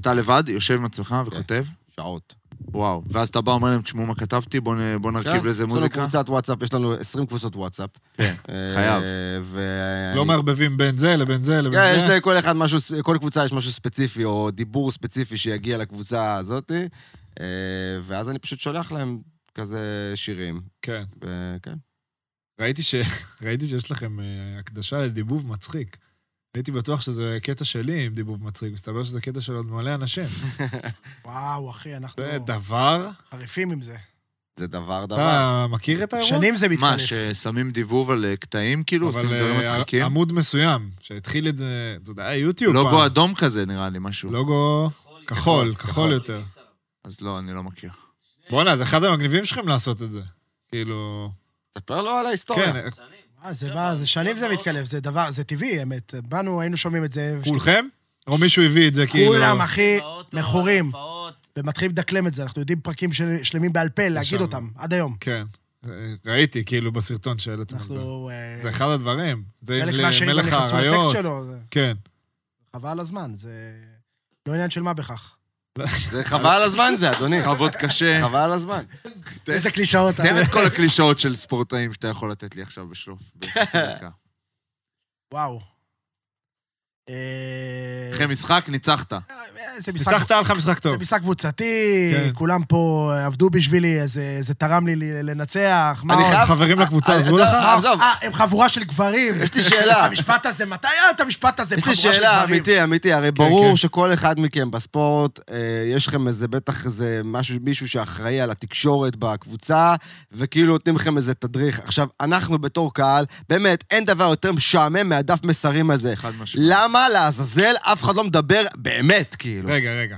[SPEAKER 2] אתה לבד, יושב עם עצמך וכותב?
[SPEAKER 3] שעות.
[SPEAKER 2] וואו. ואז אתה בא, אומר להם, תשמעו מה כתבתי, בואו נ- בואו נרכיב
[SPEAKER 3] כן?
[SPEAKER 2] לזה
[SPEAKER 3] יש לנו
[SPEAKER 2] מוזיקה.
[SPEAKER 3] קבוצת וואטסאפ, יש לנו 20 קבוצות וואטסאפ.
[SPEAKER 2] כן,
[SPEAKER 3] אה,
[SPEAKER 2] חייב.
[SPEAKER 3] ו-
[SPEAKER 1] לא מערבבים בין זה לבין זה לבין
[SPEAKER 3] כן, יש
[SPEAKER 1] זה.
[SPEAKER 3] לכל אחד משהו, כל קבוצה יש משהו ספציפי, או דיבור ספציפי שיגיע לקבוצה הזאתי, אה, ואז אני פשוט שולח להם כזה שירים,
[SPEAKER 1] כן.
[SPEAKER 3] וכן.
[SPEAKER 1] ראיתי ש- *laughs* ראיתי שיש לכם אה, הקדשה לדיבוב מצחיק. הייתי בטוח שזה קטע שלי עם דיבוב מצחיק, מסתבר שזה קטע של עוד מלא אנשים.
[SPEAKER 4] וואו, אחי, אנחנו
[SPEAKER 1] זה דבר?
[SPEAKER 4] חריפים
[SPEAKER 3] אה,
[SPEAKER 4] עם זה.
[SPEAKER 3] זה דבר
[SPEAKER 2] אה.
[SPEAKER 3] דבר.
[SPEAKER 1] אתה מכיר את האירוע?
[SPEAKER 4] שנים זה
[SPEAKER 2] מה,
[SPEAKER 4] מתחלף.
[SPEAKER 2] ששמים דיבוב על אה, קטעים, כאילו? עושים
[SPEAKER 1] אבל
[SPEAKER 2] דברים
[SPEAKER 1] אה,
[SPEAKER 2] מצחיקים?
[SPEAKER 1] עמוד מסוים, שהתחיל את זה, זה עוד היה יוטיוב פעם.
[SPEAKER 2] לוגו אדום כזה, נראה לי,
[SPEAKER 1] לא.
[SPEAKER 2] משהו.
[SPEAKER 1] לוגו כחול, כחול יותר.
[SPEAKER 2] אז לא, אני לא מכיר.
[SPEAKER 1] בואנה, זה אחד המגניבים שלכם לעשות את זה. כאילו...
[SPEAKER 3] תספר לו על ההיסטוריה.
[SPEAKER 1] כן,
[SPEAKER 4] אה, זה בא, זה שנים זה מתחלף, זה דבר, זה טבעי, אמת. באנו, היינו שומעים את זה.
[SPEAKER 1] כולכם? או מישהו הביא את זה, כאילו...
[SPEAKER 4] כולם, אחי,
[SPEAKER 5] הופעות,
[SPEAKER 4] מכורים.
[SPEAKER 5] הופעות.
[SPEAKER 4] ומתחילים לדקלם את זה, אנחנו יודעים פרקים של- שלמים בעל פה, להגיד
[SPEAKER 1] שם.
[SPEAKER 4] אותם, עד היום.
[SPEAKER 1] כן. אה, ראיתי, כאילו, בסרטון שהעליתם את זה.
[SPEAKER 4] אנחנו... אה,
[SPEAKER 1] זה אחד הדברים. זה
[SPEAKER 4] חלק
[SPEAKER 1] ל-
[SPEAKER 4] מהשירים גם
[SPEAKER 1] מלך
[SPEAKER 4] נכנסו לטקסט
[SPEAKER 1] האריות.
[SPEAKER 4] שלו, זה
[SPEAKER 1] כן.
[SPEAKER 4] חבל הזמן, זה לא עניין של מה בכך.
[SPEAKER 3] זה חבל על הזמן זה, אדוני.
[SPEAKER 2] עבוד
[SPEAKER 3] *laughs*
[SPEAKER 2] קשה.
[SPEAKER 3] חבל על הזמן.
[SPEAKER 4] איזה קלישאות. אה?
[SPEAKER 2] תן את כל הקלישאות של ספורטאים שאתה יכול לתת לי עכשיו בשלוף. בחצי דקה.
[SPEAKER 4] וואו. אה,
[SPEAKER 2] אחרי משחק, ניצחת.
[SPEAKER 4] אה, זה משחק...
[SPEAKER 1] ניצחת עליך משחק
[SPEAKER 4] זה
[SPEAKER 1] טוב.
[SPEAKER 4] משחק קבוצתי,
[SPEAKER 1] כן.
[SPEAKER 4] כולם פה עבדו בשבילי, זה, זה תרם לי ל- לנצח. מה
[SPEAKER 3] אני
[SPEAKER 4] עוד?
[SPEAKER 3] חייב-
[SPEAKER 1] חברים לקבוצה
[SPEAKER 3] אני-
[SPEAKER 1] עזרו
[SPEAKER 3] עזוב,
[SPEAKER 1] לך?
[SPEAKER 3] עזוב,
[SPEAKER 4] אה, הם חבורה של גברים.
[SPEAKER 3] יש לי שאלה.
[SPEAKER 4] המשפט הזה, מתי היה את המשפט הזה? הם
[SPEAKER 3] יש לי
[SPEAKER 4] חבורה של
[SPEAKER 3] שאלה,
[SPEAKER 4] גברים.
[SPEAKER 3] אמיתי, אמיתי, הרי
[SPEAKER 1] כן.
[SPEAKER 3] ברור שכל אחד מכם בספורט, אה, יש לכם איזה, בטח איזה משהו, מישהו שאחראי על התקשורת בקבוצה, וכאילו נותנים לכם איזה תדריך. עכשיו, אנחנו בתור קהל, באמת, אין דבר יותר משעמם מהדף מסרים הזה.
[SPEAKER 2] חד משמעית.
[SPEAKER 3] למה לעזאזל אף אחד לא מדבר באמת, כאילו?
[SPEAKER 1] רגע, רגע.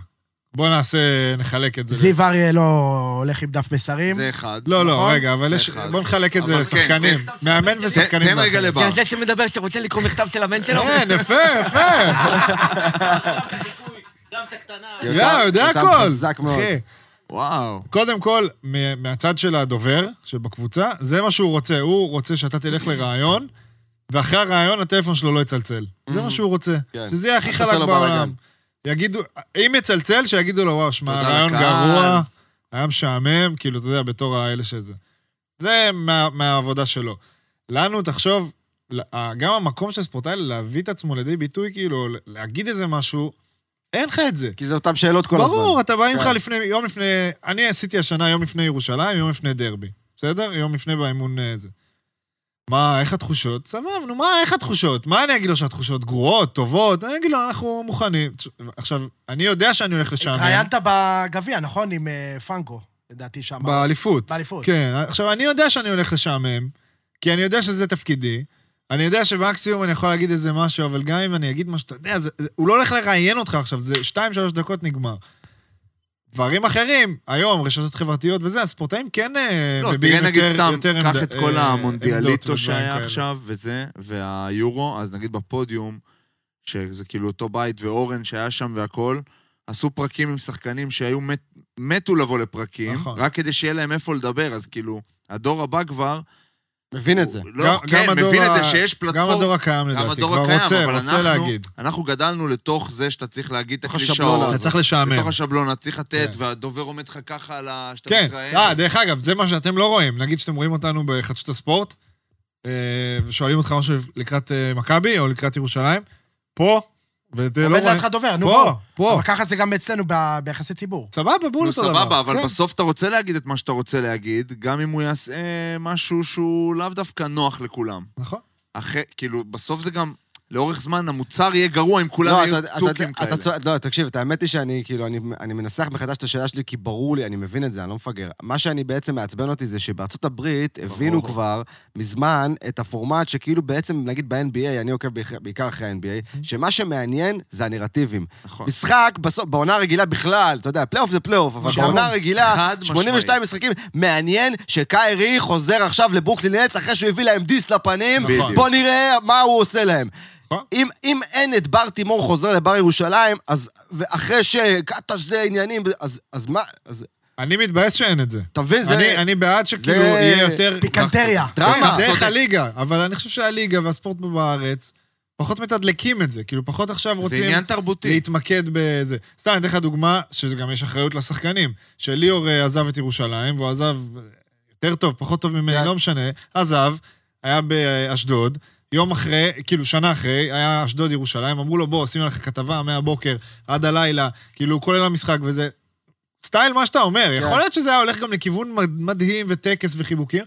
[SPEAKER 1] בוא נעשה, נחלק את זה.
[SPEAKER 4] זיו אריה לא הולך עם דף מסרים.
[SPEAKER 2] זה אחד.
[SPEAKER 1] לא, לא,
[SPEAKER 4] נכון?
[SPEAKER 1] רגע, אבל יש...
[SPEAKER 2] אחד.
[SPEAKER 1] בוא נחלק את זה
[SPEAKER 2] אבל כן,
[SPEAKER 1] לשחקנים.
[SPEAKER 2] כן.
[SPEAKER 1] מאמן
[SPEAKER 2] תן-
[SPEAKER 1] ושחקנים.
[SPEAKER 2] תן
[SPEAKER 1] זה
[SPEAKER 2] רגע
[SPEAKER 1] אחר.
[SPEAKER 2] לבר.
[SPEAKER 5] זה שמדבר, שרוצה לקרוא מכתב של הבן שלו?
[SPEAKER 1] כן, יפה, יפה.
[SPEAKER 5] גם את הקטנה.
[SPEAKER 3] יותם-
[SPEAKER 1] לא, יודע
[SPEAKER 3] יותם
[SPEAKER 1] הכל.
[SPEAKER 3] חזק מאוד.
[SPEAKER 1] אחי,
[SPEAKER 2] וואו.
[SPEAKER 1] קודם כל, מה- מהצד של הדובר שבקבוצה, זה מה שהוא רוצה. הוא רוצה שאתה תלך לראיון, ואחרי הראיון הטלפון שלו לא יצלצל. זה מה שהוא רוצה.
[SPEAKER 3] כן.
[SPEAKER 1] שזה יהיה הכי
[SPEAKER 3] אל תעשה
[SPEAKER 1] חלק
[SPEAKER 3] לו
[SPEAKER 1] בעולם.
[SPEAKER 3] בלאגן.
[SPEAKER 1] יגידו, אם יצלצל, שיגידו לו, וואו, שמע,
[SPEAKER 2] תודה
[SPEAKER 1] הרעיון
[SPEAKER 2] לקהל."
[SPEAKER 1] גרוע, היה משעמם, כאילו, אתה יודע, בתור האלה שזה. זה מה- מהעבודה שלו. לנו, תחשוב, ל- גם המקום של ספורטאי להביא את עצמו לידי ביטוי, כאילו, להגיד איזה משהו, אין לך את זה.
[SPEAKER 3] כי זה אותן שאלות כל הזמן.
[SPEAKER 1] ברור, אתה בא עם
[SPEAKER 3] כן.
[SPEAKER 1] לך לפני, יום לפני, אני עשיתי השנה יום לפני ירושלים, יום לפני דרבי, בסדר? יום לפני באימון אה, זה. מה, איך התחושות? סבבה, נו, מה, איך התחושות? מה אני אגיד לו שהתחושות גרועות, טובות? אני אגיד לו, אנחנו מוכנים. עכשיו, אני יודע שאני הולך לשעמם.
[SPEAKER 4] התראיינת בגביע, נכון? עם אה, פרנקו, לדעתי שם.
[SPEAKER 1] באליפות.
[SPEAKER 4] באליפות.
[SPEAKER 1] כן. עכשיו, אני יודע שאני הולך לשעמם, כי אני יודע שזה תפקידי. אני יודע שמקסימום אני יכול להגיד איזה משהו, אבל גם אם אני אגיד משהו, אתה יודע, זה, זה, הוא לא הולך לראיין אותך עכשיו, זה שתיים, שלוש דקות נגמר. דברים אחרים, היום, רשתות חברתיות וזה, הספורטאים כן אה,
[SPEAKER 2] לא,
[SPEAKER 1] מביעים
[SPEAKER 2] תראה נגיד
[SPEAKER 1] יותר,
[SPEAKER 2] סתם,
[SPEAKER 1] יותר
[SPEAKER 2] קח
[SPEAKER 1] עמד-
[SPEAKER 2] את
[SPEAKER 1] אה,
[SPEAKER 2] כל
[SPEAKER 1] עמדות
[SPEAKER 2] המונדיאליטו
[SPEAKER 1] ודברים
[SPEAKER 2] שהיה
[SPEAKER 1] כאלה.
[SPEAKER 2] עכשיו וזה, והיורו, אז נגיד בפודיום, שזה כאילו אותו בית ואורן שהיה שם והכול, עשו פרקים עם שחקנים שהיו מת, מתו לבוא לפרקים,
[SPEAKER 1] נכון.
[SPEAKER 2] רק כדי שיהיה להם איפה לדבר, אז כאילו, הדור הבא כבר...
[SPEAKER 3] מבין את זה.
[SPEAKER 2] הוא- לא,
[SPEAKER 1] גם-
[SPEAKER 2] כן,
[SPEAKER 1] גם
[SPEAKER 2] מבין
[SPEAKER 1] הדור
[SPEAKER 2] את זה
[SPEAKER 1] ה-
[SPEAKER 2] שיש
[SPEAKER 1] גם
[SPEAKER 2] פלטפורמה.
[SPEAKER 1] הדור הקיים
[SPEAKER 2] גם
[SPEAKER 1] לדעתי,
[SPEAKER 2] הדור
[SPEAKER 1] כבר
[SPEAKER 2] הקיים,
[SPEAKER 1] רוצה,
[SPEAKER 2] אבל
[SPEAKER 1] רוצה
[SPEAKER 2] אנחנו-
[SPEAKER 1] להגיד.
[SPEAKER 2] אנחנו גדלנו לתוך זה שאתה צריך להגיד את
[SPEAKER 3] לתוך
[SPEAKER 2] הקלישאות.
[SPEAKER 3] השבלונה
[SPEAKER 1] אתה צריך לשעמם.
[SPEAKER 2] לתוך השבלונה, צריך לתת,
[SPEAKER 1] כן.
[SPEAKER 2] והדובר עומד לך ככה על ה... שאתה
[SPEAKER 1] כן,
[SPEAKER 2] מתראיין.
[SPEAKER 1] אה, דרך אגב, זה מה שאתם לא רואים. נגיד שאתם רואים אותנו בחדשות הספורט, אה, ושואלים אותך משהו לקראת אה, מכבי או לקראת ירושלים, פה, ואתה לא
[SPEAKER 4] עומד
[SPEAKER 1] רואה...
[SPEAKER 4] לידך דובר, נו
[SPEAKER 1] פה,
[SPEAKER 4] בוא.
[SPEAKER 1] פה.
[SPEAKER 4] אבל ככה זה גם אצלנו ב- ביחסי ציבור.
[SPEAKER 1] סבבה, בול
[SPEAKER 2] נו,
[SPEAKER 1] אותו דבר.
[SPEAKER 2] סבבה, אבל
[SPEAKER 1] כן.
[SPEAKER 2] בסוף אתה רוצה להגיד את מה שאתה רוצה להגיד, גם אם הוא יעשה משהו שהוא לאו דווקא נוח לכולם.
[SPEAKER 1] נכון.
[SPEAKER 2] אחרי, כאילו, בסוף זה גם, לאורך זמן המוצר יהיה גרוע אם כולם
[SPEAKER 3] לא,
[SPEAKER 2] יהיו
[SPEAKER 3] אתה- אתה-
[SPEAKER 2] טוקים
[SPEAKER 3] אתה-
[SPEAKER 2] כאלה.
[SPEAKER 3] אתה צודק, לא, תקשיב, את האמת היא שאני, כאילו, אני- אני מנסח מחדש את השאלה שלי, כי ברור לי, אני מבין את זה, אני לא מפגר. מה שאני בעצם מעצבן אותי זה שבארצות הברית הבינו כבר מזמן את הפורמט שכאילו בעצם, נגיד ב-NBA, אני עוקב בעיקר- בעיקר אחרי ה-NBA,
[SPEAKER 2] Mm-hmm.
[SPEAKER 3] שמה שמעניין זה הנרטיבים.
[SPEAKER 2] נכון.
[SPEAKER 3] משחק, בסוף, בעונה הרגילה בכלל, אתה יודע, פלייאוף זה פלייאוף, אבל בעונה הרגילה,
[SPEAKER 2] נכון. חד משמעית.
[SPEAKER 3] 82 משחקים, מעניין שקיירי חוזר עכשיו לברוקלין נץ אחרי שהוא הביא להם דיס לפנים,
[SPEAKER 2] נכון.
[SPEAKER 3] בוא נראה מה הוא עושה להם.
[SPEAKER 1] נכון.
[SPEAKER 3] אם, אם אין את בר תימור חוזר לבר ירושלים, אז אחרי שקטש זה עניינים, אז, אז מה, אז
[SPEAKER 1] אני מתבאס שאין את זה.
[SPEAKER 3] אתה מבין, זה...
[SPEAKER 1] אני- אני בעד שכאילו
[SPEAKER 3] זה-
[SPEAKER 1] יהיה יותר...
[SPEAKER 4] פיקנטריה.
[SPEAKER 3] דרמה.
[SPEAKER 1] דרך
[SPEAKER 2] צודק.
[SPEAKER 1] הליגה, אבל אני חושב שהליגה והספורט פה בארץ פחות מתדלקים את זה, כאילו פחות עכשיו
[SPEAKER 2] זה
[SPEAKER 1] רוצים...
[SPEAKER 2] עניין תרבותי.
[SPEAKER 1] להתמקד בזה. סתם, אני אתן לך דוגמה, שגם יש אחריות לשחקנים. שליאור אה, עזב את ירושלים, והוא עזב אה, יותר טוב, פחות טוב ממני,
[SPEAKER 3] כן.
[SPEAKER 1] לא משנה, עזב, היה באשדוד, יום אחרי, כאילו שנה אחרי, היה אשדוד ירושלים, אמרו לו, בוא, עשינו לך כתבה מהבוקר עד הלילה, כאילו, כולל המשחק וזה. סטייל, מה שאתה
[SPEAKER 3] כן.
[SPEAKER 1] אומר, יכול להיות שזה היה הולך גם לכיוון מד- מדהים וטקס וחיבוקים,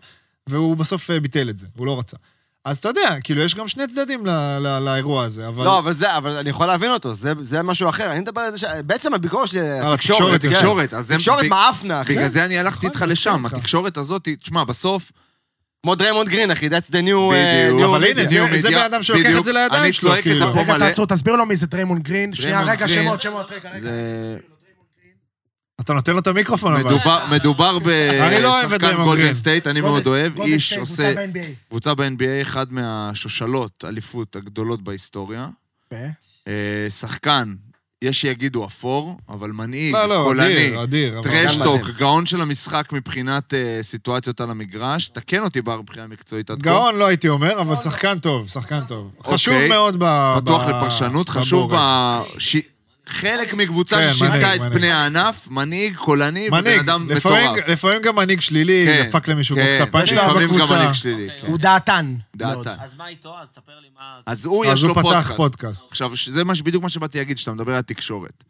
[SPEAKER 1] והוא בסוף אה, ביטל את זה, הוא לא רצה. אז אתה יודע, כאילו, יש גם שני צדדים ל- ל- לאירוע הזה, אבל...
[SPEAKER 3] לא, אבל זה, אבל אני יכול להבין אותו, זה, זה משהו אחר. אני מדבר על זה ש... בעצם הביקורת שלי...
[SPEAKER 1] התקשורת,
[SPEAKER 3] כן.
[SPEAKER 2] תקשורת, אז הם...
[SPEAKER 3] תקשורת
[SPEAKER 2] ב-
[SPEAKER 3] מעפנה, אחי.
[SPEAKER 2] בגלל זה אני הלכתי
[SPEAKER 1] נכון,
[SPEAKER 2] איתך
[SPEAKER 1] מסכים
[SPEAKER 2] לשם,
[SPEAKER 1] איתך.
[SPEAKER 2] התקשורת הזאת, היא- תשמע, בסוף...
[SPEAKER 3] כמו דריימונד גרין, אחי, that's the new... אה,
[SPEAKER 2] בדיוק.
[SPEAKER 3] new
[SPEAKER 1] אבל הנה,
[SPEAKER 3] media.
[SPEAKER 1] זה-
[SPEAKER 2] בדיוק,
[SPEAKER 1] זה בן אדם שלוקח
[SPEAKER 2] בדיוק.
[SPEAKER 1] את זה לידיים שלו,
[SPEAKER 2] אני
[SPEAKER 1] כאילו.
[SPEAKER 2] צועק את
[SPEAKER 4] רגע,
[SPEAKER 2] הפה מלא.
[SPEAKER 4] תעצור, תסביר לו מי זה דריימונד גרין. שנייה,
[SPEAKER 2] דריימונד
[SPEAKER 4] רגע,
[SPEAKER 2] לא גרין.
[SPEAKER 4] שמות, שמות, רגע, רגע.
[SPEAKER 2] זה-
[SPEAKER 1] אתה נותן לו את המיקרופון, אבל...
[SPEAKER 2] מדובר- מדובר
[SPEAKER 1] לא, אני לא אוהב את
[SPEAKER 2] בשחקן
[SPEAKER 1] דיימון
[SPEAKER 2] גולדן
[SPEAKER 1] גרין.
[SPEAKER 2] סטייט, אני מאוד אוהב,
[SPEAKER 4] גולדן
[SPEAKER 2] איש
[SPEAKER 4] סטייט,
[SPEAKER 2] עושה...
[SPEAKER 4] קבוצה ב-NBA.
[SPEAKER 2] קבוצה ב-NBA, אחד מהשושלות אליפות הגדולות בהיסטוריה. אה, שחקן, יש שיגידו אפור, אבל מנהיג,
[SPEAKER 1] לא, לא,
[SPEAKER 2] קולני,
[SPEAKER 1] אדיר, אדיר. אבל-
[SPEAKER 2] טרשטוק,
[SPEAKER 3] מדהים.
[SPEAKER 2] גאון של המשחק מבחינת אה, סיטואציות על המגרש. תקן אותי בר מבחינה מקצועית עד כה.
[SPEAKER 1] גאון לא הייתי אומר, אבל שחקן טוב, שחקן טוב.
[SPEAKER 2] אוקיי.
[SPEAKER 1] חשוב מאוד ב...
[SPEAKER 2] פתוח
[SPEAKER 1] ב-
[SPEAKER 2] לפרשנות, חשוב
[SPEAKER 1] בבורג.
[SPEAKER 2] ב... ש- חלק
[SPEAKER 1] כן,
[SPEAKER 2] מקבוצה
[SPEAKER 1] מנהיג,
[SPEAKER 2] ששינתה את
[SPEAKER 1] מנהיג.
[SPEAKER 2] פני הענף, מנהיג, קולני, ובן
[SPEAKER 1] מנהיג,
[SPEAKER 2] אדם
[SPEAKER 1] לפעמים-
[SPEAKER 2] מטורף.
[SPEAKER 1] לפעמים גם מנהיג שלילי,
[SPEAKER 2] כן,
[SPEAKER 1] דפק למישהו
[SPEAKER 2] כן,
[SPEAKER 1] בוקס הפאנצ'ר
[SPEAKER 2] לפעמים גם
[SPEAKER 1] בקבוצה.
[SPEAKER 2] מנהיג שלילי.
[SPEAKER 5] אוקיי.
[SPEAKER 2] כן.
[SPEAKER 4] הוא דעתן.
[SPEAKER 2] דעתן.
[SPEAKER 4] מאוד.
[SPEAKER 5] אז מה איתו? אז תספר לי מה...
[SPEAKER 2] אז הוא,
[SPEAKER 1] אז
[SPEAKER 2] יש
[SPEAKER 1] הוא
[SPEAKER 2] לו
[SPEAKER 1] פתח
[SPEAKER 2] פודקאסט.
[SPEAKER 1] פודקאסט.
[SPEAKER 2] עכשיו, ש- זה מה ש- בדיוק מה שבאתי להגיד, שאתה מדבר על תקשורת.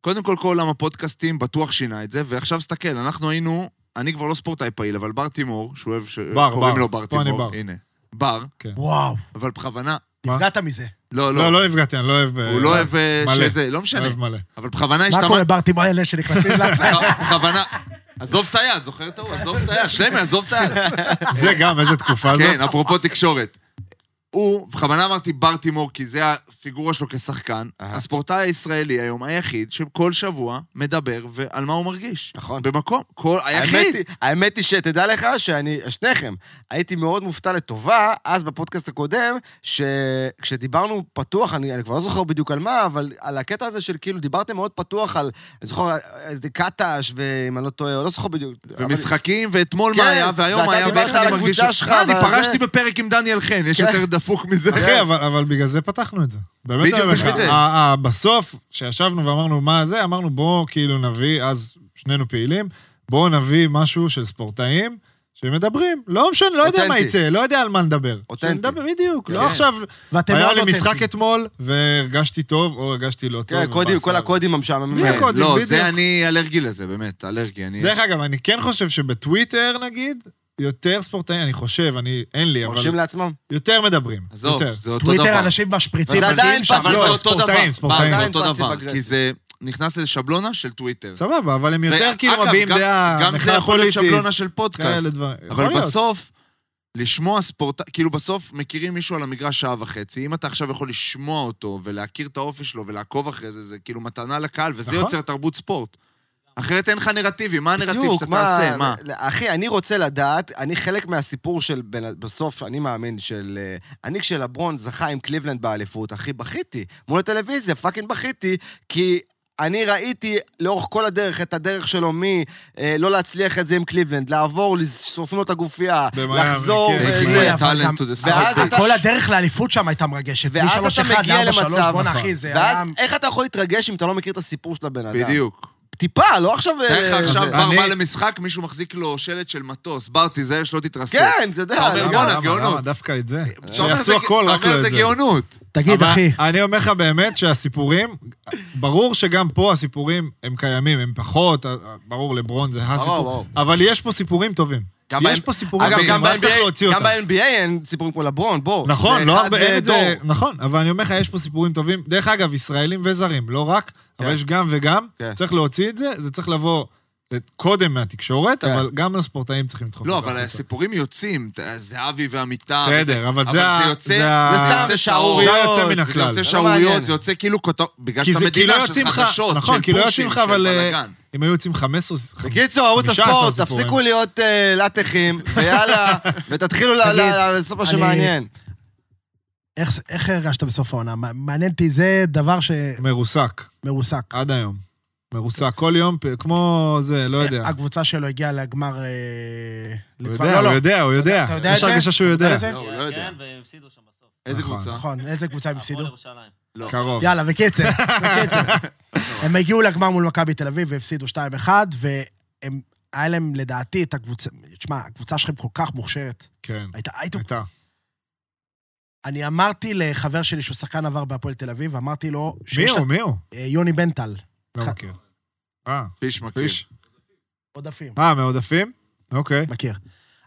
[SPEAKER 2] קודם כל, כל עולם הפודקאסטים בטוח שינה את זה, ועכשיו תסתכל, אנחנו היינו, אני כבר לא ספורטאי פעיל, אבל בר תימור, שהוא אוהב, ש-
[SPEAKER 1] בר,
[SPEAKER 2] קוראים
[SPEAKER 1] בר.
[SPEAKER 2] לו בר
[SPEAKER 1] פה אני
[SPEAKER 2] תימור,
[SPEAKER 1] בר.
[SPEAKER 2] הנה. בר,
[SPEAKER 4] וואו,
[SPEAKER 2] אבל בכוונה,
[SPEAKER 1] מה?
[SPEAKER 4] נפגעת מזה.
[SPEAKER 2] לא,
[SPEAKER 1] לא,
[SPEAKER 2] לא,
[SPEAKER 1] לא נפגעתי, אני לא אוהב...
[SPEAKER 2] הוא לא אוהב אה,
[SPEAKER 1] מלא.
[SPEAKER 2] שזה, לא
[SPEAKER 1] לא
[SPEAKER 2] משנה,
[SPEAKER 1] אוהב מלא.
[SPEAKER 2] אבל בכוונה
[SPEAKER 4] מה
[SPEAKER 2] השתמשתי...
[SPEAKER 4] קורה, ברטי, מה
[SPEAKER 2] *laughs*
[SPEAKER 4] אלה שנכנסים לך?
[SPEAKER 2] בכוונה... עזוב את היד, זוכר את ההוא? עזוב את היד, שלמי, עזוב את היד.
[SPEAKER 1] זה גם, איזה תקופה זאת.
[SPEAKER 2] כן, אפרופו תקשורת. הוא, בכוונה אמרתי בר תימור, כי זה הפיגורה שלו כשחקן.
[SPEAKER 3] אהה.
[SPEAKER 2] הספורטאי הישראלי היום היחיד שכל שבוע מדבר ועל מה הוא מרגיש.
[SPEAKER 3] נכון.
[SPEAKER 2] במקום, כל
[SPEAKER 3] האמת
[SPEAKER 2] היחיד.
[SPEAKER 3] היא- האמת היא שתדע לך שאני, שניכם, הייתי מאוד מופתע לטובה אז בפודקאסט הקודם, שכשדיברנו פתוח, אני, אני כבר לא זוכר בדיוק על מה, אבל על הקטע הזה של כאילו דיברתם מאוד פתוח על, אני זוכר, אה, קטש, ואם אני לא טועה, אני לא זוכר בדיוק.
[SPEAKER 2] ומשחקים, ואתמול
[SPEAKER 3] כן,
[SPEAKER 2] מה היה, והיום
[SPEAKER 3] ואתה
[SPEAKER 2] היה,
[SPEAKER 3] דיברת
[SPEAKER 2] ואיך
[SPEAKER 3] על
[SPEAKER 2] אני מרגיש...
[SPEAKER 3] הקבוצה שלך,
[SPEAKER 2] אה, אני
[SPEAKER 3] ועל זה.
[SPEAKER 2] פרשתי בפרק עם דניאל חן, יש
[SPEAKER 3] כן.
[SPEAKER 2] יותר דפוק מזה.
[SPEAKER 1] אחי, אבל, אבל בגלל זה פתחנו את זה. באמת
[SPEAKER 2] כן. בדיוק,
[SPEAKER 1] אני אומר לך,
[SPEAKER 2] בשביל זה.
[SPEAKER 1] ה- ה- בסוף, כשישבנו ואמרנו מה זה, אמרנו בואו כאילו נביא, אז שנינו פעילים, בואו נביא משהו של ספורטאים שמדברים. לא משנה, לא יודע מה
[SPEAKER 3] אותנטי.
[SPEAKER 1] יצא, לא יודע על מה נדבר.
[SPEAKER 3] אותנטי.
[SPEAKER 1] שנדבר, בדיוק, לא
[SPEAKER 2] כן.
[SPEAKER 1] עכשיו,
[SPEAKER 4] ואתם
[SPEAKER 1] היה
[SPEAKER 4] מאוד
[SPEAKER 1] לי משחק
[SPEAKER 4] אותנטיים.
[SPEAKER 1] אתמול והרגשתי טוב או הרגשתי לא
[SPEAKER 3] כן,
[SPEAKER 1] טוב.
[SPEAKER 3] הקודים,
[SPEAKER 1] ובאסה.
[SPEAKER 3] כל הקודים המשעממים.
[SPEAKER 1] בלי
[SPEAKER 2] כן,
[SPEAKER 3] האלה.
[SPEAKER 1] הקודים,
[SPEAKER 2] לא,
[SPEAKER 1] בדיוק.
[SPEAKER 2] זה אני אלרגי לזה, באמת, אלרגי. אני-
[SPEAKER 1] דרך אגב, אני כן חושב שבטוויטר נגיד, יותר ספורטאים, אני חושב, אני, אין לי, אבל
[SPEAKER 3] מרשים לעצמם?
[SPEAKER 1] יותר מדברים.
[SPEAKER 2] עזוב,
[SPEAKER 1] יותר.
[SPEAKER 2] זה אותו
[SPEAKER 4] טוויטר,
[SPEAKER 2] דבר.
[SPEAKER 4] אנשים משפריצים.
[SPEAKER 3] וזה עדיין
[SPEAKER 4] שם.
[SPEAKER 2] אבל
[SPEAKER 1] לא,
[SPEAKER 2] זה אותו דבר.
[SPEAKER 1] ספורטאים,
[SPEAKER 2] בר,
[SPEAKER 1] ספורטאים.
[SPEAKER 2] זה
[SPEAKER 3] עדיין
[SPEAKER 2] אותו דבר,
[SPEAKER 3] פאסיב
[SPEAKER 2] כי זה נכנס לשבלונה של טוויטר.
[SPEAKER 1] סבבה, אבל הם יותר
[SPEAKER 2] ואגב,
[SPEAKER 1] כאילו מביעים
[SPEAKER 2] גם-
[SPEAKER 1] דעה,
[SPEAKER 2] גם זה
[SPEAKER 1] מחאה
[SPEAKER 2] יכול להיות לא
[SPEAKER 1] פוליטית,
[SPEAKER 2] שבלונה של פודקאסט.
[SPEAKER 1] כאלה דברים. יכול
[SPEAKER 2] אבל
[SPEAKER 1] להיות.
[SPEAKER 2] בסוף, לשמוע ספורט... כאילו בסוף מכירים מישהו על המגרש שעה וחצי, אם אתה עכשיו יכול לשמוע אותו ולהכיר את האופי שלו ולעקוב אחרי זה, זה כאילו מתנה לקהל, וזה
[SPEAKER 1] נכון.
[SPEAKER 2] יוצר תרבות ספורט. אחרת אין לך נרטיבים, מה הנרטיב
[SPEAKER 3] בדיוק,
[SPEAKER 2] שאתה תעשה? מה?
[SPEAKER 3] אחי, אני רוצה לדעת, אני חלק מהסיפור של, בן- בסוף, אני מאמין, של... אה, אני כשלברון זכה עם קליבלנד באליפות, אחי, בכיתי. מול הטלוויזיה, פאקינג בכיתי, כי... אני ראיתי לאורך כל הדרך את הדרך שלו מלא אה, לא להצליח את זה עם קליבלנד, לעבור, לז- שורפים לו את הגופייה,
[SPEAKER 1] במיאמי,
[SPEAKER 3] לחזור,
[SPEAKER 1] כן,
[SPEAKER 3] אה,
[SPEAKER 1] כן.
[SPEAKER 2] Take
[SPEAKER 3] זה.
[SPEAKER 2] my
[SPEAKER 4] אבל
[SPEAKER 2] talent
[SPEAKER 4] גם-
[SPEAKER 2] to the
[SPEAKER 3] ואז
[SPEAKER 2] side.
[SPEAKER 3] אתה-
[SPEAKER 4] כל הדרך לאליפות שם הייתה מרגשת.
[SPEAKER 3] ואז אתה
[SPEAKER 4] מ-3-1
[SPEAKER 3] מגיע
[SPEAKER 4] ל-4-3,
[SPEAKER 3] למצב,
[SPEAKER 4] בואנה
[SPEAKER 1] נכון.
[SPEAKER 4] אחי, זה היה...
[SPEAKER 3] ואז איך אתה יכול להתרגש אם אתה לא מכיר את הסיפור של הבן אדם?
[SPEAKER 2] בדיוק.
[SPEAKER 3] טיפה, לא עכשיו...
[SPEAKER 2] תאר
[SPEAKER 3] אה,
[SPEAKER 2] לך עכשיו
[SPEAKER 3] זה.
[SPEAKER 2] בר
[SPEAKER 1] אני-
[SPEAKER 2] בא למשחק, מישהו מחזיק לו שלט של מטוס, בר תיזהר שלא תתרסק.
[SPEAKER 3] כן, אתה יודע.
[SPEAKER 2] אתה אומר,
[SPEAKER 3] גם-
[SPEAKER 2] בואנה,
[SPEAKER 1] למה,
[SPEAKER 2] גאונות.
[SPEAKER 1] למה דווקא את זה?
[SPEAKER 2] אתה אומר, זה-
[SPEAKER 1] שיעשו הכל, רק
[SPEAKER 2] אתה
[SPEAKER 1] לא
[SPEAKER 2] אומר,
[SPEAKER 1] את זה.
[SPEAKER 2] זה גאונות.
[SPEAKER 4] תגיד,
[SPEAKER 1] אבל
[SPEAKER 4] אחי,
[SPEAKER 1] אני אומר לך באמת שהסיפורים, ברור שגם פה הסיפורים הם קיימים, הם פחות, אה, אה, ברור, לברון זה
[SPEAKER 3] ברור.
[SPEAKER 1] הסיפור, אבל יש פה סיפורים טובים.
[SPEAKER 2] גם
[SPEAKER 1] יש
[SPEAKER 2] ב-
[SPEAKER 1] פה סיפורים
[SPEAKER 3] אגב,
[SPEAKER 1] טובים,
[SPEAKER 3] גם
[SPEAKER 1] רק צריך
[SPEAKER 3] ב-NBA
[SPEAKER 1] להוציא
[SPEAKER 3] גם
[SPEAKER 1] אותם.
[SPEAKER 3] ב-NBA אין סיפורים כמו לברון, בוא.
[SPEAKER 1] נכון,
[SPEAKER 3] זה
[SPEAKER 1] לא
[SPEAKER 3] אחד
[SPEAKER 1] הרבה, אין את זה,
[SPEAKER 3] בדור.
[SPEAKER 1] נכון, אבל אני אומר לך, יש פה סיפורים טובים. דרך אגב, ישראלים וזרים, לא רק, אבל
[SPEAKER 3] כן.
[SPEAKER 1] יש גם וגם,
[SPEAKER 3] כן.
[SPEAKER 1] צריך להוציא את זה, זה צריך לבוא אה, קודם מהתקשורת,
[SPEAKER 3] כן.
[SPEAKER 1] אבל גם הספורטאים צריכים לדחוף
[SPEAKER 2] לא,
[SPEAKER 1] את זה.
[SPEAKER 2] אבל
[SPEAKER 1] החוצה.
[SPEAKER 2] הסיפורים יוצאים, ת- זהבי והמיטה. וזה-
[SPEAKER 1] בסדר, אבל זה ה-
[SPEAKER 2] יוצא-
[SPEAKER 1] זה ה-
[SPEAKER 3] זה סתם,
[SPEAKER 2] יוצא
[SPEAKER 3] זה
[SPEAKER 1] זה
[SPEAKER 3] שערוריות.
[SPEAKER 1] היוצא מן
[SPEAKER 2] זה
[SPEAKER 1] הכלל.
[SPEAKER 2] יוצא
[SPEAKER 3] לא מעניין.
[SPEAKER 2] שערוריות, זה יוצא כאילו כותב... בגלל
[SPEAKER 1] כי
[SPEAKER 2] שאתה
[SPEAKER 1] זה- כי לא
[SPEAKER 2] מדינה
[SPEAKER 1] יוצאים
[SPEAKER 2] של
[SPEAKER 1] לך,
[SPEAKER 2] חדשות,
[SPEAKER 1] נכון, כי
[SPEAKER 2] של
[SPEAKER 1] לא יוצאים
[SPEAKER 2] פושים,
[SPEAKER 1] לך,
[SPEAKER 2] של
[SPEAKER 1] אבל אה,
[SPEAKER 2] בלאגן.
[SPEAKER 1] אם היו יוצאים 15...
[SPEAKER 3] בקיצור, ערוץ
[SPEAKER 1] 15
[SPEAKER 3] הספורט,
[SPEAKER 1] סיפורים.
[SPEAKER 3] תפסיקו להיות אה, לטחים, *laughs* ויאללה, ותתחילו ל-
[SPEAKER 4] תגיד,
[SPEAKER 3] ל- לעשות מה
[SPEAKER 4] אני-
[SPEAKER 3] שמעניין.
[SPEAKER 4] איך- איך הרגשת בסוף העונה? מע- מעניין אותי, זה דבר
[SPEAKER 1] מרוסק,
[SPEAKER 4] שמרוסק.
[SPEAKER 1] עד היום. מרוסק, כל יום, פ- כמו זה, לא יודע.
[SPEAKER 4] הקבוצה שלו הגיעה לגמר... אה,
[SPEAKER 1] הוא
[SPEAKER 4] לכבר-
[SPEAKER 1] יודע,
[SPEAKER 4] אה, לא,
[SPEAKER 1] הוא
[SPEAKER 4] לא.
[SPEAKER 1] יודע, הוא יודע.
[SPEAKER 4] אתה יודע את
[SPEAKER 1] יש
[SPEAKER 4] זה?
[SPEAKER 1] הרגשה שהוא
[SPEAKER 4] אתה
[SPEAKER 1] יודע.
[SPEAKER 4] יודע את
[SPEAKER 2] לא, הוא לא יודע.
[SPEAKER 5] כן, והפסידו שם בסוף.
[SPEAKER 2] איזה
[SPEAKER 1] נכון.
[SPEAKER 2] קבוצה?
[SPEAKER 4] נכון, איזה קבוצה הם הפסידו?
[SPEAKER 5] הפועל ירושלים.
[SPEAKER 2] לא.
[SPEAKER 1] קרוב.
[SPEAKER 4] יאללה,
[SPEAKER 1] *laughs*
[SPEAKER 4] בקיצר, בקיצר. הם הגיעו לגמר מול מכבי תל אביב והפסידו 2-1, והם... היה להם לדעתי את הקבוצה, תשמע, הקבוצה שלכם כל כך מוכשרת.
[SPEAKER 1] כן,
[SPEAKER 4] הייתה, הייתם,
[SPEAKER 1] הייתה.
[SPEAKER 4] אני אמרתי לחבר שלי שהוא שחקן עבר בהפועל תל אביב, אמרתי לו,
[SPEAKER 1] מי
[SPEAKER 4] שיש
[SPEAKER 1] הוא?
[SPEAKER 4] לה-
[SPEAKER 1] מי הוא?
[SPEAKER 4] אה, יוני בנטל,
[SPEAKER 1] לא
[SPEAKER 4] ח-
[SPEAKER 1] מכיר. אה,
[SPEAKER 2] פיש מכיר.
[SPEAKER 1] פיש.
[SPEAKER 4] עודפים,
[SPEAKER 1] אה, מעודפים? אוקיי.
[SPEAKER 4] מכיר.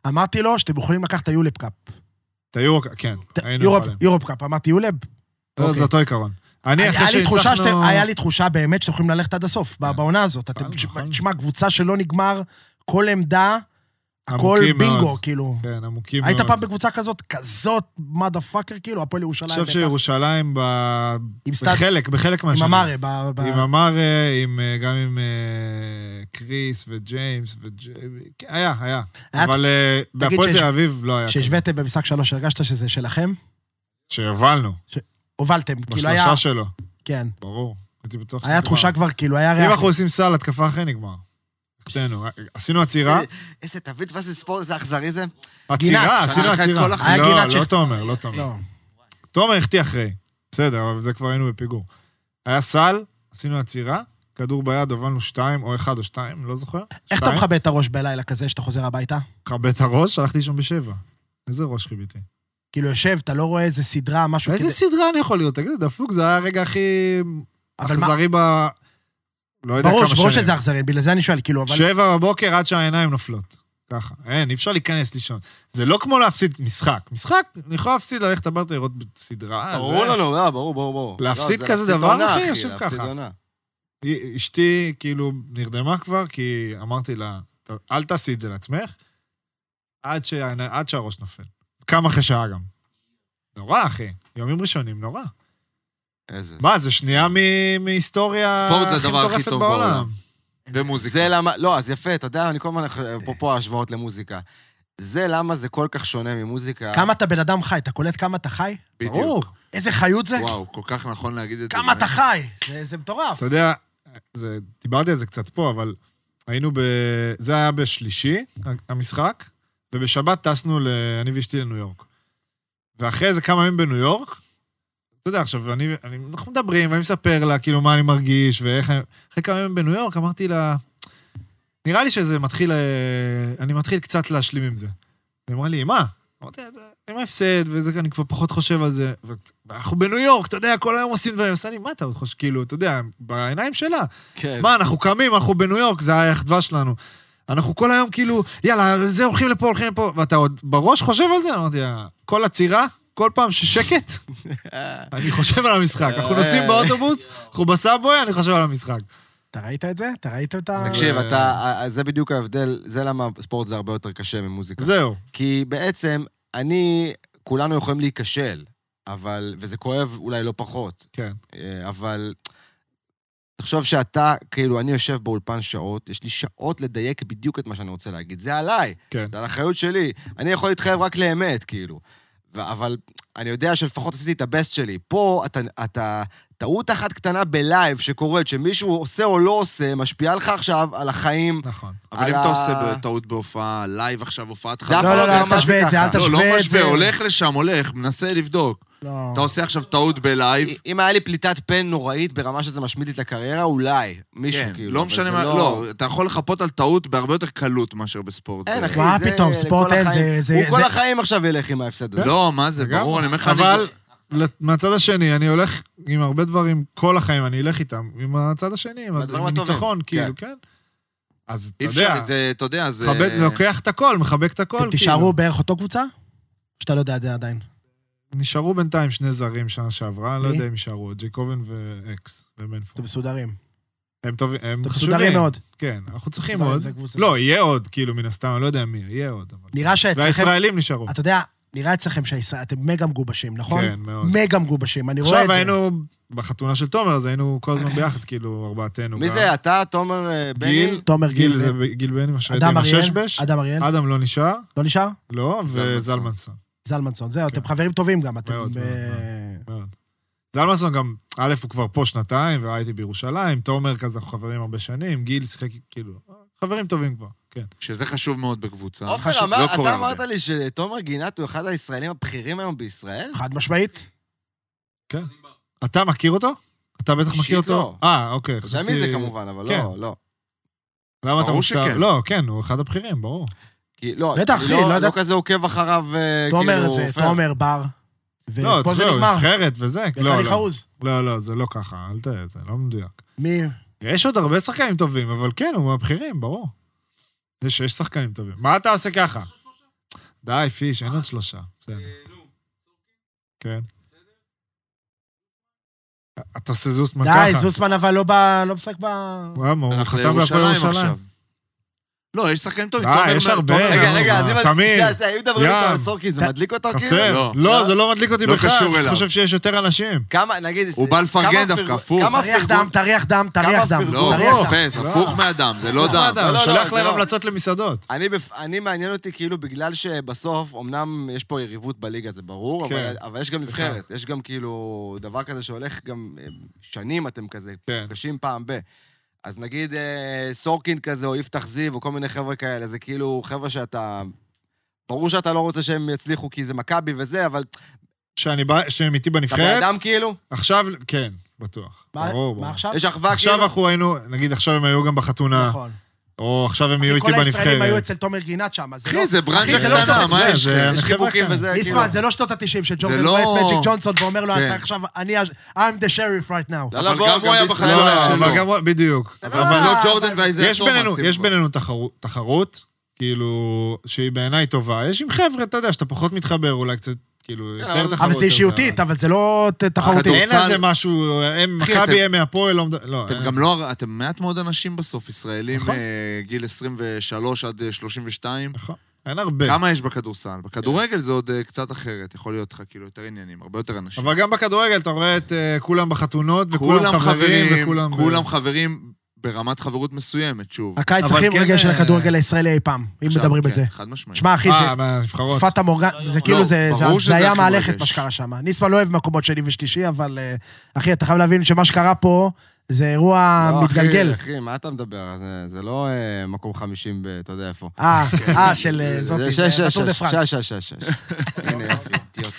[SPEAKER 4] אמרתי לו שאתם יכולים לקחת את היולב קאפ.
[SPEAKER 1] את היורו, כן,
[SPEAKER 4] ת-
[SPEAKER 1] היינו
[SPEAKER 4] יורופ-
[SPEAKER 1] יכולים.
[SPEAKER 4] יורופ קאפ, אמרתי יולב.
[SPEAKER 1] לא,
[SPEAKER 4] אוקיי.
[SPEAKER 1] זה אותו עיקרון. אני
[SPEAKER 4] היה
[SPEAKER 1] אחרי
[SPEAKER 4] לי תחושה שאתם-
[SPEAKER 1] שהצלחנו...
[SPEAKER 4] היה לי תחושה באמת שאתם יכולים ללכת עד הסוף, ב- בעונה הזאת. אתם,
[SPEAKER 1] נכון, נכון.
[SPEAKER 4] תשמע, קבוצה שלא נגמר, כל עמדה, הכל
[SPEAKER 1] עמוקים
[SPEAKER 4] בינגו,
[SPEAKER 1] מאוד.
[SPEAKER 4] כאילו.
[SPEAKER 1] כן, עמוקים מאוד.
[SPEAKER 4] היית פעם בקבוצה כזאת, כזאת מאדה פאקר, כאילו, הפועל ירושלים.
[SPEAKER 1] אני חושב
[SPEAKER 4] בטח.
[SPEAKER 1] שירושלים ב...
[SPEAKER 4] עם סטאד,
[SPEAKER 1] בחלק, בחלק
[SPEAKER 4] עם
[SPEAKER 1] מהשנים.
[SPEAKER 4] אמרה, ב- ב-
[SPEAKER 1] עם אמרה, עם, אה, גם עם אה, כריס וג'יימס וג'יימי. כן, היה, היה.
[SPEAKER 4] היה-
[SPEAKER 1] אבל אה, בהפועל
[SPEAKER 4] שיש-
[SPEAKER 1] תל אביב לא היה. כזה.
[SPEAKER 4] שהשוויתם במשחק שלוש, הרגשת שזה שלכם?
[SPEAKER 1] שהובלנו,
[SPEAKER 4] הובלתם, כאילו היה...
[SPEAKER 1] בשלושה שלו,
[SPEAKER 4] כן.
[SPEAKER 1] ברור. הייתי בטוח לא-
[SPEAKER 4] היה
[SPEAKER 1] שנגמר.
[SPEAKER 4] תחושה כבר, כאילו, היה
[SPEAKER 1] אם
[SPEAKER 4] ריח.
[SPEAKER 1] אנחנו עושים סל, התקפה אחרי נגמר. החטאנו. עשינו עצירה,
[SPEAKER 3] איזה- איזה תביא תפס לי ספורט, איזה אכזרי אה, זה.
[SPEAKER 1] עצירה,
[SPEAKER 4] גינת,
[SPEAKER 1] עשינו
[SPEAKER 2] שהיה לך את
[SPEAKER 1] עצירה.
[SPEAKER 2] כל הח-
[SPEAKER 4] היה
[SPEAKER 1] לא,
[SPEAKER 4] גינת
[SPEAKER 1] לא
[SPEAKER 4] שכ-
[SPEAKER 1] תומר, לא תומר.
[SPEAKER 4] לא.
[SPEAKER 1] תומר החטיא אחרי. בסדר, אבל זה כבר היינו בפיגור. היה סל, עשינו עצירה, כדור ביד, הובלנו שתיים, או אחד או שתיים, לא זוכר.
[SPEAKER 4] איך אתה
[SPEAKER 1] שתיים.
[SPEAKER 4] מכבה את הראש בלילה כזה שאתה חוזר הביתה?
[SPEAKER 1] מכבה את הראש, הלכתי לישון בשבע. איזה ראש חיביתי.
[SPEAKER 4] כאילו, יושב, אתה לא רואה איזה סדרה, משהו כזה.
[SPEAKER 1] איזה סדרה אני יכול לראות? תגיד, דפוק, זה היה הרגע הכי
[SPEAKER 4] אבל מה-
[SPEAKER 1] אכזרי ב... לא יודע
[SPEAKER 4] ברור,
[SPEAKER 1] כמה
[SPEAKER 4] ברור שזה
[SPEAKER 1] שנים.
[SPEAKER 4] אכזרי, בגלל זה אני שואל, כאילו, אבל...
[SPEAKER 1] שבע בבוקר עד שהעיניים נופלות. ככה, אין, אי אפשר להיכנס לישון. זה לא כמו להפסיד משחק. משחק, אני יכול להפסיד, ללכת הביתה לראות סדרה.
[SPEAKER 3] ברור
[SPEAKER 1] זה-
[SPEAKER 3] לנו, לא, ברור, ברור, ברור.
[SPEAKER 1] להפסיד
[SPEAKER 3] לא, זה
[SPEAKER 1] כזה
[SPEAKER 3] להפסיד
[SPEAKER 1] דבר,
[SPEAKER 3] עונה,
[SPEAKER 1] אחי? יושב
[SPEAKER 3] להפסיד
[SPEAKER 1] ככה.
[SPEAKER 3] עונה.
[SPEAKER 1] היא- אשתי כאילו נרדמה כבר, כי אמרתי לה, "טוב, אל תעשי את זה לעצמך, עד, שהעיני- עד שהראש נופל. כמה אחרי שעה גם. נורא, אחי. יומים ראשונים, נורא.
[SPEAKER 3] איזה...
[SPEAKER 1] מה, זה שנייה מ- מהיסטוריה
[SPEAKER 2] ספורט זה הדבר הכי
[SPEAKER 1] מטורפת
[SPEAKER 2] טוב בעולם.
[SPEAKER 3] מוזיקה. זה למה, לא, אז יפה, אתה יודע, אני כל הזמן, אפרופו ההשוואות למוזיקה. זה למה זה כל כך שונה ממוזיקה.
[SPEAKER 4] כמה אתה בן אדם חי, אתה קולט כמה אתה חי?
[SPEAKER 2] בדיוק.
[SPEAKER 1] ברור.
[SPEAKER 4] איזה חיות זה?
[SPEAKER 2] וואו, כל כך נכון להגיד את זה.
[SPEAKER 4] כמה אתה
[SPEAKER 2] באמת.
[SPEAKER 4] חי? זה- זה מטורף.
[SPEAKER 1] אתה יודע, זה, דיברתי על זה קצת פה, אבל היינו ב... זה היה בשלישי, המשחק, ובשבת טסנו, ל... אני ואשתי לניו יורק. ואחרי איזה כמה ימים בניו יורק, אתה יודע, עכשיו, אני, אני, אנחנו מדברים, ואני מספר לה, כאילו, מה אני מרגיש, ואיך אני... אחרי כמה ימים בניו יורק, אמרתי לה, נראה לי שזה מתחיל, אה, אני מתחיל קצת להשלים עם זה. היא אמרה לי, מה? אמרתי, "זה- זה עם ההפסד, וזה, אני כבר פחות חושב על זה. ו- ואנחנו בניו יורק, אתה יודע, כל היום עושים דברים. עושה לי, מה אתה עוד חושב? כאילו, אתה יודע, בעיניים שלה.
[SPEAKER 2] כן.
[SPEAKER 1] מה, אנחנו קמים, אנחנו בניו יורק, זה האחדווה שלנו. אנחנו כל היום כאילו, יאללה, זה הולכים לפה, הולכים לפה, ואתה עוד בראש חושב על זה? אמרתי, "אה, כל עצירה, כל פעם
[SPEAKER 2] *laughs*
[SPEAKER 1] ששקט, אני חושב על המשחק. אנחנו נוסעים באוטובוס, אנחנו בסאבווי, אני חושב על המשחק.
[SPEAKER 4] אתה ראית את זה? אתה ראית את ה...
[SPEAKER 3] תקשיב, אתה, אה, זה בדיוק ההבדל, זה למה ספורט זה הרבה יותר קשה ממוזיקה.
[SPEAKER 1] זהו.
[SPEAKER 3] כי בעצם, אני, כולנו יכולים להיכשל, אבל, וזה כואב אולי לא פחות,
[SPEAKER 1] כן.
[SPEAKER 3] אה, אבל תחשוב שאתה, כאילו, אני יושב באולפן שעות, יש לי שעות לדייק בדיוק את מה שאני רוצה להגיד. זה עליי,
[SPEAKER 2] *laughs*
[SPEAKER 1] כן.
[SPEAKER 3] זה על האחריות שלי. אני יכול להתחייב רק לאמת, כאילו. ו- אבל אני יודע שלפחות עשיתי את הבסט שלי. פה אתה, אתה טעות אחת קטנה בלייב שקורית, שמישהו עושה או לא עושה, משפיעה לך עכשיו על החיים.
[SPEAKER 1] נכון.
[SPEAKER 2] אבל אם
[SPEAKER 3] על
[SPEAKER 2] אתה
[SPEAKER 3] ה-
[SPEAKER 2] עושה טעות בהופעה, לייב עכשיו, הופעת
[SPEAKER 3] זה אף
[SPEAKER 4] לא,
[SPEAKER 3] פעם
[SPEAKER 4] לא, לא, אל
[SPEAKER 3] אמרתי
[SPEAKER 4] תשווה את זה,
[SPEAKER 3] ככה.
[SPEAKER 4] אל
[SPEAKER 2] לא,
[SPEAKER 4] תשווה את זה.
[SPEAKER 2] לא משווה, הולך לשם, הולך, מנסה לבדוק.
[SPEAKER 1] אה.
[SPEAKER 4] לא.
[SPEAKER 2] אתה עושה עכשיו טעות בלייב,
[SPEAKER 3] אם היה לי פליטת פן נוראית ברמה שזה משמיד לי את הקריירה, אולי. מישהו,
[SPEAKER 2] כן,
[SPEAKER 3] כאילו.
[SPEAKER 2] לא
[SPEAKER 3] אבל זה
[SPEAKER 2] משנה מה, לא, אתה יכול לחפות על טעות בהרבה יותר קלות מאשר בספורט. אה,
[SPEAKER 3] אין, אחי,
[SPEAKER 4] מה
[SPEAKER 3] זה
[SPEAKER 4] פתאום,
[SPEAKER 3] כל
[SPEAKER 4] ספורט אין,
[SPEAKER 3] החיים.
[SPEAKER 4] זה- זה-
[SPEAKER 3] הוא כל
[SPEAKER 4] זה-
[SPEAKER 3] החיים עכשיו ילך עם ההפסד הזה.
[SPEAKER 2] לא, מה זה,
[SPEAKER 1] לגמרי.
[SPEAKER 2] ברור, אני אומר לך,
[SPEAKER 1] אבל
[SPEAKER 2] אני-
[SPEAKER 1] לת- מהצד השני, אני הולך עם הרבה דברים, כל החיים אני אלך איתם, עם הצד השני, עם
[SPEAKER 3] הדברים
[SPEAKER 1] עם
[SPEAKER 3] הטובים.
[SPEAKER 1] הניצחון, כאילו, כן. אז אתה
[SPEAKER 2] אי אפשר,
[SPEAKER 1] יודע,
[SPEAKER 2] זה, אתה יודע, זה...
[SPEAKER 1] מכבד- לא, כן. לוקח את הכל, מחבק את הכל.
[SPEAKER 4] אתם
[SPEAKER 1] כאילו.
[SPEAKER 4] תישארו בערך אותו קבוצה? שאתה לא יודע את זה עדיין.
[SPEAKER 1] נשארו בינתיים שני זרים שנה שעברה, אני לא
[SPEAKER 4] מי?
[SPEAKER 1] יודע אם יישארו, ג'קובן ואקס
[SPEAKER 4] אתם
[SPEAKER 1] ומנפורד.
[SPEAKER 4] מסודרים.
[SPEAKER 1] הם טובים, הם
[SPEAKER 4] אתם
[SPEAKER 1] חשובים.
[SPEAKER 4] מסודרים מאוד.
[SPEAKER 1] כן, אנחנו צריכים
[SPEAKER 4] מסודרים,
[SPEAKER 1] עוד.
[SPEAKER 4] זה קבוצה.
[SPEAKER 1] לא, יהיה עוד, כאילו, מן הסתם, אני לא יודע מי, יהיה עוד. אבל-
[SPEAKER 4] נראה שאצלכם...
[SPEAKER 1] והישראלים נשארו.
[SPEAKER 4] אתה יודע, נראה אצלכם שאתם מגה מגובשים, נכון?
[SPEAKER 1] כן, מאוד.
[SPEAKER 4] מגה מגובשים, אני רואה את
[SPEAKER 1] עכשיו
[SPEAKER 4] זה.
[SPEAKER 1] היינו בחתונה של תומר, אז היינו כל
[SPEAKER 4] *laughs*
[SPEAKER 1] הזמן ביחד, כאילו, ארבעתנו.
[SPEAKER 3] מי
[SPEAKER 1] גם.
[SPEAKER 3] זה? אתה, תומר אה, בני?
[SPEAKER 1] גיל,
[SPEAKER 4] תומר גיל,
[SPEAKER 1] גיל, זה
[SPEAKER 4] ו-
[SPEAKER 1] ב- גיל בני, מה
[SPEAKER 4] אדם
[SPEAKER 1] שהייתם
[SPEAKER 4] אריאל,
[SPEAKER 1] הששבש.
[SPEAKER 4] אדם אריאל,
[SPEAKER 1] אדם לא נשאר,
[SPEAKER 4] לא נשאר?
[SPEAKER 1] לא, וזלמנסון.
[SPEAKER 2] זלמנסון.
[SPEAKER 4] זלמנסון, זהו,
[SPEAKER 1] כן.
[SPEAKER 4] אתם חברים טובים גם, אתם...
[SPEAKER 1] מאוד,
[SPEAKER 4] אה,
[SPEAKER 1] מאוד, מאוד. זלמנסון גם, א', הוא כבר פה שנתיים, והייתי בירושלים, תומר כזה, אנחנו חברים הרבה שנים, גיל שיחק, כאילו, חברים טובים כבר, כן.
[SPEAKER 2] שזה חשוב מאוד בקבוצה.
[SPEAKER 3] עופר,
[SPEAKER 2] חשוב,
[SPEAKER 3] אמר-
[SPEAKER 2] לא
[SPEAKER 3] אתה
[SPEAKER 2] קורה
[SPEAKER 3] אמרת
[SPEAKER 2] הרבה.
[SPEAKER 3] לי שתומר גינת הוא אחד הישראלים הבכירים היום בישראל?
[SPEAKER 4] חד
[SPEAKER 2] אה,
[SPEAKER 4] משמעית.
[SPEAKER 1] אתה מכיר אותו? אתה בטח
[SPEAKER 3] אישית
[SPEAKER 1] מכיר אותו?
[SPEAKER 3] לא.
[SPEAKER 1] אה, אוקיי.
[SPEAKER 3] אתה יודע
[SPEAKER 1] חשבתי-
[SPEAKER 3] מי זה כמובן, אבל
[SPEAKER 1] כן.
[SPEAKER 3] לא, לא.
[SPEAKER 1] למה אתה
[SPEAKER 2] ברור
[SPEAKER 1] מופתע?
[SPEAKER 2] שכן.
[SPEAKER 1] לא, כן, הוא אחד הבכירים, ברור.
[SPEAKER 3] כי- לא,
[SPEAKER 4] בטח,
[SPEAKER 3] אני
[SPEAKER 4] אחי,
[SPEAKER 3] לא-
[SPEAKER 4] לא יודע-
[SPEAKER 3] לא כזה עוקב אחריו, אה, כאילו...
[SPEAKER 4] תומר זה
[SPEAKER 3] עופר.
[SPEAKER 4] תומר בר.
[SPEAKER 1] לא,
[SPEAKER 4] ופה זה
[SPEAKER 1] תחשוב,
[SPEAKER 4] נגמר.
[SPEAKER 1] נבחרת וזה,
[SPEAKER 4] יצא
[SPEAKER 1] לא,
[SPEAKER 4] לי
[SPEAKER 1] לא.
[SPEAKER 4] חרוז.
[SPEAKER 1] לא, לא, זה לא ככה, אל ת... זה לא מדויק.
[SPEAKER 4] מי?
[SPEAKER 1] יש עוד הרבה שחקנים טובים, אבל כן, הוא מהבכירים, ברור. יש, יש שחקנים טובים. מה אתה עושה ככה? די, פיש, אין עוד שלושה. בסדר.
[SPEAKER 2] אה,
[SPEAKER 1] כן. אתה עושה זוסמן ככה.
[SPEAKER 4] די, זוסמן אבל לא ב- לא משחק ב...
[SPEAKER 1] למה, הוא
[SPEAKER 2] אנחנו
[SPEAKER 1] חתם בהפועל
[SPEAKER 2] לירושלים
[SPEAKER 1] ירושלים.
[SPEAKER 2] עכשיו. לא, יש שחקנים טובים.
[SPEAKER 1] די,
[SPEAKER 2] תומר
[SPEAKER 1] יש
[SPEAKER 2] מר-
[SPEAKER 1] הרבה.
[SPEAKER 2] תומר-
[SPEAKER 3] רגע,
[SPEAKER 1] אה,
[SPEAKER 3] רגע, אז אם...
[SPEAKER 1] תמיר,
[SPEAKER 3] שנייה, שנייה, אם מדברים
[SPEAKER 1] ים.
[SPEAKER 3] איתו על סורקין, זה
[SPEAKER 4] ת-
[SPEAKER 3] מדליק אותו כאילו?
[SPEAKER 1] חסר.
[SPEAKER 2] לא.
[SPEAKER 1] לא, זה לא מדליק אותי
[SPEAKER 2] לא
[SPEAKER 1] בכלל.
[SPEAKER 2] קשור
[SPEAKER 1] אני
[SPEAKER 2] אליו.
[SPEAKER 1] חושב שיש יותר אנשים.
[SPEAKER 3] כמה, נגיד...
[SPEAKER 2] הוא בא לפרגן
[SPEAKER 3] כמה
[SPEAKER 2] דווקא,
[SPEAKER 3] פרגון-
[SPEAKER 2] הפוך.
[SPEAKER 3] כמה
[SPEAKER 4] תריח דם,
[SPEAKER 3] פרגון...
[SPEAKER 4] תריח דם, תריח דם.
[SPEAKER 3] פרגון?
[SPEAKER 2] לא,
[SPEAKER 4] תריח
[SPEAKER 2] הוא
[SPEAKER 4] דם.
[SPEAKER 2] חופש,
[SPEAKER 1] לא.
[SPEAKER 2] הפוך מהדם, זה לא
[SPEAKER 1] לא
[SPEAKER 2] דם.
[SPEAKER 1] דם,
[SPEAKER 3] לא, לא,
[SPEAKER 1] שולח
[SPEAKER 3] זה
[SPEAKER 1] להם
[SPEAKER 3] לא.
[SPEAKER 1] המלצות למסעדות.
[SPEAKER 3] אני, בפ... אני מעניין אותי כאילו בגלל שבסוף, אמנם יש פה יריבות בליגה, זה ברור,
[SPEAKER 1] כן.
[SPEAKER 3] כן. אבל, אבל יש גם נבחרת. יש גם כאילו דבר כזה שהולך גם אה, שנים אתם כזה,
[SPEAKER 1] כן.
[SPEAKER 3] נפגשים פעם ב... אז נגיד אה, סורקין כזה, או יפתח זיו, או כל מיני חבר'ה כאלה, זה כאילו חבר'ה שאתה... ברור שאתה לא רוצה שהם יצליחו כי זה מכבי וזה, אבל
[SPEAKER 1] שאני בא, שהם איתי
[SPEAKER 3] אתה בן
[SPEAKER 1] בנבחרת,
[SPEAKER 3] אדם כאילו,
[SPEAKER 1] עכשיו, כן, בטוח.
[SPEAKER 4] מה-
[SPEAKER 1] ברור, ברור.
[SPEAKER 4] מה עכשיו?
[SPEAKER 3] יש אחווה
[SPEAKER 1] עכשיו
[SPEAKER 3] כאילו.
[SPEAKER 1] אנחנו היינו, נגיד עכשיו הם היו גם בחתונה.
[SPEAKER 4] נכון.
[SPEAKER 1] או עכשיו הם יהיו איתי
[SPEAKER 4] כל הישראלים היו
[SPEAKER 1] בנבחרת.
[SPEAKER 4] אצל תומר גינת שם, אז זה לא...
[SPEAKER 2] אחי, זה ברנז'ה
[SPEAKER 4] אחי, זה לא
[SPEAKER 2] קטנה,
[SPEAKER 4] שאתה-
[SPEAKER 2] מה יש?
[SPEAKER 1] זה-
[SPEAKER 2] יש
[SPEAKER 1] זה
[SPEAKER 2] חיבוקים
[SPEAKER 1] חבר'ה
[SPEAKER 2] וזה, כאילו.
[SPEAKER 4] ליסמן, זה לא שנות ה-90 של ג'ורגן
[SPEAKER 2] לא-
[SPEAKER 4] רואה את מג'יק ג'ונסון ואומר לו,
[SPEAKER 2] כן.
[SPEAKER 4] אתה עכשיו, אני, ה- I'm the sheriff right now.
[SPEAKER 2] אבל
[SPEAKER 3] לא, בוא,
[SPEAKER 2] גם
[SPEAKER 3] גם
[SPEAKER 2] הוא היה
[SPEAKER 3] בישראל
[SPEAKER 2] בחיים
[SPEAKER 1] לא,
[SPEAKER 2] לא היה
[SPEAKER 1] לא, אה, אבל
[SPEAKER 2] שלו.
[SPEAKER 1] גם... בדיוק.
[SPEAKER 2] אבל
[SPEAKER 1] אבל
[SPEAKER 2] לא
[SPEAKER 3] אה,
[SPEAKER 2] ג'ורדן ואיזק
[SPEAKER 1] יש
[SPEAKER 2] תומאס,
[SPEAKER 1] בינינו,
[SPEAKER 2] אם
[SPEAKER 1] יש
[SPEAKER 2] כבר.
[SPEAKER 1] בינינו תחרות- תחרות, כאילו, שהיא בעיניי טובה. יש עם חבר'ה, אתה יודע, שאתה פחות מתחבר, אולי קצת, כאילו,
[SPEAKER 2] אבל-
[SPEAKER 1] יותר
[SPEAKER 2] אבל
[SPEAKER 1] תחרות.
[SPEAKER 4] אבל זה
[SPEAKER 1] יותר
[SPEAKER 4] אישיותית, אבל זה לא ת- תחרותית.
[SPEAKER 1] אין
[SPEAKER 2] הכדורסל-
[SPEAKER 1] על זה משהו, הם
[SPEAKER 2] אחי,
[SPEAKER 1] מכבי,
[SPEAKER 2] אתם-
[SPEAKER 1] הם מהפועל, לא... מד- לא,
[SPEAKER 2] אתם
[SPEAKER 1] אין
[SPEAKER 2] גם
[SPEAKER 1] את זה.
[SPEAKER 2] לא, אתם מעט מאוד אנשים בסוף, ישראלים
[SPEAKER 1] נכון.
[SPEAKER 2] אה, גיל 23 עד אה, 32.
[SPEAKER 1] נכון, כן. אין הרבה.
[SPEAKER 2] כמה יש בכדורסל? בכדורגל זה עוד אה, קצת אחרת, יכול להיות לך כאילו יותר עניינים, הרבה יותר אנשים.
[SPEAKER 1] אבל גם בכדורגל אתה רואה את אה, כולם בחתונות, וכולם
[SPEAKER 2] כולם
[SPEAKER 1] חברים, וכולם... ב-
[SPEAKER 2] כולם חברים ברמת חברות מסוימת, שוב.
[SPEAKER 4] הקיץ
[SPEAKER 1] אבל
[SPEAKER 4] הכי
[SPEAKER 1] כן,
[SPEAKER 4] מרגש של
[SPEAKER 1] אה,
[SPEAKER 4] הכדורגל הישראלי אי פעם, אם
[SPEAKER 2] עכשיו,
[SPEAKER 4] מדברים את
[SPEAKER 2] כן,
[SPEAKER 4] זה.
[SPEAKER 2] חד משמעית.
[SPEAKER 4] שמע, אחי,
[SPEAKER 1] אה,
[SPEAKER 4] זה
[SPEAKER 1] מהנבחרות.
[SPEAKER 4] פאטה מורגן, זה כאילו,
[SPEAKER 2] לא,
[SPEAKER 4] זה זה
[SPEAKER 2] ברור שזה
[SPEAKER 4] הזיה
[SPEAKER 2] הכי
[SPEAKER 4] מהלכת
[SPEAKER 2] מרגש.
[SPEAKER 4] מה שקרה שם. ניסמן לא אוהב מקומות שני ושלישי, אבל אה, אחי, אתה חייב להבין שמה שקרה פה זה אירוע
[SPEAKER 3] לא, אחי,
[SPEAKER 4] מתגלגל.
[SPEAKER 3] אחי, מה אתה מדבר? זה- זה לא אה, מקום חמישים ב... אתה יודע איפה. *laughs*
[SPEAKER 4] אה, אה, של אה,
[SPEAKER 3] זה-
[SPEAKER 4] זאתי,
[SPEAKER 3] זה- שש, שש,
[SPEAKER 4] בטור דה
[SPEAKER 3] שש,
[SPEAKER 4] פרנס.
[SPEAKER 3] שש,
[SPEAKER 2] *laughs*
[SPEAKER 3] שש, שש, שש. הנה, יופי, אידיוט.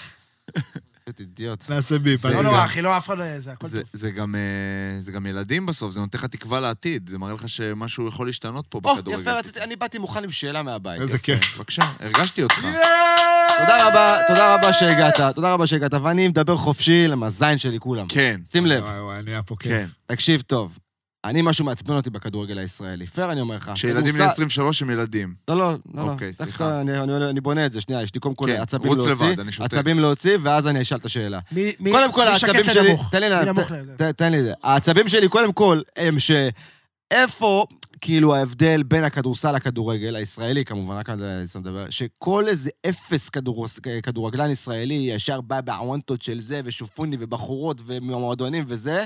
[SPEAKER 3] אידיוט, אידיוט.
[SPEAKER 1] נעשה ביפ.
[SPEAKER 4] לא
[SPEAKER 1] אני
[SPEAKER 4] נורא,
[SPEAKER 1] יודע.
[SPEAKER 4] אחי, לא, אף אחד לא... זה הכל
[SPEAKER 2] זה-
[SPEAKER 4] טוב.
[SPEAKER 2] זה גם, אה, זה גם ילדים בסוף, זה נותן לך תקווה לעתיד, זה מראה לך שמשהו יכול להשתנות פה
[SPEAKER 3] או,
[SPEAKER 2] בכדורגל. כן.
[SPEAKER 3] יפה, רציתי, אני באתי מוכן עם שאלה מהבית.
[SPEAKER 1] איזה
[SPEAKER 3] יפה.
[SPEAKER 1] כיף.
[SPEAKER 2] בבקשה, הרגשתי אותך.
[SPEAKER 4] אה,
[SPEAKER 3] תודה רבה, תודה רבה שהגעת, תודה רבה שהגעת, ואני מדבר חופשי עם הזין שלי כולם.
[SPEAKER 2] כן.
[SPEAKER 3] שים לב,
[SPEAKER 1] וואי וואי, נהיה פה
[SPEAKER 2] כן.
[SPEAKER 1] כיף.
[SPEAKER 3] תקשיב טוב, אני משהו מעצבן אותי בכדורגל הישראלי, פייר אני אומר לך.
[SPEAKER 2] שילדים
[SPEAKER 3] כדורסל-
[SPEAKER 2] בני 23 הם ילדים.
[SPEAKER 3] לא, לא, לא, לא.
[SPEAKER 2] אוקיי,
[SPEAKER 3] לך
[SPEAKER 2] סליחה.
[SPEAKER 3] אתה- אני- אני- אני בונה את זה, שנייה, יש לי קודם כל
[SPEAKER 2] כן,
[SPEAKER 3] עצבים
[SPEAKER 2] רוץ
[SPEAKER 3] להוציא,
[SPEAKER 2] לבד, אני שותק.
[SPEAKER 3] עצבים להוציא, ואז אני אשאל את השאלה.
[SPEAKER 4] מי- מי-
[SPEAKER 3] קודם כל,
[SPEAKER 4] מי
[SPEAKER 3] העצבים
[SPEAKER 4] שקט
[SPEAKER 3] שלי...
[SPEAKER 4] לנמוך?
[SPEAKER 3] תן לי
[SPEAKER 4] מי
[SPEAKER 3] לה-
[SPEAKER 4] נמוך
[SPEAKER 3] ת-
[SPEAKER 4] לזה?
[SPEAKER 3] ת- תן לי את זה. העצבים שלי, קודם כל, הם ש... איפה, כאילו, ההבדל בין הכדורסל לכדורגל, הישראלי כמובן, רק על זה אני מדבר, שכל איזה אפס כדורס- כדורגלן ישראלי ישר בא בעוונטות של זה, ושופוני, ובחורות, ומועדונים וזה,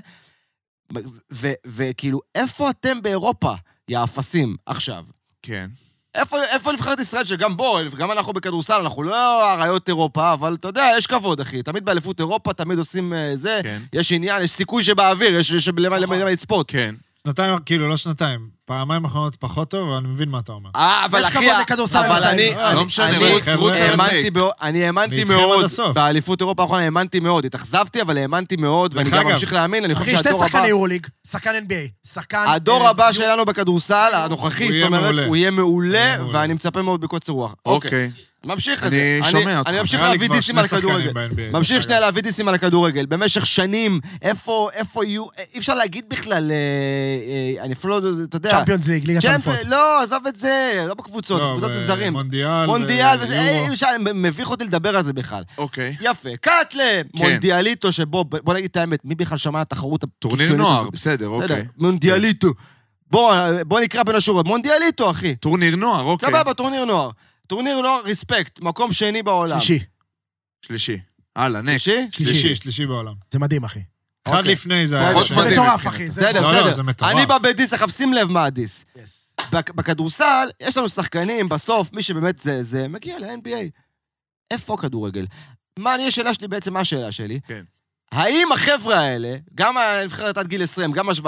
[SPEAKER 3] ו- ו- וכאילו, איפה אתם באירופה, יא אפסים, עכשיו?
[SPEAKER 2] כן.
[SPEAKER 3] איפה, איפה נבחרת ישראל, שגם בו, גם אנחנו בכדורסל, אנחנו לא אריות אירופה, אבל אתה יודע, יש כבוד, אחי. תמיד באליפות אירופה, תמיד עושים אה, זה.
[SPEAKER 2] כן.
[SPEAKER 3] יש עניין, יש סיכוי שבאוויר, יש, יש למה,
[SPEAKER 1] נכון.
[SPEAKER 3] למה, למה לצפות.
[SPEAKER 2] כן.
[SPEAKER 1] שנתיים, כאילו, לא שנתיים. פעמיים האחרונות פחות טוב, אבל אני מבין מה אתה אומר.
[SPEAKER 3] אה, אבל
[SPEAKER 4] יש
[SPEAKER 3] אחי,
[SPEAKER 4] כבוד לכדורסל
[SPEAKER 3] אבל
[SPEAKER 4] הישראלי.
[SPEAKER 3] אני,
[SPEAKER 1] אה,
[SPEAKER 2] לא
[SPEAKER 3] אני-
[SPEAKER 2] משנה, רוץ,
[SPEAKER 3] אני-
[SPEAKER 2] רוץ,
[SPEAKER 1] חבר'ה,
[SPEAKER 2] רוץ.
[SPEAKER 3] האמנתי מאוד- אני האמנתי
[SPEAKER 1] אני איתכם עד
[SPEAKER 3] מאוד,
[SPEAKER 1] הסוף.
[SPEAKER 3] באליפות אירופה האחרונה האמנתי מאוד, התאכזבתי, אבל האמנתי מאוד, ואני
[SPEAKER 1] דרך
[SPEAKER 3] גם
[SPEAKER 1] אגב.
[SPEAKER 3] ממשיך להאמין, אני חושב
[SPEAKER 4] אחי, שתי
[SPEAKER 3] שהדור הבא,
[SPEAKER 4] שחקני יורוליג, שחקן NBA, שחקן...
[SPEAKER 3] הדור
[SPEAKER 4] אה,
[SPEAKER 3] הבא שלנו בכדורסל, הנוכחי,
[SPEAKER 1] הוא
[SPEAKER 3] זאת
[SPEAKER 1] יהיה מעולה.
[SPEAKER 3] אומרת, הוא יהיה מעולה,
[SPEAKER 1] מעולה.
[SPEAKER 3] ואני מצפה מאוד בקוצר רוח. אוקיי.
[SPEAKER 2] אוקיי.
[SPEAKER 3] ממשיך
[SPEAKER 2] אני
[SPEAKER 3] את זה.
[SPEAKER 2] שומע אותך.
[SPEAKER 3] אני ממשיך
[SPEAKER 1] נראה לי
[SPEAKER 3] להביא
[SPEAKER 1] כבר
[SPEAKER 3] דיסים
[SPEAKER 1] שני
[SPEAKER 3] על הכדורגל.
[SPEAKER 1] שחקנים ב-NBA,
[SPEAKER 3] ממשיך
[SPEAKER 1] דרך
[SPEAKER 3] שנייה
[SPEAKER 1] אגב.
[SPEAKER 3] להביא דיסים על הכדורגל. במשך שנים, איפה, איפה יהיו... אי אפשר להגיד בכלל, אה, אה, אני אפילו לא... אתה יודע...
[SPEAKER 4] צ'מפיונס ליג, ליגת
[SPEAKER 3] צ'מפ-
[SPEAKER 4] אלופות.
[SPEAKER 3] לא, עזוב את זה, לא בקבוצות,
[SPEAKER 1] לא,
[SPEAKER 3] בקבוצות
[SPEAKER 1] ב-
[SPEAKER 3] זה זרים.
[SPEAKER 1] מונדיאל.
[SPEAKER 3] מונדיאל,
[SPEAKER 1] ו-
[SPEAKER 3] וזה,
[SPEAKER 1] יורו.
[SPEAKER 3] אה, אי אפשר, מביך אותי לדבר על זה בכלל.
[SPEAKER 2] אוקיי.
[SPEAKER 3] יפה, קאטלה,
[SPEAKER 2] כן.
[SPEAKER 3] מונדיאליטו, שבו, בוא נגיד את האמת, מי בכלל שמע על התחרות
[SPEAKER 2] טורניר
[SPEAKER 3] הקיקיונית
[SPEAKER 2] נוער,
[SPEAKER 3] הזאת?
[SPEAKER 2] בסדר,
[SPEAKER 3] בסדר,
[SPEAKER 2] אוקיי.
[SPEAKER 3] מונדיאליטו. בוא, בוא נקרא בין השורות, מונדיאליטו, אחי.
[SPEAKER 2] טורניר נוער, אוקיי.
[SPEAKER 3] סבבה, טורניר נוער. טורניר נוער, ריספקט, מקום שני בעולם.
[SPEAKER 4] שלישי.
[SPEAKER 2] שלישי. הלאה, נקסט.
[SPEAKER 3] לא. שלישי?
[SPEAKER 1] שלישי, שלישי בעולם.
[SPEAKER 4] זה מדהים, אחי.
[SPEAKER 1] אחד
[SPEAKER 3] אוקיי.
[SPEAKER 1] לפני זה
[SPEAKER 3] פחות
[SPEAKER 1] היה...
[SPEAKER 4] זה
[SPEAKER 1] שם.
[SPEAKER 2] מדהים.
[SPEAKER 4] מטורף, אחי. זה
[SPEAKER 3] בסדר,
[SPEAKER 4] מטורף.
[SPEAKER 1] לא, לא,
[SPEAKER 3] בסדר.
[SPEAKER 1] זה מטורף.
[SPEAKER 3] אני בא בדיס, עכשיו שים לב מה הדיס.
[SPEAKER 4] Yes.
[SPEAKER 3] בכ- בכדורסל, יש לנו שחקנים, בסוף, מי שבאמת זה, זה מגיע ל-NBA. איפה הכדורגל? מה, אני, השאלה שלי בעצם, מה השאלה שלי?
[SPEAKER 2] כן.
[SPEAKER 3] האם החבר'ה האלה, גם הנבחרת עד גיל 20, גם ה-17,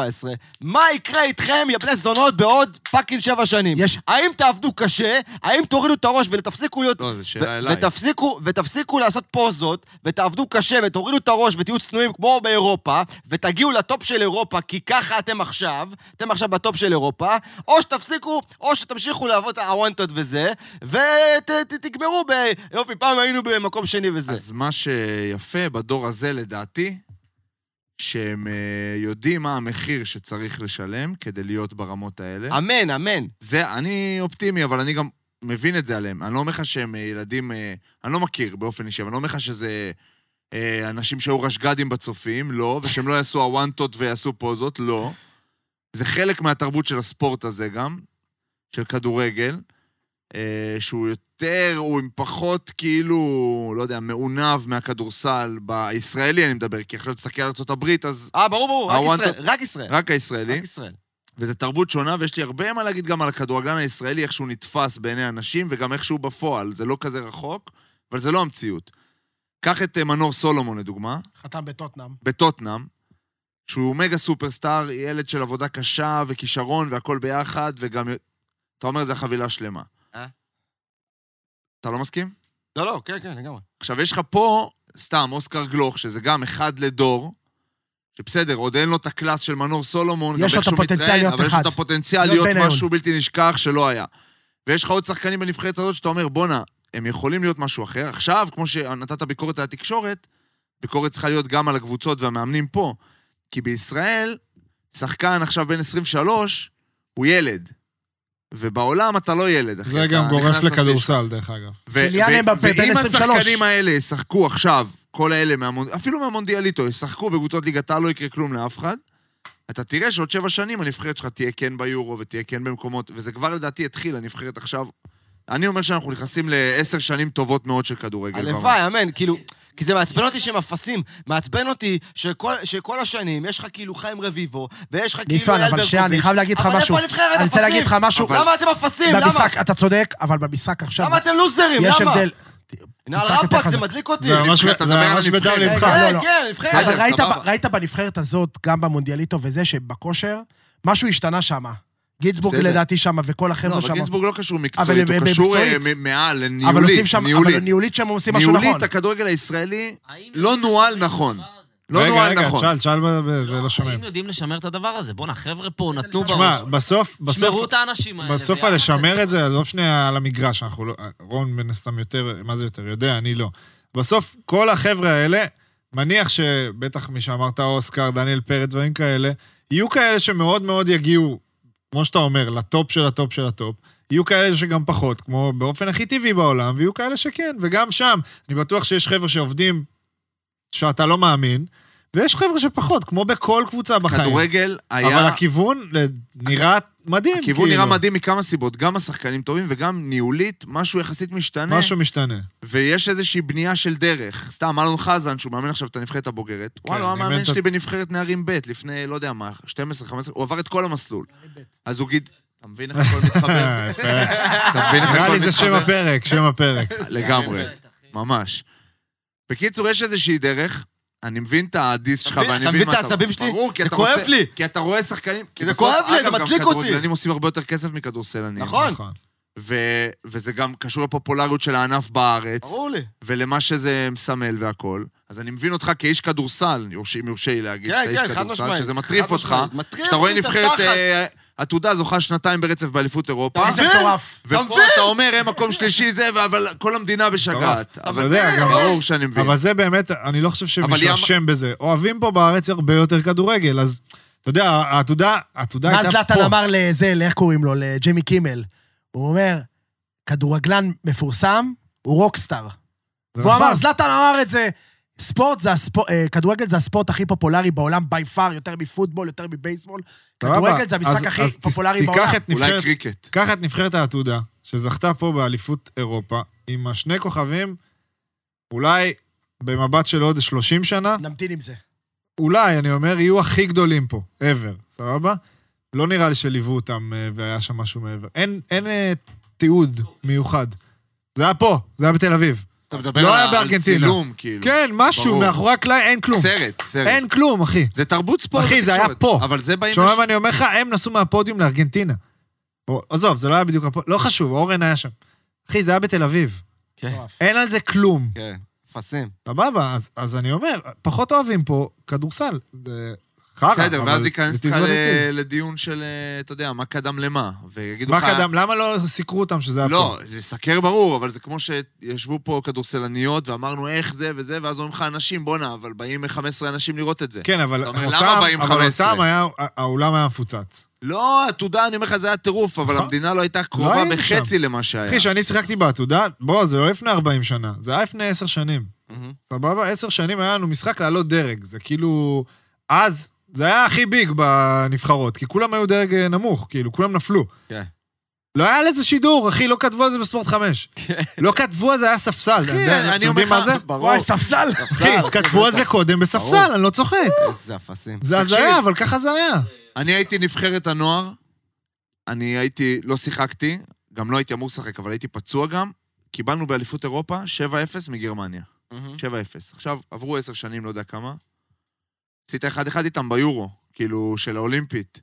[SPEAKER 3] מה יקרה איתכם, יא בני זונות, בעוד פאקינג שבע שנים?
[SPEAKER 4] יש-
[SPEAKER 3] האם תעבדו קשה? האם תורידו את הראש ותפסיקו להיות
[SPEAKER 2] לא, זו שאלה
[SPEAKER 3] ו-
[SPEAKER 2] אליי.
[SPEAKER 3] ותפסיקו, ותפסיקו לעשות פוזות, ותעבדו קשה, ותורידו את הראש, ותהיו צנועים כמו באירופה, ותגיעו לטופ של אירופה, כי ככה אתם עכשיו, אתם עכשיו בטופ של אירופה, או שתפסיקו, או שתמשיכו לעבוד הוואנטות וזה, ותגמרו ב... יופי, פעם היינו במקום שני וזה.
[SPEAKER 2] אז מה שיפה בדור הזה, לדעתי, שהם אה, יודעים מה המחיר שצריך לשלם כדי להיות ברמות האלה.
[SPEAKER 3] אמן, אמן.
[SPEAKER 2] זה, אני אופטימי, אבל אני גם מבין את זה עליהם. אני לא אומר לך שהם אה, ילדים... אה, אני לא מכיר באופן אישי, אבל אני לא אומר לך שזה אה, אנשים שהיו רשג"דים בצופים, לא, ושהם לא יעשו הוואנטות ויעשו פוזות, לא. זה חלק מהתרבות של הספורט הזה גם, של כדורגל, אה, שהוא יותר, הוא עם פחות כאילו, לא יודע, מעונב מהכדורסל, בישראלי אני מדבר, כי עכשיו תסתכל על ארה"ב, אז
[SPEAKER 3] אה, ברור, ברור, רק
[SPEAKER 2] הוואנטות-
[SPEAKER 3] ישראל, רק ישראל.
[SPEAKER 2] רק הישראלי.
[SPEAKER 3] רק ישראל.
[SPEAKER 2] וזו תרבות שונה, ויש לי הרבה מה להגיד גם על הכדורגלן הישראלי, איך שהוא נתפס בעיני אנשים, וגם איך שהוא בפועל. זה לא כזה רחוק, אבל זה לא המציאות. קח את אה, מנור סולומון, לדוגמה,
[SPEAKER 4] חתם בטוטנאם.
[SPEAKER 2] בטוטנאם, שהוא מגה סופרסטאר, ילד של עבודה קשה וכישרון והכל ביחד, וגם... אתה אומר, זה חבילה שלמה.
[SPEAKER 3] אה?
[SPEAKER 2] אתה לא מסכים?
[SPEAKER 3] לא, לא, כן, כן, לגמרי.
[SPEAKER 2] עכשיו, יש לך פה, סתם, אוסקר גלוך, שזה גם אחד לדור, שבסדר, עוד אין לו את הקלאס של מנור סולומון, גם
[SPEAKER 4] יש
[SPEAKER 2] איך
[SPEAKER 4] לו את
[SPEAKER 2] שהוא
[SPEAKER 4] הפוטנציאל
[SPEAKER 2] מתראיין,
[SPEAKER 4] להיות
[SPEAKER 2] אבל יש לו את
[SPEAKER 4] אחד.
[SPEAKER 2] הפוטנציאל
[SPEAKER 4] לא
[SPEAKER 2] להיות
[SPEAKER 4] בניון.
[SPEAKER 2] משהו בלתי נשכח שלא היה. ויש לך עוד שחקנים בנבחרת הזאת שאתה אומר, בואנה, הם יכולים להיות משהו אחר. עכשיו, כמו שנתת ביקורת על התקשורת, ביקורת צריכה להיות גם על הקבוצות והמאמנים פה. כי בישראל, שחקן עכשיו בן 23, הוא ילד. ובעולם אתה לא ילד, אחי.
[SPEAKER 1] זה
[SPEAKER 2] אתה
[SPEAKER 1] גם גורף
[SPEAKER 2] נכנס לשיא
[SPEAKER 1] לכדורסל, דרך אגב.
[SPEAKER 2] ו-
[SPEAKER 4] קיליאן
[SPEAKER 2] ו-
[SPEAKER 4] אמבפה, בן
[SPEAKER 2] ואם
[SPEAKER 4] 23.
[SPEAKER 2] השחקנים האלה ישחקו עכשיו, כל האלה, מהמונ... אפילו מהמונדיאליטו, ישחקו בקבוצות ליגת העל, לא יקרה כלום לאף אחד, אתה תראה שעוד שבע שנים הנבחרת שלך תהיה כן ביורו ותהיה כן במקומות, וזה כבר לדעתי התחיל, הנבחרת עכשיו. אני אומר שאנחנו נכנסים לעשר שנים טובות מאוד של כדורגל.
[SPEAKER 3] הלוואי, אמן, כאילו... כי זה מעצבן אותי שהם אפסים. מעצבן אותי שכל, שכל השנים יש לך כאילו חיים רביבו, ויש לך כאילו
[SPEAKER 4] ניסן,
[SPEAKER 3] אייל
[SPEAKER 4] אבל שנייה, אני
[SPEAKER 3] ברקוביץ',
[SPEAKER 4] חייב להגיד לך
[SPEAKER 3] אבל
[SPEAKER 4] משהו.
[SPEAKER 3] איפה הנבחרת?
[SPEAKER 4] אני רוצה
[SPEAKER 3] אפסים.
[SPEAKER 4] להגיד לך משהו.
[SPEAKER 3] למה אתם אפסים? למה?
[SPEAKER 4] במשחק, אתה צודק, אבל במשחק עכשיו...
[SPEAKER 3] למה אתם
[SPEAKER 1] *laughs*
[SPEAKER 3] לוזרים?
[SPEAKER 4] יש
[SPEAKER 3] למה?
[SPEAKER 4] הבדל.
[SPEAKER 3] נעל
[SPEAKER 4] תצעק יותר
[SPEAKER 3] רמפק
[SPEAKER 4] חזק.
[SPEAKER 3] זה מדליק אותי.
[SPEAKER 1] זה ממש
[SPEAKER 2] נבחרת, אתה
[SPEAKER 1] זה
[SPEAKER 2] מדבר על
[SPEAKER 1] ממש בדם
[SPEAKER 2] הנבחרת.
[SPEAKER 1] לבך.
[SPEAKER 4] רגע,
[SPEAKER 3] כן,
[SPEAKER 4] לא, לא.
[SPEAKER 3] כן,
[SPEAKER 1] אה,
[SPEAKER 3] נבחרת.
[SPEAKER 4] אבל ראית,
[SPEAKER 2] סבבה.
[SPEAKER 4] ראית בנבחרת הזאת, גם במונדיאליטו וזה, שבכושר, משהו השתנה שם. גינסבורג
[SPEAKER 2] בסדר.
[SPEAKER 4] לדעתי שם, וכל
[SPEAKER 2] לא,
[SPEAKER 4] החבר'ה
[SPEAKER 2] אבל
[SPEAKER 4] שם.
[SPEAKER 2] גינסבורג לא קשור מקצועית,
[SPEAKER 4] אבל
[SPEAKER 2] הוא קשור אה,
[SPEAKER 4] מקצועית.
[SPEAKER 2] מ- מעל,
[SPEAKER 4] אבל
[SPEAKER 2] ניהולית,
[SPEAKER 4] עושים שם,
[SPEAKER 2] ניהולית.
[SPEAKER 4] אבל ניהולית שם עושים משהו נכון.
[SPEAKER 2] ניהולית, הכדורגל הישראלי
[SPEAKER 5] האם
[SPEAKER 2] לא
[SPEAKER 5] יודעים
[SPEAKER 2] נוהל
[SPEAKER 5] לשמר את
[SPEAKER 2] נכון.
[SPEAKER 5] הדבר הזה?
[SPEAKER 2] לא
[SPEAKER 1] רגע,
[SPEAKER 2] נוהל
[SPEAKER 1] רגע,
[SPEAKER 2] נכון.
[SPEAKER 1] תשאל, תשאל, ב- ב- זה לא שומעים.
[SPEAKER 5] האם יודעים לשמר את הדבר הזה? בואנה, חבר'ה פה נתנו
[SPEAKER 1] תשמע,
[SPEAKER 5] בראש.
[SPEAKER 1] בסוף,
[SPEAKER 5] שמרו
[SPEAKER 1] בסוף,
[SPEAKER 5] את האנשים האלה.
[SPEAKER 1] בסוף
[SPEAKER 5] ביחד.
[SPEAKER 1] על לשמר את זה, עזוב שנייה על המגרש, אנחנו לא... רון מן הסתם יותר, מה זה יותר, יודע, אני לא. בסוף, כל החבר'ה האלה, מניח שבטח מי שאמרת, אוסקר, דניאל פרץ, דברים כאלה, יהיו כאלה שמאוד מאוד יגיעו, כמו שאתה אומר, לטופ של הטופ של הטופ. יהיו כאלה שגם פחות, כמו באופן הכי טבעי בעולם, ויהיו כאלה שכן, וגם שם, אני בטוח שיש חבר'ה שעובדים שאתה לא מאמין, ויש חבר'ה שפחות, כמו בכל קבוצה בחיים.
[SPEAKER 2] כדורגל היה...
[SPEAKER 1] אבל הכיוון ל- נראה מדהים,
[SPEAKER 3] כן,
[SPEAKER 1] כאילו.
[SPEAKER 2] הכיוון נראה מדהים מכמה סיבות, גם השחקנים טובים וגם ניהולית, משהו יחסית משתנה, משהו...
[SPEAKER 1] משהו *laughs* משתנה.
[SPEAKER 2] ויש איזושהי בנייה של דרך. סתם, אלון חזן, שהוא מאמן עכשיו את הנבחרת הבוגרת, כן, וואלה, הוא
[SPEAKER 1] אימן
[SPEAKER 2] המאמן
[SPEAKER 1] את-
[SPEAKER 2] שלי בנבחרת נערים ב', לפני, לא יודע מה, 12, 15, הוא עבר את כל המסלול. אז הוא גיד... אתה מבין איך הכל מתחבר?
[SPEAKER 1] אה,
[SPEAKER 3] *laughs*
[SPEAKER 1] יפה.
[SPEAKER 2] אתה מבין איך
[SPEAKER 1] נראה
[SPEAKER 2] הכל
[SPEAKER 1] לי זה שם
[SPEAKER 2] מתחבר?
[SPEAKER 1] הפרק, שם הפרק.
[SPEAKER 2] לגמרי,
[SPEAKER 3] כן,
[SPEAKER 5] באמת, אחי.
[SPEAKER 2] ממש. בקיצור, יש איזושהי דרך, אני מבין את האדיס שלך,
[SPEAKER 3] אתה מבין-
[SPEAKER 2] ואני
[SPEAKER 3] אתה
[SPEAKER 2] מבין
[SPEAKER 3] מבין
[SPEAKER 2] מה
[SPEAKER 3] את העצבים שלי?
[SPEAKER 2] ברור, כי
[SPEAKER 3] זה
[SPEAKER 2] אתה
[SPEAKER 3] כואב
[SPEAKER 2] רוצה-
[SPEAKER 3] לי.
[SPEAKER 2] כי אתה רואה שחקנים... כי
[SPEAKER 3] זה
[SPEAKER 2] בסוף,
[SPEAKER 3] כואב לי,
[SPEAKER 2] אגב,
[SPEAKER 3] זה
[SPEAKER 2] גם
[SPEAKER 3] מדליק אותי.
[SPEAKER 2] כדורגלנים עושים הרבה יותר כסף מכדורסלנים.
[SPEAKER 3] נכון.
[SPEAKER 2] ו- וזה גם קשור לפופולריות של הענף בארץ,
[SPEAKER 3] ברור לי.
[SPEAKER 2] ולמה שזה מסמל והכול. אז אני מבין אותך כאיש כדורסל, יורש- אם יורשה לי להגיד,
[SPEAKER 3] כן,
[SPEAKER 2] שאתה
[SPEAKER 3] כן,
[SPEAKER 2] איש
[SPEAKER 3] חד
[SPEAKER 2] כדורסל,
[SPEAKER 3] משמעית.
[SPEAKER 2] שזה
[SPEAKER 3] חד
[SPEAKER 2] מטריף אותך.
[SPEAKER 3] משמעית. מטריף
[SPEAKER 2] כשאתה רואה
[SPEAKER 3] לי את
[SPEAKER 2] נבחרת
[SPEAKER 3] התחת.
[SPEAKER 2] אה, עתודה זוכה שנתיים ברצף באליפות
[SPEAKER 1] אה,
[SPEAKER 2] אירופה,
[SPEAKER 1] כן.
[SPEAKER 4] איזה
[SPEAKER 3] מבין?
[SPEAKER 4] מטורף.
[SPEAKER 3] אתה
[SPEAKER 2] ופה
[SPEAKER 3] מבין?
[SPEAKER 2] אתה אומר, הם מקום שלישי זה, ו- אבל כל המדינה בשגעת.
[SPEAKER 1] אתה
[SPEAKER 2] אבל
[SPEAKER 1] יודע, גם-
[SPEAKER 2] ברור שאני מבין.
[SPEAKER 1] אבל זה באמת, אני לא חושב
[SPEAKER 2] אבל אמ- ים-
[SPEAKER 1] שמישהו אשם בזה. אוהבים פה בארץ הרבה יותר כדורגל, אז אתה יודע, העתודה, העתודה
[SPEAKER 4] מה
[SPEAKER 1] לא הייתה פה.
[SPEAKER 4] זלאטן אמר לזה, לאיך קוראים לו, לג'ימי קימל? הוא אומר, כדורגלן מפורסם הוא רוקסטאר.
[SPEAKER 1] זה
[SPEAKER 4] והוא
[SPEAKER 1] נכון.
[SPEAKER 4] אמר, זלאטן אמר את זה. ספורט זה הספורט, כדורגל זה הספורט הכי פופולרי בעולם בי פאר, יותר מפוטבול, יותר מבייסבול.
[SPEAKER 1] סבבה.
[SPEAKER 4] כדורגל זה
[SPEAKER 1] אז-
[SPEAKER 4] המשחק הכי
[SPEAKER 1] אז תס-
[SPEAKER 4] פופולרי
[SPEAKER 1] תיקח
[SPEAKER 4] בעולם.
[SPEAKER 1] את
[SPEAKER 2] אולי
[SPEAKER 1] נבחרת-
[SPEAKER 2] קריקט.
[SPEAKER 1] קח את נבחרת העתודה, שזכתה פה באליפות אירופה, עם השני כוכבים, אולי במבט של עוד 30 שנה,
[SPEAKER 4] נמתין עם זה.
[SPEAKER 1] אולי, אני אומר, יהיו הכי גדולים פה, ever, סבבה? לא נראה לי שליוו אותם אה, והיה שם משהו מעבר. אין, אין אה, תיעוד מיוחד. זה היה פה, זה היה בתל אביב.
[SPEAKER 2] אתה מדבר
[SPEAKER 1] לא
[SPEAKER 2] על-
[SPEAKER 1] היה
[SPEAKER 2] על
[SPEAKER 1] בארגנטינה.
[SPEAKER 2] צילום, כאילו.
[SPEAKER 1] כן, משהו,
[SPEAKER 2] ברור.
[SPEAKER 1] מאחורי הקלעים, אין כלום.
[SPEAKER 2] סרט, סרט.
[SPEAKER 1] אין כלום, אחי.
[SPEAKER 2] זה תרבות ספורט.
[SPEAKER 1] אחי, זה היה
[SPEAKER 2] ותקשורת.
[SPEAKER 1] פה.
[SPEAKER 2] אבל זה באים...
[SPEAKER 1] שומע מה אני אומר לך? הם נסעו מהפודיום לארגנטינה. או- עזוב, זה לא היה בדיוק הפודיום, לא חשוב, אורן היה שם. אחי, זה היה בתל אביב.
[SPEAKER 3] כן.
[SPEAKER 1] אין על זה כלום.
[SPEAKER 2] כן.
[SPEAKER 3] אפסים.
[SPEAKER 1] סבבה, אז, אז אני אומר, פחות אוהבים פה כדורסל. זה חרא.
[SPEAKER 2] בסדר,
[SPEAKER 1] אה, אבל
[SPEAKER 2] ואז
[SPEAKER 1] it
[SPEAKER 2] ייכנס
[SPEAKER 1] is
[SPEAKER 2] לך
[SPEAKER 1] what it
[SPEAKER 2] ל-
[SPEAKER 1] is.
[SPEAKER 2] לדיון של, אה, אתה יודע, מה קדם למה. ויגידו
[SPEAKER 1] מה
[SPEAKER 2] לך...
[SPEAKER 1] קדם? למה לא סיקרו אותם שזה היה פה?
[SPEAKER 2] לא, לסקר ברור, אבל זה כמו שישבו פה כדורסלניות ואמרנו איך זה וזה, ואז אומרים לך אנשים, בואנה, אבל באים 15 אנשים לראות את זה.
[SPEAKER 1] כן, אבל
[SPEAKER 2] אתה אומר,
[SPEAKER 1] אותם-
[SPEAKER 2] למה באים
[SPEAKER 1] אבל
[SPEAKER 2] 15?
[SPEAKER 1] אותם היה, האולם היה מפוצץ.
[SPEAKER 2] לא, עתודה, אני אומר לך, זה היה טירוף, אבל
[SPEAKER 1] נכון.
[SPEAKER 2] המדינה לא הייתה קרובה
[SPEAKER 1] היינו שם.
[SPEAKER 2] בחצי למה שהיה.
[SPEAKER 1] אחי, כשאני שיחקתי בעתודה, בוא, זה לא לפני 40 שנה, זה היה לפני 10 שנים.
[SPEAKER 2] מהמם.
[SPEAKER 1] סבבה? 10 שנים היה לנו משחק לעלות דרג. זה כאילו... אז, זה היה הכי ביג בנבחרות, כי כולם היו דרג אה, נמוך, כאילו, כולם נפלו.
[SPEAKER 2] כן.
[SPEAKER 1] לא היה לזה שידור, אחי, לא כתבו על זה בספורט 5. לא כתבו על זה, היה ספסל. אתה
[SPEAKER 2] כן. אחי,
[SPEAKER 1] יודע-
[SPEAKER 2] אני
[SPEAKER 1] אתם
[SPEAKER 2] אומר
[SPEAKER 1] יודעים מה
[SPEAKER 2] לך,
[SPEAKER 1] זה?
[SPEAKER 3] ברור.
[SPEAKER 4] וואי, ספסל.
[SPEAKER 1] אחי, כתבו על זה קודם בספסל,
[SPEAKER 3] ברור.
[SPEAKER 1] אני לא צוחק.
[SPEAKER 3] איזה אפסים.
[SPEAKER 1] זה הזיה, אבל ככה זה היה.
[SPEAKER 2] אני הייתי נבחרת הנוער, אני הייתי, לא שיחקתי, גם לא הייתי אמור לשחק, אבל הייתי פצוע גם. קיבלנו באליפות אירופה 7-0 מגרמניה. 7-0.
[SPEAKER 3] Mm-hmm.
[SPEAKER 2] עכשיו, עברו 10 שנים, לא יודע כמה. עשית 1-1 איתם ביורו, כאילו, של האולימפית.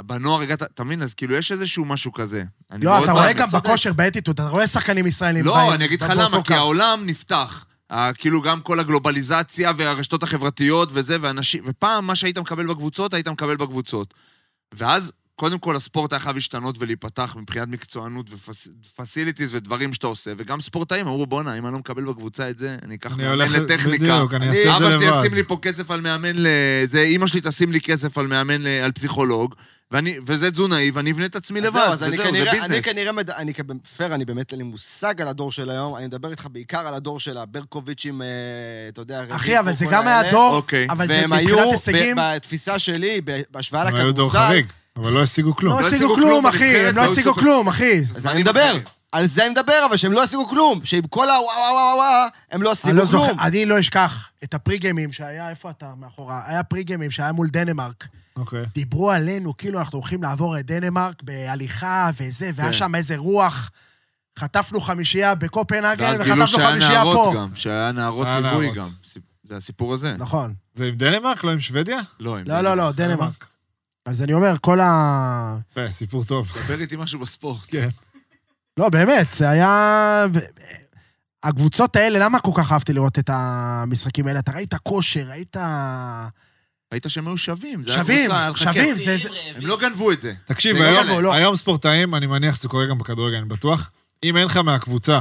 [SPEAKER 2] בנוער הגעת, אתה מבין? אז כאילו, יש איזשהו משהו כזה. אני
[SPEAKER 4] לא,
[SPEAKER 2] מאוד
[SPEAKER 4] אתה רואה
[SPEAKER 2] מאמין,
[SPEAKER 4] גם
[SPEAKER 2] צודק.
[SPEAKER 4] בכושר, באתיתות, אתה רואה שחקנים ישראלים.
[SPEAKER 2] לא,
[SPEAKER 4] באים,
[SPEAKER 2] אני אגיד לך
[SPEAKER 4] באותו
[SPEAKER 2] למה, כי
[SPEAKER 4] קו.
[SPEAKER 2] העולם נפתח. ה- כאילו גם כל הגלובליזציה והרשתות החברתיות וזה, ואנשים, ופעם מה שהיית מקבל בקבוצות, היית מקבל בקבוצות. ואז, קודם כל, הספורט היה חייב להשתנות ולהיפתח מבחינת מקצוענות ופסיליטיז ודברים שאתה עושה, וגם ספורטאים אמרו, בואנה, אם אני לא מקבל בקבוצה את זה, אני אקח
[SPEAKER 1] אני
[SPEAKER 2] מאמן
[SPEAKER 1] הולך-
[SPEAKER 2] לטכניקה.
[SPEAKER 1] בדיוק, אני אעשה את זה
[SPEAKER 2] אבא שלי
[SPEAKER 1] לבד.
[SPEAKER 2] ישים לי פה כסף על מאמן ל... זה, אמא שלי תשים לי כסף על מאמן ל... על פסיכולוג, ואני, וזה תזונאי, ואני אבנה את עצמי
[SPEAKER 3] אז
[SPEAKER 2] לבד,
[SPEAKER 3] זהו, אז
[SPEAKER 2] וזהו,
[SPEAKER 3] אני
[SPEAKER 2] זה
[SPEAKER 3] כנראה, אני
[SPEAKER 2] ביזנס.
[SPEAKER 3] כנראה, מד... אני כ- פייר, אני באמת, אין לי מושג על הדור של היום, אני מדבר איתך בעיקר על הדור של הברקוביצ'ים, אה, אתה יודע,
[SPEAKER 4] אחי,
[SPEAKER 3] רביבו,
[SPEAKER 4] אבל זה
[SPEAKER 3] כל
[SPEAKER 4] גם
[SPEAKER 3] האלה.
[SPEAKER 4] היה דור,
[SPEAKER 2] אוקיי.
[SPEAKER 4] אבל זה
[SPEAKER 3] והם
[SPEAKER 4] מבחינת
[SPEAKER 3] היו,
[SPEAKER 4] הישגים, לא
[SPEAKER 3] ב- בתפיסה שלי, ב- בהשוואה
[SPEAKER 1] הם היו דור
[SPEAKER 3] לכדורסל,
[SPEAKER 1] חריג, אבל לא השיגו כלום.
[SPEAKER 4] לא השיגו
[SPEAKER 2] השיגו
[SPEAKER 4] כלום,
[SPEAKER 2] כלום,
[SPEAKER 4] אחי, הם
[SPEAKER 2] בנבחרת
[SPEAKER 4] לא
[SPEAKER 2] לא
[SPEAKER 4] השיגו
[SPEAKER 2] השיגו
[SPEAKER 4] כלום, אחי.
[SPEAKER 3] אז אני מדבר, על זה אני מדבר, אבל שהם לא השיגו כלום, שעם כל הוואו וואו וואו וואו, הם לא
[SPEAKER 4] אני לא
[SPEAKER 3] השיגו
[SPEAKER 4] זוכר,
[SPEAKER 3] כלום.
[SPEAKER 4] אני לא אשכח את הפריגיימים שהיה, איפה אתה מאחורה? היה פריגיימים שהיה מול דנמרק.
[SPEAKER 1] אוקיי.
[SPEAKER 4] דיברו עלינו, כאילו אנחנו הולכים לעבור את דנמרק בהליכה וזה, והיה
[SPEAKER 2] כן.
[SPEAKER 4] שם איזה רוח. חטפנו חמישייה בקופנהגן,
[SPEAKER 2] ואז גילו
[SPEAKER 4] וחטפנו
[SPEAKER 2] שהיה
[SPEAKER 4] חמישייה
[SPEAKER 2] נערות
[SPEAKER 4] פה.
[SPEAKER 2] גם, שהיה נערות
[SPEAKER 1] היה
[SPEAKER 2] ליווי
[SPEAKER 1] נערות.
[SPEAKER 2] גם. סיפ- זה הסיפור הזה.
[SPEAKER 4] נכון.
[SPEAKER 1] זה עם דנמרק? לא עם שוודיה?
[SPEAKER 2] לא, הם-
[SPEAKER 4] לא, לא, לא, דנמרק. אז אני אומר, כל ה...
[SPEAKER 1] יפה, סיפור טוב.
[SPEAKER 2] דבר איתי משהו בספורט.
[SPEAKER 1] כן.
[SPEAKER 4] לא, באמת, זה היה... הקבוצות האלה, למה כל כך אהבתי לראות את המשחקים האלה? אתה ראית כושר, ראית...
[SPEAKER 2] ראית שהם היו שווים, זה היה
[SPEAKER 4] שווים,
[SPEAKER 2] קבוצה, היה לך
[SPEAKER 4] שווים,
[SPEAKER 2] כיף.
[SPEAKER 4] זה... זה-
[SPEAKER 2] הם לא גנבו את זה.
[SPEAKER 1] תקשיב,
[SPEAKER 2] זה
[SPEAKER 1] היום-
[SPEAKER 2] לא,
[SPEAKER 4] לא.
[SPEAKER 1] היום ספורטאים, אני מניח שזה קורה גם בכדורגל, אני בטוח, אם אין לך מהקבוצה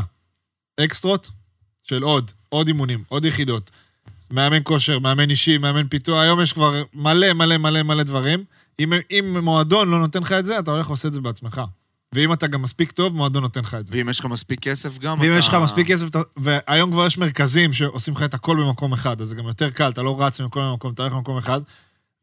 [SPEAKER 1] אקסטרות של עוד, עוד אימונים, עוד יחידות, מאמן כושר, מאמן אישי, מאמן פיתוח, היום יש כבר מלא מלא מלא מלא דברים. אם, אם מועדון לא נותן לך את זה, אתה הולך ועושה את זה בעצמך. ואם אתה גם מספיק טוב, מועדון נותן לך את זה.
[SPEAKER 2] ואם יש לך מספיק כסף גם,
[SPEAKER 1] ואם
[SPEAKER 2] אתה-
[SPEAKER 1] יש לך מספיק כסף, אתה- והיום כבר יש מרכזים שעושים לך את הכל במקום אחד, אז זה גם יותר קל, אתה לא רץ ממקום למקום, אתה הולך למקום אחד,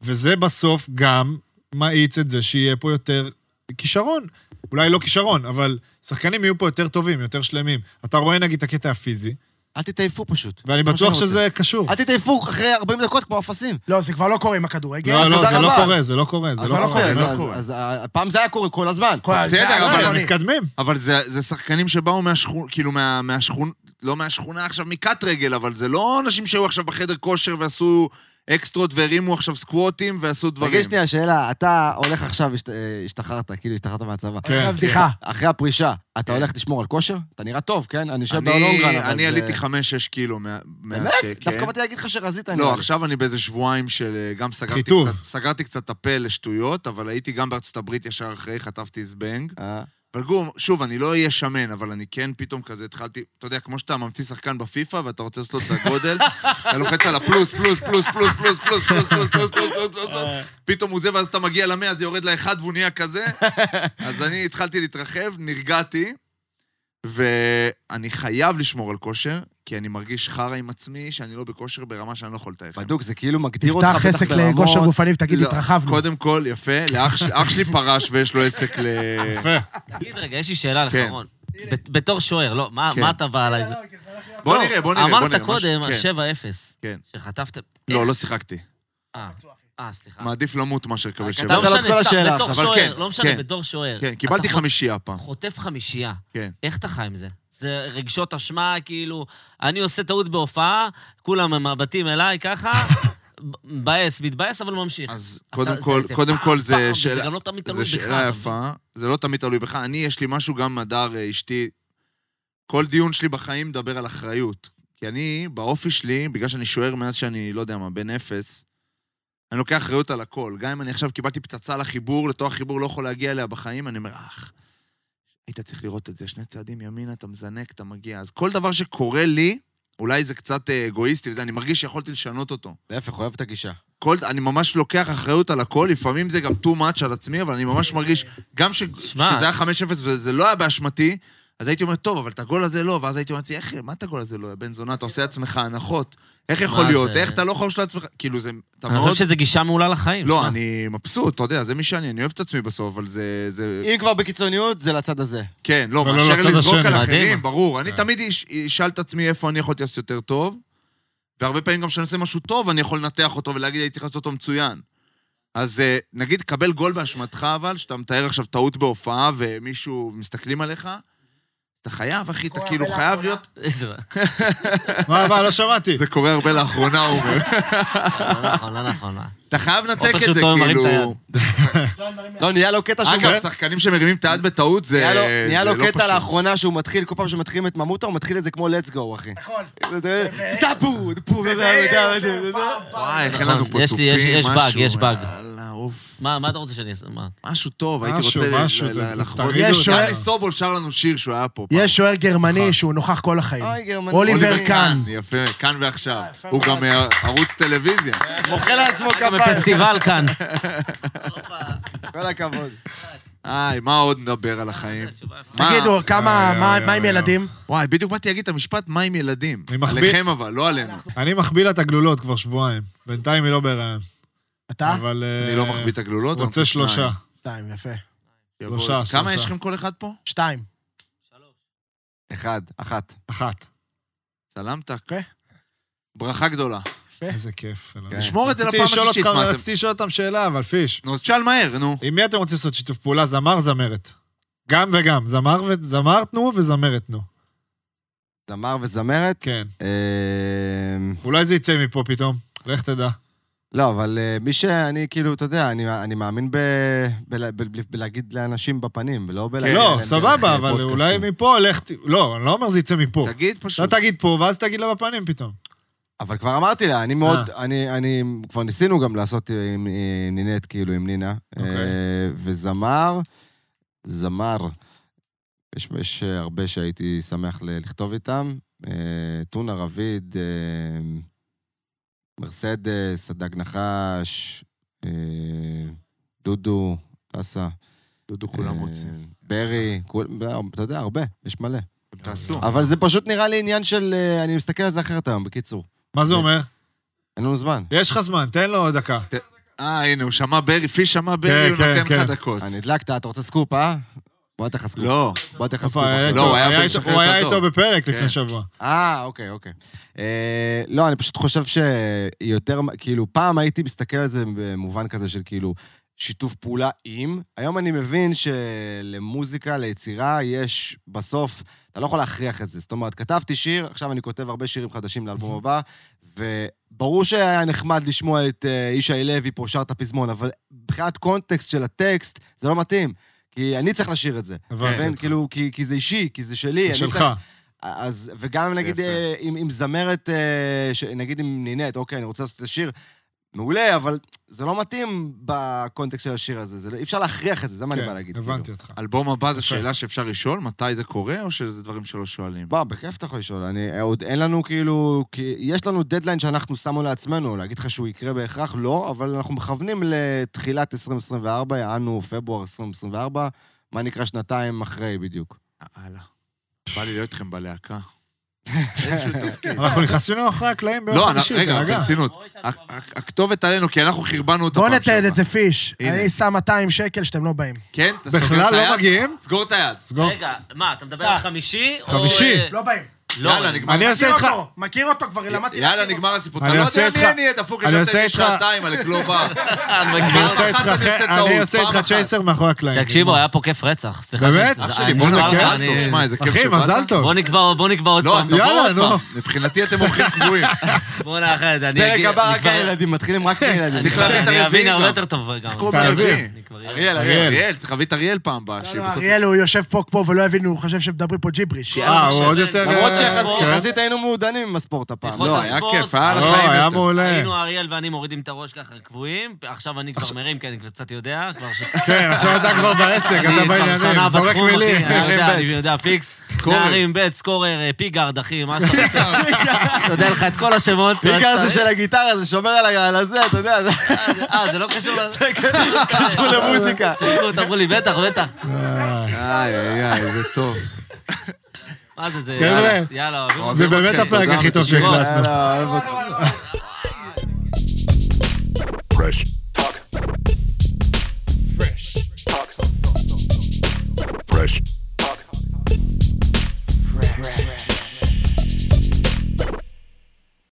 [SPEAKER 1] וזה בסוף גם מאיץ את זה שיהיה פה יותר כישרון. אולי לא כישרון, אבל שחקנים יהיו פה יותר טובים, יותר שלמים. אתה רואה נגיד את הקטע הפיזי,
[SPEAKER 3] אל תתעייפו פשוט.
[SPEAKER 1] ואני
[SPEAKER 3] זה מה
[SPEAKER 1] בטוח
[SPEAKER 3] שאני רוצה.
[SPEAKER 1] שזה קשור.
[SPEAKER 3] אל תתעייפו אחרי 40 דקות כמו אפסים.
[SPEAKER 4] לא, זה כבר לא קורה עם הכדורגל.
[SPEAKER 1] לא,
[SPEAKER 3] אז
[SPEAKER 1] לא,
[SPEAKER 3] תודה
[SPEAKER 1] זה לא
[SPEAKER 3] רבה.
[SPEAKER 1] קורה, זה לא קורה, זה
[SPEAKER 3] אז
[SPEAKER 1] לא
[SPEAKER 3] מה
[SPEAKER 1] קורה.
[SPEAKER 3] אז-
[SPEAKER 1] זה לא
[SPEAKER 3] אז-
[SPEAKER 1] קורה.
[SPEAKER 3] אז אה, פעם זה היה קורה כל הזמן.
[SPEAKER 4] כל-
[SPEAKER 2] בסדר,
[SPEAKER 4] זה-
[SPEAKER 2] אבל
[SPEAKER 4] לא,
[SPEAKER 1] אבל
[SPEAKER 4] אני-
[SPEAKER 1] הם מתקדמים.
[SPEAKER 2] אבל זה זה שחקנים שבאו מהשכונה, כאילו מה- מהשכונה, לא מהשכונה עכשיו מכת רגל, אבל זה לא אנשים שהיו עכשיו בחדר כושר ועשו אקסטרות והרימו עכשיו סקווטים ועשו דברים.
[SPEAKER 3] תגיד שנייה שאלה, אתה הולך עכשיו, השת- אה, השתחררת, כאילו השתחררת מהצבא.
[SPEAKER 1] כן,
[SPEAKER 4] זה בדיחה.
[SPEAKER 3] אחרי הפרישה, אתה הולך לשמור על כושר? אתה נראה טוב, כן? אני יושב
[SPEAKER 2] כן. אני-
[SPEAKER 3] בלונגרן, אבל...
[SPEAKER 2] אני
[SPEAKER 3] זה-
[SPEAKER 2] עליתי 5-6 קילו מה...
[SPEAKER 3] באמת? דווקא באתי להגיד לך שרזית, נראה
[SPEAKER 2] לא,
[SPEAKER 3] לי.
[SPEAKER 2] עכשיו אני באיזה שבועיים של... אה, גם סגרתי
[SPEAKER 1] חיטוב.
[SPEAKER 2] קצת, סגרתי קצת את הפה לשטויות, אבל הייתי גם בארצות הברית ישר אחרי, חטפתי זבנג.
[SPEAKER 3] אה,
[SPEAKER 2] אבל גור, שוב, אני לא אהיה שמן, אבל אני כן פתאום כזה התחלתי, אתה יודע, כמו שאתה ממציא שחקן בפיפא ואתה רוצה לעשות לו את הגודל, אתה לוחץ על הפלוס, פלוס, פלוס, פלוס, פלוס, פלוס, פלוס, פלוס, פלוס, פלוס, פלוס, פלוס, פלוס, פתאום הוא זה, ואז אתה מגיע למאה, זה יורד לאחד והוא נהיה כזה. אז אני התחלתי להתרחב, נרגעתי, ואני חייב לשמור על כושר, כי אני מרגיש חרא עם עצמי, שאני לא בכושר ברמה שאני לא יכול לתאר לכם.
[SPEAKER 3] בדוק, זה כאילו מגדיר אותך
[SPEAKER 4] תפתח
[SPEAKER 3] בטח
[SPEAKER 4] עסק
[SPEAKER 3] ברמות.
[SPEAKER 4] לכושר גופני ותגיד,
[SPEAKER 2] לא,
[SPEAKER 4] התרחבנו.
[SPEAKER 2] קודם כל, יפה, לאח ש- אח שלי פרש ויש לו עסק ל...
[SPEAKER 1] יפה.
[SPEAKER 5] תגיד רגע, יש לי שאלה לך,
[SPEAKER 2] כן.
[SPEAKER 5] רון. בת- בתור שוער, לא, מה
[SPEAKER 2] כן.
[SPEAKER 5] מה אתה בא עליי? זה-
[SPEAKER 2] בוא
[SPEAKER 5] לא,
[SPEAKER 2] נראה, בוא נראה. בוא
[SPEAKER 5] אמרת
[SPEAKER 2] נראה,
[SPEAKER 5] קודם,
[SPEAKER 2] משהו- כן.
[SPEAKER 5] 7-0.
[SPEAKER 2] כן.
[SPEAKER 5] שחטפתם...
[SPEAKER 2] לא,
[SPEAKER 5] איך-
[SPEAKER 2] לא שיחקתי.
[SPEAKER 5] אה, אה, סליחה.
[SPEAKER 2] מעדיף למות מאשר לקבל
[SPEAKER 3] כתבת
[SPEAKER 2] שבע.
[SPEAKER 5] לא
[SPEAKER 3] אבל את
[SPEAKER 5] משנה,
[SPEAKER 3] כל השאלה
[SPEAKER 5] סתם, בתור
[SPEAKER 2] עכשיו, אבל כן,
[SPEAKER 5] שוער, לא משנה,
[SPEAKER 2] כן.
[SPEAKER 5] בתור שוער.
[SPEAKER 2] כן,
[SPEAKER 5] אתה
[SPEAKER 2] קיבלתי
[SPEAKER 5] חוט-
[SPEAKER 2] חמישייה פעם.
[SPEAKER 5] חוטף חמישייה.
[SPEAKER 2] כן.
[SPEAKER 5] איך אתה חי עם זה? זה רגשות אשמה, כאילו, אני עושה טעות בהופעה, כולם עם מבטים
[SPEAKER 2] *laughs*
[SPEAKER 5] אליי ככה, ב- מבאס, מתבאס, אבל ממשיך.
[SPEAKER 2] אז
[SPEAKER 5] אתה-
[SPEAKER 2] קודם
[SPEAKER 5] זה-
[SPEAKER 2] כל,
[SPEAKER 5] זה
[SPEAKER 2] קודם
[SPEAKER 5] פעם,
[SPEAKER 2] כל
[SPEAKER 5] פעם,
[SPEAKER 2] זה
[SPEAKER 5] זה
[SPEAKER 2] שאלה...
[SPEAKER 5] גם לא תמיד תלוי
[SPEAKER 2] זו
[SPEAKER 5] בך.
[SPEAKER 2] שאלה יפה, זה לא תמיד תלוי בך. אני, יש לי משהו גם מהדר אה, אשתי. כל דיון שלי בחיים מדבר על אחריות. כי אני, באופי שלי, בגלל שאני שוער מאז שאני, לא יודע מה, בן אפס, אני לוקח אחריות על הכל. גם אם אני עכשיו קיבלתי פצצה לחיבור, לתוך החיבור לא יכול להגיע אליה בחיים, אני אומר, אך, היית צריך לראות את זה. שני צעדים ימינה, אתה מזנק, אתה מגיע. אז כל דבר שקורה לי, אולי זה קצת אה, אגואיסטי וזה, אני מרגיש שיכולתי לשנות אותו.
[SPEAKER 3] להפך, אוהב את הגישה.
[SPEAKER 2] כל, אני ממש לוקח אחריות על הכל, לפעמים זה גם too much על עצמי, אבל אני ממש מרגיש, גם ש,
[SPEAKER 5] שמע.
[SPEAKER 2] שזה היה 5-0 וזה לא היה באשמתי, אז הייתי אומר, טוב, אבל את הגול הזה לא, ואז הייתי אומר, לעצמי, איך, מה את הגול הזה לא, יא בן זונה, אתה עושה לעצמך הנחות, איך יכול
[SPEAKER 5] מה
[SPEAKER 2] להיות,
[SPEAKER 5] זה?
[SPEAKER 2] איך אתה לא יכול לשלול לעצמך, כאילו זה, אתה
[SPEAKER 5] אני
[SPEAKER 2] מאוד,
[SPEAKER 5] חושב שזו גישה מעולה לחיים.
[SPEAKER 2] לא,
[SPEAKER 5] שמע.
[SPEAKER 2] אני מבסוט, אתה יודע, זה מי שאני, אני אוהב את עצמי בסוף, אבל זה, זה,
[SPEAKER 3] אם כבר בקיצוניות, זה לצד הזה.
[SPEAKER 2] כן, לא,
[SPEAKER 1] ולא
[SPEAKER 2] מאשר
[SPEAKER 1] לצד
[SPEAKER 2] לזרוק
[SPEAKER 1] השני.
[SPEAKER 2] על
[SPEAKER 5] מדהים.
[SPEAKER 2] אחרים, ברור. אני
[SPEAKER 1] כן.
[SPEAKER 2] תמיד אש- אשאל את עצמי איפה אני יכולתי לעשות יותר טוב, והרבה פעמים גם כשאני עושה משהו טוב, אני יכול לנתח אותו ולהגיד, הייתי צריך לעשות אותו מצוין. אז אה, נגיד, קבל גול באשמתך, אבל, שאתה מתאר עכשיו טעות בהופעה ומישהו, מסתכלים עליך, אתה חייב, אחי, אתה כאילו חייב להיות...
[SPEAKER 5] *laughs* איזה...
[SPEAKER 1] מה, מה, לא שמעתי.
[SPEAKER 2] זה קורה הרבה לאחרונה, הוא אומר.
[SPEAKER 5] לא נכון, לא נכון. לא.
[SPEAKER 2] אתה חייב לנתק
[SPEAKER 5] עופר
[SPEAKER 2] את זה,
[SPEAKER 5] שוטון מרים את
[SPEAKER 2] כאילו...
[SPEAKER 3] לא, נהיה לו קטע שהוא...
[SPEAKER 2] אגב, שחקנים שמרימים את היד בטעות זה...
[SPEAKER 3] נהיה לו- נהיה
[SPEAKER 2] זה
[SPEAKER 3] לו
[SPEAKER 2] לא
[SPEAKER 3] קטע
[SPEAKER 2] פשוט.
[SPEAKER 3] לאחרונה שהוא מתחיל, כל פעם שמתחילים את ממוטה, הוא מתחיל את זה כמו let's go, אחי.
[SPEAKER 4] נכון.
[SPEAKER 3] סטאפו, פו,
[SPEAKER 2] וואי, איך אין לנו פה תופים,
[SPEAKER 5] נכון. יש לי- יש- יש באג,
[SPEAKER 2] משהו,
[SPEAKER 5] יש באג.
[SPEAKER 2] יאללה, אוף.
[SPEAKER 5] מה מה אתה רוצה שאני אעשה? מה?
[SPEAKER 2] משהו טוב, הייתי
[SPEAKER 1] משהו,
[SPEAKER 2] רוצה ל-
[SPEAKER 1] משהו,
[SPEAKER 2] ל-
[SPEAKER 1] ת-
[SPEAKER 2] לחוות.
[SPEAKER 1] תרידו
[SPEAKER 4] יש
[SPEAKER 1] אותנו.
[SPEAKER 4] שוער-
[SPEAKER 2] יאללה, סובול שר לנו שיר שהוא היה פה. פעם.
[SPEAKER 4] יש שוער גרמני שהוא נוכח כל החיים.
[SPEAKER 3] אוי, גרמני.
[SPEAKER 4] אוליבר קאן.
[SPEAKER 2] יפה, כאן ועכשיו. הוא גם אה, ערוץ טלוויזיה.
[SPEAKER 3] מוחא לעצמו
[SPEAKER 5] גם
[SPEAKER 3] כפיים.
[SPEAKER 5] בפסטיבל כאן.
[SPEAKER 3] כל הכבוד.
[SPEAKER 2] איי, מה עוד נדבר על החיים?
[SPEAKER 5] כן,
[SPEAKER 2] מה?
[SPEAKER 4] תגידו, כמה,
[SPEAKER 1] יואו,
[SPEAKER 4] מה-
[SPEAKER 1] יואו,
[SPEAKER 4] מה עם
[SPEAKER 1] יואו.
[SPEAKER 4] ילדים?
[SPEAKER 2] וואי, בדיוק באתי להגיד את המשפט, מה עם ילדים?
[SPEAKER 1] אני אה, מחביא-
[SPEAKER 2] עליכם אבל, לא עלינו.
[SPEAKER 1] אני מחביא לה את הגלולות כבר שבועיים. בינתיים היא לא בהיריון.
[SPEAKER 4] אתה?
[SPEAKER 1] אבל...
[SPEAKER 2] אני
[SPEAKER 1] אה,
[SPEAKER 2] לא מחביא את הגלולות. אני
[SPEAKER 1] רוצה שלושה.
[SPEAKER 2] שניים.
[SPEAKER 4] שתיים, יפה.
[SPEAKER 2] יבוא-
[SPEAKER 1] שלושה,
[SPEAKER 2] כמה
[SPEAKER 1] שלושה.
[SPEAKER 2] יש לכם כל אחד פה?
[SPEAKER 4] שתיים.
[SPEAKER 3] אחד, אחת.
[SPEAKER 1] אחת.
[SPEAKER 2] סלמתק.
[SPEAKER 4] כן.
[SPEAKER 2] ברכה גדולה.
[SPEAKER 1] איזה כיף. אלוהים.
[SPEAKER 2] תשמור את זה
[SPEAKER 1] כן. רציתי
[SPEAKER 2] לפעם
[SPEAKER 1] לשאול
[SPEAKER 2] השלישית.
[SPEAKER 1] אותך-
[SPEAKER 2] מה אתם-
[SPEAKER 1] רציתי לשאול אותם שאלה, אבל פיש,
[SPEAKER 2] נו, אז תשאל מהר, נו.
[SPEAKER 1] עם מי אתם רוצים לעשות שיתוף פעולה? זמר, זמרת. גם וגם. זמר ו- זמר תנו וזמרת תנו.
[SPEAKER 3] זמר וזמרת.
[SPEAKER 1] כן.
[SPEAKER 3] אמ,
[SPEAKER 1] אולי זה יצא מפה פתאום. לך תדע.
[SPEAKER 3] לא, אבל אה, מי שאני, כאילו, אתה יודע, אני אני מאמין ב- ב- ב- בלהגיד לאנשים בפנים, ולא
[SPEAKER 2] כן,
[SPEAKER 3] בלהגיד...
[SPEAKER 1] לא,
[SPEAKER 3] להם דרך,
[SPEAKER 1] סבבה,
[SPEAKER 3] אה,
[SPEAKER 1] אבל
[SPEAKER 3] פודקאסטים.
[SPEAKER 1] אולי מפה לך... ת- לא, אני לא אומר זה יצא מפה.
[SPEAKER 2] תגיד
[SPEAKER 1] לא
[SPEAKER 2] פשוט.
[SPEAKER 1] תגיד פה, ואז תגיד לה בפנים פתאום.
[SPEAKER 3] אבל כבר אמרתי לה, אני מאוד,
[SPEAKER 1] אה.
[SPEAKER 3] אני, אני, כבר ניסינו גם לעשות עם, עם נינט, כאילו, עם נינה.
[SPEAKER 1] אוקיי.
[SPEAKER 3] אה, וזמר, זמר, יש, יש אה, הרבה שהייתי שמח ל- לכתוב איתם. אה, טונה רביד, אה, מרסדס, הדג נחש, אה, דודו, טסה.
[SPEAKER 2] דודו כולם
[SPEAKER 3] אה,
[SPEAKER 2] רוצים.
[SPEAKER 3] ברי, כול, אתה יודע, הרבה, יש מלא.
[SPEAKER 2] אתם תעשו.
[SPEAKER 3] אבל זה פשוט נראה לי עניין של, אה, אני מסתכל על זה אחרת היום, בקיצור.
[SPEAKER 1] מה זה
[SPEAKER 3] כן.
[SPEAKER 1] אומר?
[SPEAKER 3] אין לנו זמן.
[SPEAKER 1] יש לך זמן, תן לו עוד דקה.
[SPEAKER 2] אה, הנה, הוא שמע ברי, פיש שמע
[SPEAKER 1] כן,
[SPEAKER 2] ברי, הוא
[SPEAKER 1] כן,
[SPEAKER 2] נותן
[SPEAKER 1] כן.
[SPEAKER 2] לך דקות.
[SPEAKER 3] אה, נדלקת, אתה רוצה סקופ, אה? בוא אתן לך סקופ.
[SPEAKER 2] לא.
[SPEAKER 3] בוא אתן לך סקופ.
[SPEAKER 1] הופה, היה
[SPEAKER 3] אחי.
[SPEAKER 1] איתו-
[SPEAKER 2] לא, הוא היה
[SPEAKER 1] היה
[SPEAKER 2] בלשחרר
[SPEAKER 1] איתו- הוא
[SPEAKER 2] את
[SPEAKER 1] היה
[SPEAKER 2] הדוב.
[SPEAKER 1] איתו בפרק
[SPEAKER 2] כן.
[SPEAKER 1] לפני שבוע.
[SPEAKER 3] אה, אוקיי, אוקיי. אה, לא, אני פשוט חושב שיותר, כאילו, פעם הייתי מסתכל על זה במובן כזה של כאילו שיתוף פעולה עם. היום אני מבין שלמוזיקה, ליצירה, יש בסוף, אתה לא יכול להכריח את זה. זאת אומרת, כתבתי שיר, עכשיו אני כותב הרבה שירים חדשים לאלבום הבא, וברור שהיה נחמד לשמוע את אה, ישי לוי פה שר את הפזמון, אבל מבחינת קונטקסט של הטקסט, זה לא מתאים. כי אני צריך לשיר את זה.
[SPEAKER 1] הבנתי
[SPEAKER 3] אתה מבין?
[SPEAKER 1] אותך.
[SPEAKER 3] כאילו, כי, כי זה אישי, כי זה שלי.
[SPEAKER 1] זה
[SPEAKER 3] אני
[SPEAKER 1] שלך.
[SPEAKER 3] צריך- אז, וגם אם נגיד
[SPEAKER 2] יפה.
[SPEAKER 3] אה, עם, עם זמרת, אה, ש, נגיד עם נינט, אוקיי, אני רוצה לעשות את השיר, מעולה, אבל זה לא מתאים בקונטקסט של השיר הזה, זה, לא- אי אפשר להכריח את זה, זה מה אני בא
[SPEAKER 1] כן,
[SPEAKER 3] להגיד. כאילו.
[SPEAKER 1] הבנתי אותך.
[SPEAKER 2] אלבום הבא
[SPEAKER 1] יפה.
[SPEAKER 2] זו שאלה שאפשר לשאול, מתי זה קורה, או שזה דברים שלא שואלים?
[SPEAKER 3] בוא, בכיף אתה יכול לשאול, אני, אה, עוד אין לנו כאילו, כי יש לנו דדליין שאנחנו שמנו לעצמנו, להגיד לך שהוא יקרה בהכרח, לא, אבל אנחנו מכוונים לתחילת 2024, יענו פברואר 2024, מה נקרא שנתיים אחרי בדיוק.
[SPEAKER 2] הלאה. בא לי להיות איתכם בלהקה. *laughs* איזשהו תפקיד.
[SPEAKER 1] אנחנו נכנסים למאחורי הקלעים ביום
[SPEAKER 2] לא,
[SPEAKER 1] חמישי,
[SPEAKER 2] אנחנו- רגע,
[SPEAKER 1] תרגע.
[SPEAKER 2] ברצינות. הכ- הכ- הכתובת עלינו, כי אנחנו חרבנו אותה
[SPEAKER 4] בוא
[SPEAKER 2] פעם
[SPEAKER 4] נתעד
[SPEAKER 2] שעברה.
[SPEAKER 4] את זה פיש.
[SPEAKER 2] הנה.
[SPEAKER 4] אני שם 200 שקל שאתם לא באים.
[SPEAKER 2] כן? אתה סוגר את
[SPEAKER 1] בכלל
[SPEAKER 2] היד?
[SPEAKER 1] לא מגיעים?
[SPEAKER 2] סגור את היד.
[SPEAKER 1] סגור.
[SPEAKER 5] רגע, מה, אתה מדבר על חמישי? או,
[SPEAKER 1] חמישי.
[SPEAKER 5] אה,
[SPEAKER 4] לא באים.
[SPEAKER 5] לא,
[SPEAKER 2] יאללה,
[SPEAKER 5] אני-
[SPEAKER 2] נגמר.
[SPEAKER 1] אני עושה
[SPEAKER 4] מכיר
[SPEAKER 1] איתך...
[SPEAKER 4] אותו, מכיר אותו כבר, למדתי.
[SPEAKER 2] יאללה,
[SPEAKER 4] להכיר
[SPEAKER 2] נגמר הסיפור.
[SPEAKER 1] אני
[SPEAKER 2] אתה לא
[SPEAKER 1] עושה
[SPEAKER 2] יודע
[SPEAKER 1] איתך-
[SPEAKER 2] מי אני אהיה, דפוק,
[SPEAKER 1] אני
[SPEAKER 2] ישבת
[SPEAKER 1] עושה
[SPEAKER 2] איתי
[SPEAKER 1] איתך-
[SPEAKER 2] שעתיים על כלום בר.
[SPEAKER 5] אני מכיר
[SPEAKER 1] אני
[SPEAKER 5] אותך.
[SPEAKER 1] עושה
[SPEAKER 2] אה, אחת
[SPEAKER 1] איתך
[SPEAKER 2] אני עושה
[SPEAKER 1] ח-
[SPEAKER 2] טעות,
[SPEAKER 1] אני עושה
[SPEAKER 2] פעם
[SPEAKER 1] איתך
[SPEAKER 2] אחת.
[SPEAKER 1] צ'ייסר מאחורי הקלעים.
[SPEAKER 5] תקשיבו, היה פה כיף רצח. סליחה
[SPEAKER 1] באמת?
[SPEAKER 5] שאני-
[SPEAKER 2] אח
[SPEAKER 5] אני-
[SPEAKER 2] שלי, בוא
[SPEAKER 1] איזה
[SPEAKER 5] וואלה,
[SPEAKER 1] כיף.
[SPEAKER 2] נקרא.
[SPEAKER 5] אני-
[SPEAKER 2] תשמע, איזה כיף
[SPEAKER 1] אחי,
[SPEAKER 2] שבאת.
[SPEAKER 1] מזל טוב.
[SPEAKER 5] בוא נקבע בוא נקבע עוד
[SPEAKER 2] לא,
[SPEAKER 5] פעם.
[SPEAKER 2] תבוא
[SPEAKER 1] יאללה,
[SPEAKER 2] עוד
[SPEAKER 1] נו.
[SPEAKER 2] פעם. מבחינתי אתם אורחים
[SPEAKER 1] *laughs*
[SPEAKER 2] קבועים.
[SPEAKER 5] בואנה אחי, אני
[SPEAKER 3] פרק
[SPEAKER 5] אגיד-
[SPEAKER 3] הבא
[SPEAKER 5] אני
[SPEAKER 3] רק
[SPEAKER 5] כבר-
[SPEAKER 3] הילדים, מתחילים רק הילדים.
[SPEAKER 2] צריך להביא את
[SPEAKER 5] אני
[SPEAKER 2] הרביעי
[SPEAKER 5] אבין הרבה
[SPEAKER 2] גם.
[SPEAKER 5] יותר טוב גם.
[SPEAKER 2] קוראים
[SPEAKER 1] חייבים.
[SPEAKER 2] לרביעי?
[SPEAKER 5] אני כבר-
[SPEAKER 1] אריאל.
[SPEAKER 2] אריאל, אריאל, אריאל, צריך להביא את אריאל פעם הבאה,
[SPEAKER 4] אותו.
[SPEAKER 2] שבסוף...
[SPEAKER 4] לא, אריאל, הוא יושב פה כמו ולא הבין, הוא חושב שמדברים פה ג'יבריש.
[SPEAKER 5] שיהיה
[SPEAKER 1] אה,
[SPEAKER 5] לנו
[SPEAKER 1] הוא עוד
[SPEAKER 5] שווה.
[SPEAKER 1] יותר,
[SPEAKER 3] למרות
[SPEAKER 1] אה,
[SPEAKER 5] ספורט.
[SPEAKER 2] כן.
[SPEAKER 3] שיחסית היינו מעודנים עם הספורט הפעם.
[SPEAKER 5] יכול
[SPEAKER 3] לא,
[SPEAKER 2] לא,
[SPEAKER 5] להיות
[SPEAKER 2] היה
[SPEAKER 5] הספורט.
[SPEAKER 2] כיף, היה על
[SPEAKER 1] לא,
[SPEAKER 2] החיים
[SPEAKER 1] היה
[SPEAKER 2] יותר.
[SPEAKER 1] מעולה.
[SPEAKER 5] היינו אריאל ואני מורידים את הראש ככה קבועים, עכשיו אני כבר מרים, כי אני קצת יודע, כבר ש...
[SPEAKER 1] כן, עכשיו אתה כבר בעסק,
[SPEAKER 5] אני
[SPEAKER 1] אתה
[SPEAKER 5] כבר
[SPEAKER 1] בעניינים,
[SPEAKER 5] שנה
[SPEAKER 1] זורק
[SPEAKER 5] בתחום, אחי,
[SPEAKER 1] מילים.
[SPEAKER 5] אני לא יודע, אני
[SPEAKER 3] ב'.
[SPEAKER 5] יודע, פיקס.
[SPEAKER 2] סקורר.
[SPEAKER 5] נערים ב', סקורר, אה, פיגארד, אחי, מה שאתה רוצה. אתה יודע לך את כל השמות. מה
[SPEAKER 3] פיגר זה
[SPEAKER 5] שצריך.
[SPEAKER 3] של הגיטרה, זה שומר על ה- על הזה, אתה יודע, זה *laughs*
[SPEAKER 5] אה, זה- אה, זה לא קשור ל...
[SPEAKER 3] קשור למוזיקה.
[SPEAKER 5] סוכנות, אמרו לי, בטח, בטח.
[SPEAKER 2] איי, איי, איי, זה טוב.
[SPEAKER 5] מה זה, זה...
[SPEAKER 1] חבר'ה,
[SPEAKER 5] יאללה, יאללה, אוהבים
[SPEAKER 1] זה
[SPEAKER 5] אותך.
[SPEAKER 1] באמת
[SPEAKER 2] אוקיי,
[SPEAKER 1] הפרק
[SPEAKER 2] תודה
[SPEAKER 1] הכי טוב
[SPEAKER 2] ותודה.
[SPEAKER 1] שהקלטנו.
[SPEAKER 3] יאללה, אוהב אותך.